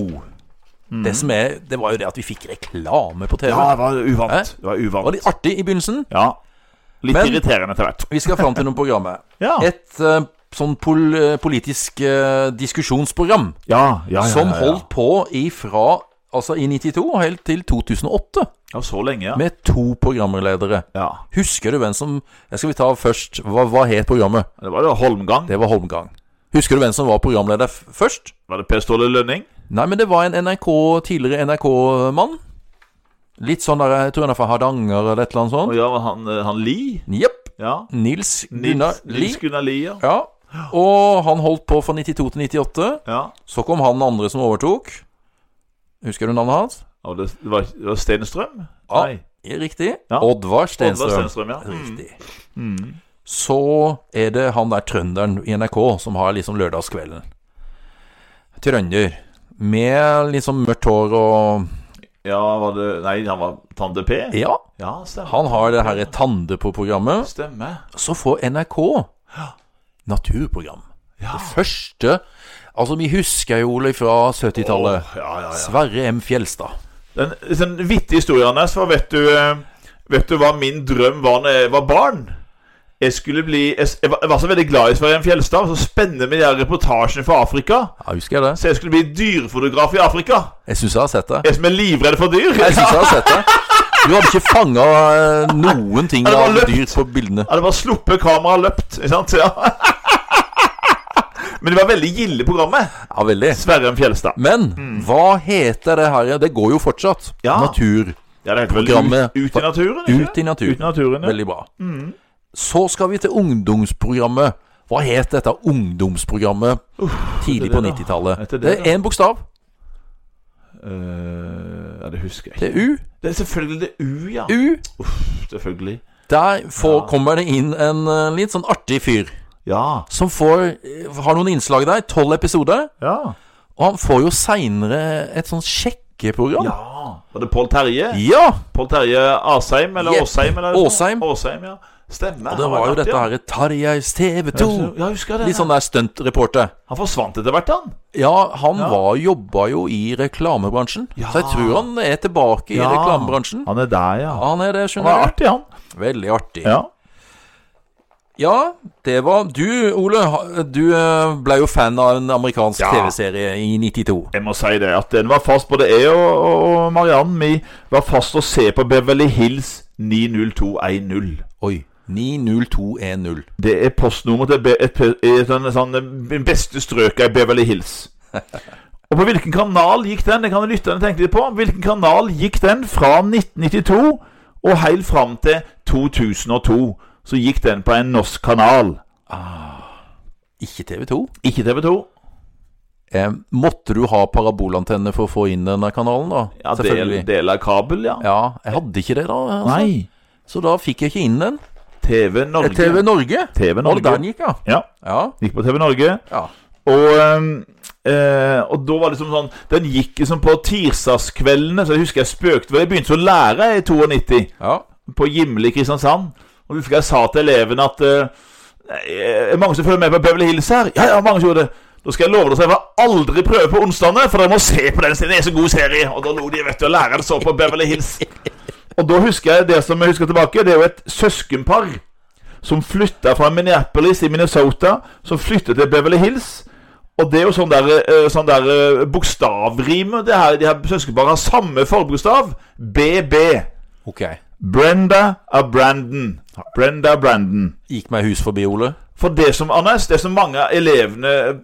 det, som er, det var jo det at vi fikk reklame på TV.
Ja, det var uvant.
Hæ?
Det var
Var
uvant.
litt artig i begynnelsen,
Ja. Litt
Men-
irriterende etter hvert.
Vi skal fram til noe program her.
Ja.
Et eh, sånn pol politisk eh, diskusjonsprogram
Ja, ja, ja,
som
ja, ja.
holdt på ifra Altså i 92 og helt til 2008,
Ja, så lenge, ja.
med to programledere.
ja.
Husker du hvem som jeg Skal vi ta først Hva, hva het programmet?
Det var det Holmgang.
Det var Holmgang. Husker du hvem som var programleder f først?
Var det Per Ståle Lønning?
Nei, men det var en NRK, tidligere NRK-mann. Litt sånn der Jeg tror han er fra Hardanger eller et eller annet
Og
sånt.
ja, var han, eh, han Li?
Jepp.
Ja.
Nils Gunnar
Nils,
Lie.
Nils Gunnar Li, ja.
Ja. Og han holdt på fra 92 til 98.
ja.
Så kom han andre som overtok. Husker du navnet hans?
Og det det var, det var Stenstrøm?
Ja.
Nei.
Riktig.
Ja.
Oddvar Stenstrøm.
Oddvar Stenstrøm, ja. Mm.
Riktig. Så er det han der trønderen i NRK som har liksom lørdagskvelden. Trønder. Med liksom mørkt hår og
Ja, var det Nei, han var Tande P?
Ja,
Ja, stemmer.
han har det herre Tande på programmet.
Stemmer.
Så får NRK naturprogram. Det første Altså, vi husker jo Ole fra 70-tallet.
Åh, ja, ja, ja.
Sverre M. Fjelstad.
Den, den vittige historien hans var Vet du eh, Vet du hva min drøm var da jeg var barn? Jeg skulle bli Jeg, s- jeg var, jeg var så veldig glad i Sverre Fjelstad. Så spennende med de her reportasjene fra Afrika.
Ja, husker jeg det.
Så jeg skulle bli dyrefotograf i Afrika.
Jeg syns jeg har sett det.
Jeg som er livredd for dyr.
Jeg syns jeg har sett det. Du hadde ikke fanga noen ting
Ja, det var
av
løpt.
dyr på bildene.
Ja, det var sluppet kameraet løpt. Ikke sant? Ja. Men det var veldig gilde programmet.
Ja, veldig.
Sverre Fjelstad.
Men hva heter det her? Det går jo fortsatt.
Mm. Ja.
Natur.
Ja, det heter vel
Programmet-
ut, ut i naturen? ikke?
Ut i natur.
Ut i naturen, ja.
Veldig bra.
Mm.
Så skal vi til ungdomsprogrammet. Hva het dette ungdomsprogrammet tidlig
det
på
da?
90-tallet?
Heter det
Det er
da?
én bokstav.
Eh, ja, det husker jeg ikke.
Det er U.
Det er selvfølgelig det U, ja.
U.
Selvfølgelig.
Der får,
Ja.
kommer det inn en eh, litt sånn artig fyr
Ja.
som får, eh, har noen innslag der. Tolv episoder.
Ja.
Og han får jo seinere et sånt sjekkeprogram.
ja. Var det Pål Terje?
ja.
Pål Terje Asheim, eller
Jepp.
Åsheim? Eller
Åsheim.
Åsheim, ja. Stemmer.
Og det var jo dette her Tarjeis TV 2.
Ja, jeg husker det.
Litt sånn der stuntreporter.
Han forsvant etter hvert, han.
Ja, han
Ja.
var jobba jo i reklamebransjen.
Ja.
Så jeg tror han er tilbake i
Ja.
reklamebransjen.
Han er der, ja.
Han er det,
Han er
skjønner du.
artig, han.
Veldig artig. Ja.
Ja.
det var Du, Ole, ha- du eh, ble jo fan av en amerikansk
Ja.
TV-serie i 92.
Jeg må si det, at den var fast, både jeg og, og Marianne, vi var fast å se på Beverly Hills 90210.
Oi. 90210.
Det er postnummer til be- et, pe- et, sånn- sånn beste strøket i Beverly Hills. Og på hvilken kanal gikk den? Det kan jo lytterne tenke litt på. Hvilken kanal gikk den fra 1992 og helt fram til 2002? Så gikk den på en norsk kanal.
Ikke TV 2.
Ikke TV 2.
Eh, måtte du ha parabolantenne for å få inn denne kanalen, da?
Ja, del, del av kabel, ja.
Ja, jeg hadde ikke det, da. Altså.
Nei.
Så da fikk jeg ikke inn den.
TV Norge.
TV Norge.
TV
Og
Norge.
den gikk, ja.
Ja,
Ja.
gikk på TV Norge.
ja.
Og, ehm, eh, og da var det liksom sånn Den gikk liksom på tirsdagskveldene, så jeg husker jeg spøkte vel. Jeg begynte å lære i 92.
ja.
på Gimle i Kristiansand. Og husker jeg sa til elevene at eh, «Er det mange som følger med på Beverly Hills her? Ja, ja, mange som gjorde det. Da skal jeg love dere at jeg vil aldri prøve på onsdagene, for dere må se på den serien. Det er så god serie. Og da lo de, vet du, og læreren så på Beverly Hills. Og da husker jeg det som jeg husker tilbake, det er jo et søskenpar som flytta fra Minneapolis i Minnesota, som flyttet til Beverly Hills. Og det er jo sånn der, eh, sånn der eh, bokstavrime. Det her, de her søskenparene har samme forbokstav. BB.
Ok.
Brenda av Brandon. Brenda Brandon.
Gikk meg hus forbi, Ole.
For det som Anders, det som mange av elevene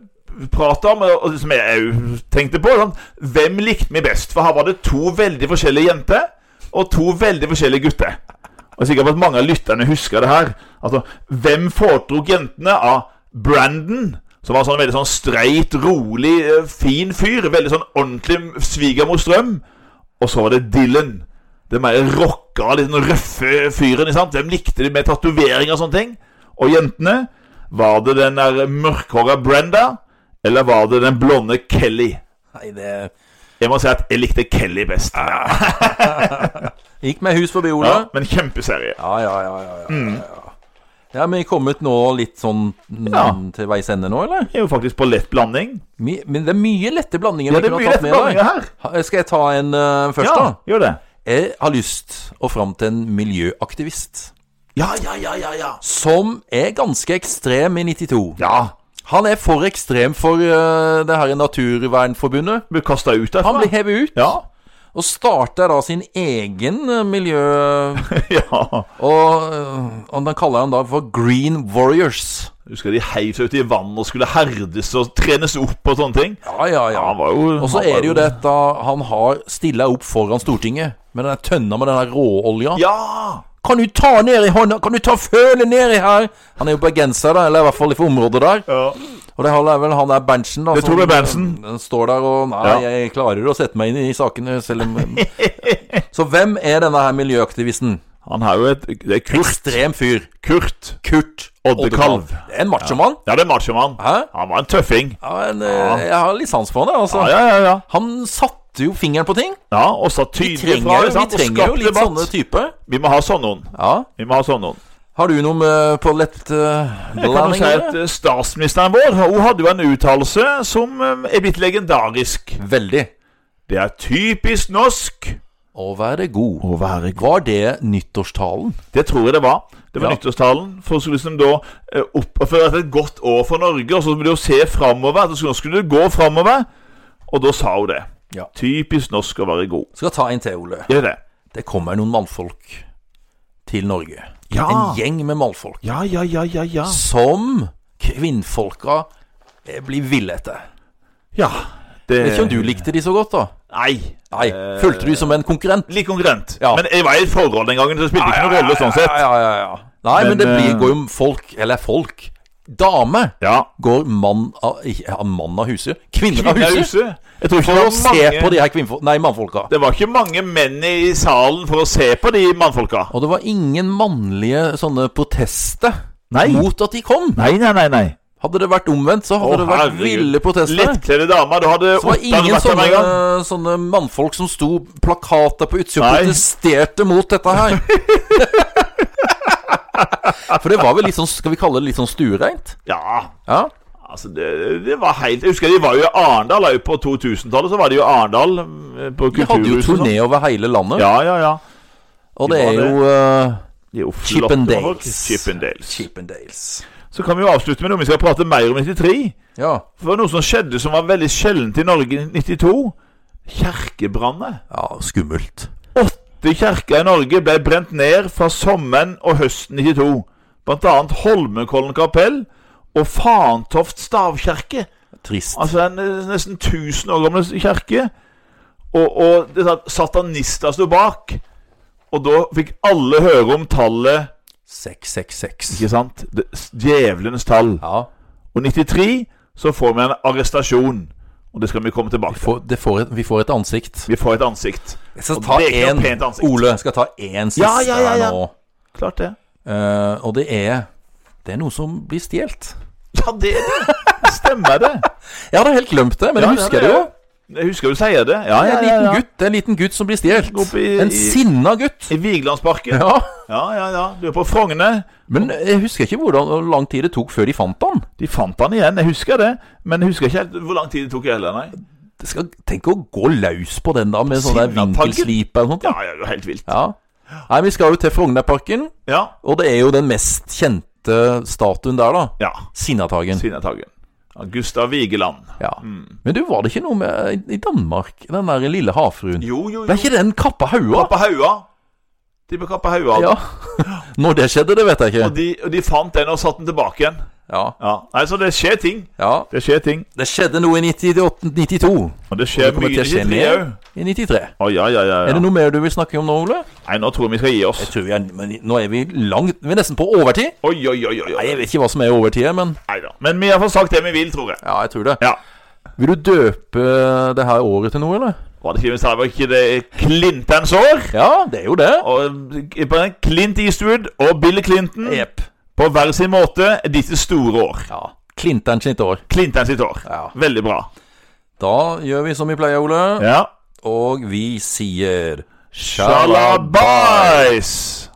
prater om, og som jeg òg tenkte på sånn, Hvem likte vi best? For her var det to veldig forskjellige jenter og to veldig forskjellige gutter. Og jeg er sikker på at mange av lytterne husker det her. Altså, Hvem foretok jentene av Brandon? Som var sånn veldig sånn streit, rolig, eh, fin fyr. Veldig sånn ordentlig svigermors drøm. Og så var det Dylan. Den mer rocka, litt sånn røffe fyren. ikke sant? Hvem likte de med tatoveringer og sånne ting? Og jentene? Var det den der mørkhåra Brenda? Eller var det den blonde Kelly?
Nei, det
Jeg må si at jeg likte Kelly best.
Gikk meg hus forbi, Ole.
Ja, men kjempeserie.
Ja, ja, ja. ja, ja, ja, ja. ja men vi er kommet nå litt sånn mm,
Ja.
til veis ende nå, eller?
Jeg er jo faktisk på lett blanding.
Mi, men det er mye lette blandinger
Ja, det er mye lett blanding her.
Ha- Skal jeg ta en eh, først,
Ja, gjør det.
da? Jeg har lyst og fram til en miljøaktivist.
Ja, ja, ja, ja, ja.
som er ganske ekstrem i 92.
Ja,
Han er for ekstrem for eh, det her Naturvernforbundet.
Blir kasta ut
Han
derfra.
blir hevet ut,
Ja.
og starter da sin egen eh, miljø...
ja.
Og, eh, og den kaller han da for Green Warriors.
Husker de heiv seg ut i vannet og skulle herdes og trenes opp og sånne ting.
Ja, ja, ja.
Ja, han var jo
Og så
han var
er det jo dette han har stilla opp foran Stortinget med den der tønna med den der råolja.
Ja!
Kan du ta ned i hånda? Kan du ta følet nedi her? Han er jo bergenser, da, eller i hvert fall fra området der.
ja.
Og det holder vel han der Berntsen, da. eh,
Det tror jeg er Berntsen.
Den står der og Nei,
Ja.
jeg klarer å sette meg inn i sakene, selv om Så hvem er denne her miljøaktivisten?
Han har jo et Det er Kurt.
Ekstrem fyr.
Kurt.
Kurt
Oddekalv.
Det er en machomann.
Ja, det er machomann.
Hæ?
Han var en tøffing.
Ja, en, eh, Jeg har litt sans for han, jeg, altså.
Ja, ja, ja. ja.
Han satte jo fingeren på ting.
ja og sa
Vi
tydelig
trenger,
fra. ikke
jo- vi
sant? Og
trenger jo
skapte
litt
debatt.
sånne typer.
Vi må ha sånn noen.
Ja.
Vi må ha sånn noen.
Har du noe med på lett eh,
Jeg kan jo
blanding?
si at eh, Statsministeren vår hun hadde jo en uttalelse som eh, er blitt legendarisk.
Veldig.
Det er typisk norsk
Å være god.
å være
Var det nyttårstalen?
Det tror jeg det var. Det var
Ja.
nyttårstalen. For så skulle liksom da eh, opp, for det hadde vært et godt år for Norge, og så skulle du jo se framover. Nå skulle, skulle det gå framover. Og da sa hun det.
Ja.
Typisk norsk å være god.
Skal ta en til, Ole.
Gjør det.
Det kommer noen mannfolk til Norge.
Ja.
En gjeng med mannfolk
Ja, ja, ja, ja, ja.
som kvinnfolka eh, blir ville etter.
Ja. Det
Jeg vet ikke om du likte de så godt, da?
Nei.
Nei. Følte du som en konkurrent?
Litt konkurrent.
Ja.
Men jeg var i et forhold den gangen, så det spilte ikke noen rolle sånn sett.
Ja, ja, ja, ja. Nei, men,
Men,
det blir,
eh,
går jo om folk Eller folk. Dame
Ja.
går mann av, ikke- ja, mann av huset. Kvinner av
Kvinner i
huset.
huset. Jeg tror ikke
For
det
å
var
se
mange
på de her kvinnfolka Nei, mannfolka.
Det var ikke mange menn i salen for å se på de mannfolka.
Og det var ingen mannlige sånne protester
Nei.
mot at de kom.
Nei, nei, nei. nei.
Hadde det vært omvendt, så hadde
Å,
det vært
herregud.
ville protester.
Lettkledde damer. Du hadde
Det var
åtte
ingen
vært der
sånne,
med en gang.
sånne mannfolk som sto plakater på utsida og
Nei.
protesterte mot dette her. For det var vel litt sånn, skal vi kalle det litt sånn stuereint?
Ja,
Ja.
altså det, det var helt Jeg husker de var jo i Arendal òg på 2000-tallet. Så var de jo i Arendal eh, på
Vi hadde jo
kulturhuset. og sånn.
turné over hele landet,
Ja, ja, ja.
og det
vi
er
var
jo uh,
De er jo flotte folk.
Chippendales.
Chippendales.
Chippendales.
Så kan vi jo avslutte med noe vi skal prate mer om 93.
Ja.
For det var noe som skjedde som var veldig sjeldent i Norge i 92. Kjerkebrannet.
ja, skummelt.
Åtte kjerker i Norge ble brent ned fra sommeren og høsten 92. Blant annet Holmenkollen kapell og Fantoft stavkirke.
Trist.
Altså en eh, nesten 1000 år gammel kirke. Og, og det satt satanister sto bak. Og da fikk alle høre om tallet
666.
Ikke sant? Det, s- djevelens tall.
Ja.
Og 93 så får vi en arrestasjon. Og det skal vi komme tilbake til.
Får, det får et, vi får et ansikt.
Vi får et ansikt.
Jeg skal
Og
ta
det er ikke noe
en,
pent ansikt.
Ole skal ta én siste
Ja, ja, ja, ja.
her nå.
Klart det.
Eh, og det er Det er noe som blir stjålet.
Ja, det er det. Stemmer det.
Jeg hadde helt glemt det, men jeg
Ja,
husker
det
det
er
jo.
Jeg husker du sier det. Ja,
Det er en
ja, ja.
liten
ja.
gutt det er en liten gutt som blir stjålet.
Opp i-
En
i-
sinna gutt.
I Vigelandsparken. Ja.
Ja.
ja, ja, Du er på Frogner.
Men jeg husker ikke hvordan hvor lang tid det tok før de fant han.
De fant han igjen, jeg husker det. Men jeg husker ikke helt hvor lang tid det tok heller, nei.
Det skal, tenk å gå løs på den da med sånn der
Sinnataggen.
vinkelslipe eller noe sånt.
Ja,
da.
ja, det er jo helt vilt.
Ja. Nei, vi skal jo til Frognerparken,
Ja.
og det er jo den mest kjente statuen der, da.
Ja.
Sinnataggen.
Sinnataggen. Ja, Gustav Vigeland.
Ja.
Mm.
Men du, var det ikke noe med i Danmark? Den der lille havfruen?
Jo, jo,
Ble
jo.
ikke den kappa haua?
Kappa Haua. De på Kappa Haua.
Ja. Når det skjedde, det vet jeg
Og,
ikke.
de, og de fant den og satte den tilbake igjen.
Ja.
Ja. Nei, så det skjer ting.
ja.
Det skjer ting.
Det skjedde noe i 98, 92.
Og det
Det
skjer
kommer
mye
til å skje
i 93
mer
òg.
i 93.
Å, ja, ja, ja.
Er
ja.
det noe mer du vil snakke om nå, Ole?
Nei, nå tror jeg vi skal gi oss.
Jeg tror vi er, men Nå er vi langt Vi er nesten på overtid.
Oi, oi, oi. oi,
Nei,
oi.
Jeg vet ikke hva som er overtid, men
Nei da. Men vi har fått sagt det vi vil, tror jeg.
Ja, jeg tror det.
Ja.
Vil du døpe det her året til noe, eller?
Var det ikke vi sa det var ikke det Clintons år?
Ja, det er jo det.
Og bare Clint Eastwood og Bill Clinton
Jepp.
på hver sin måte er ditt store år.
Ja. Clinton sitt år.
Clinton sitt år.
Ja.
Veldig bra.
Da gjør vi som vi pleier, Ole.
Ja.
Og vi sier
Shalabais!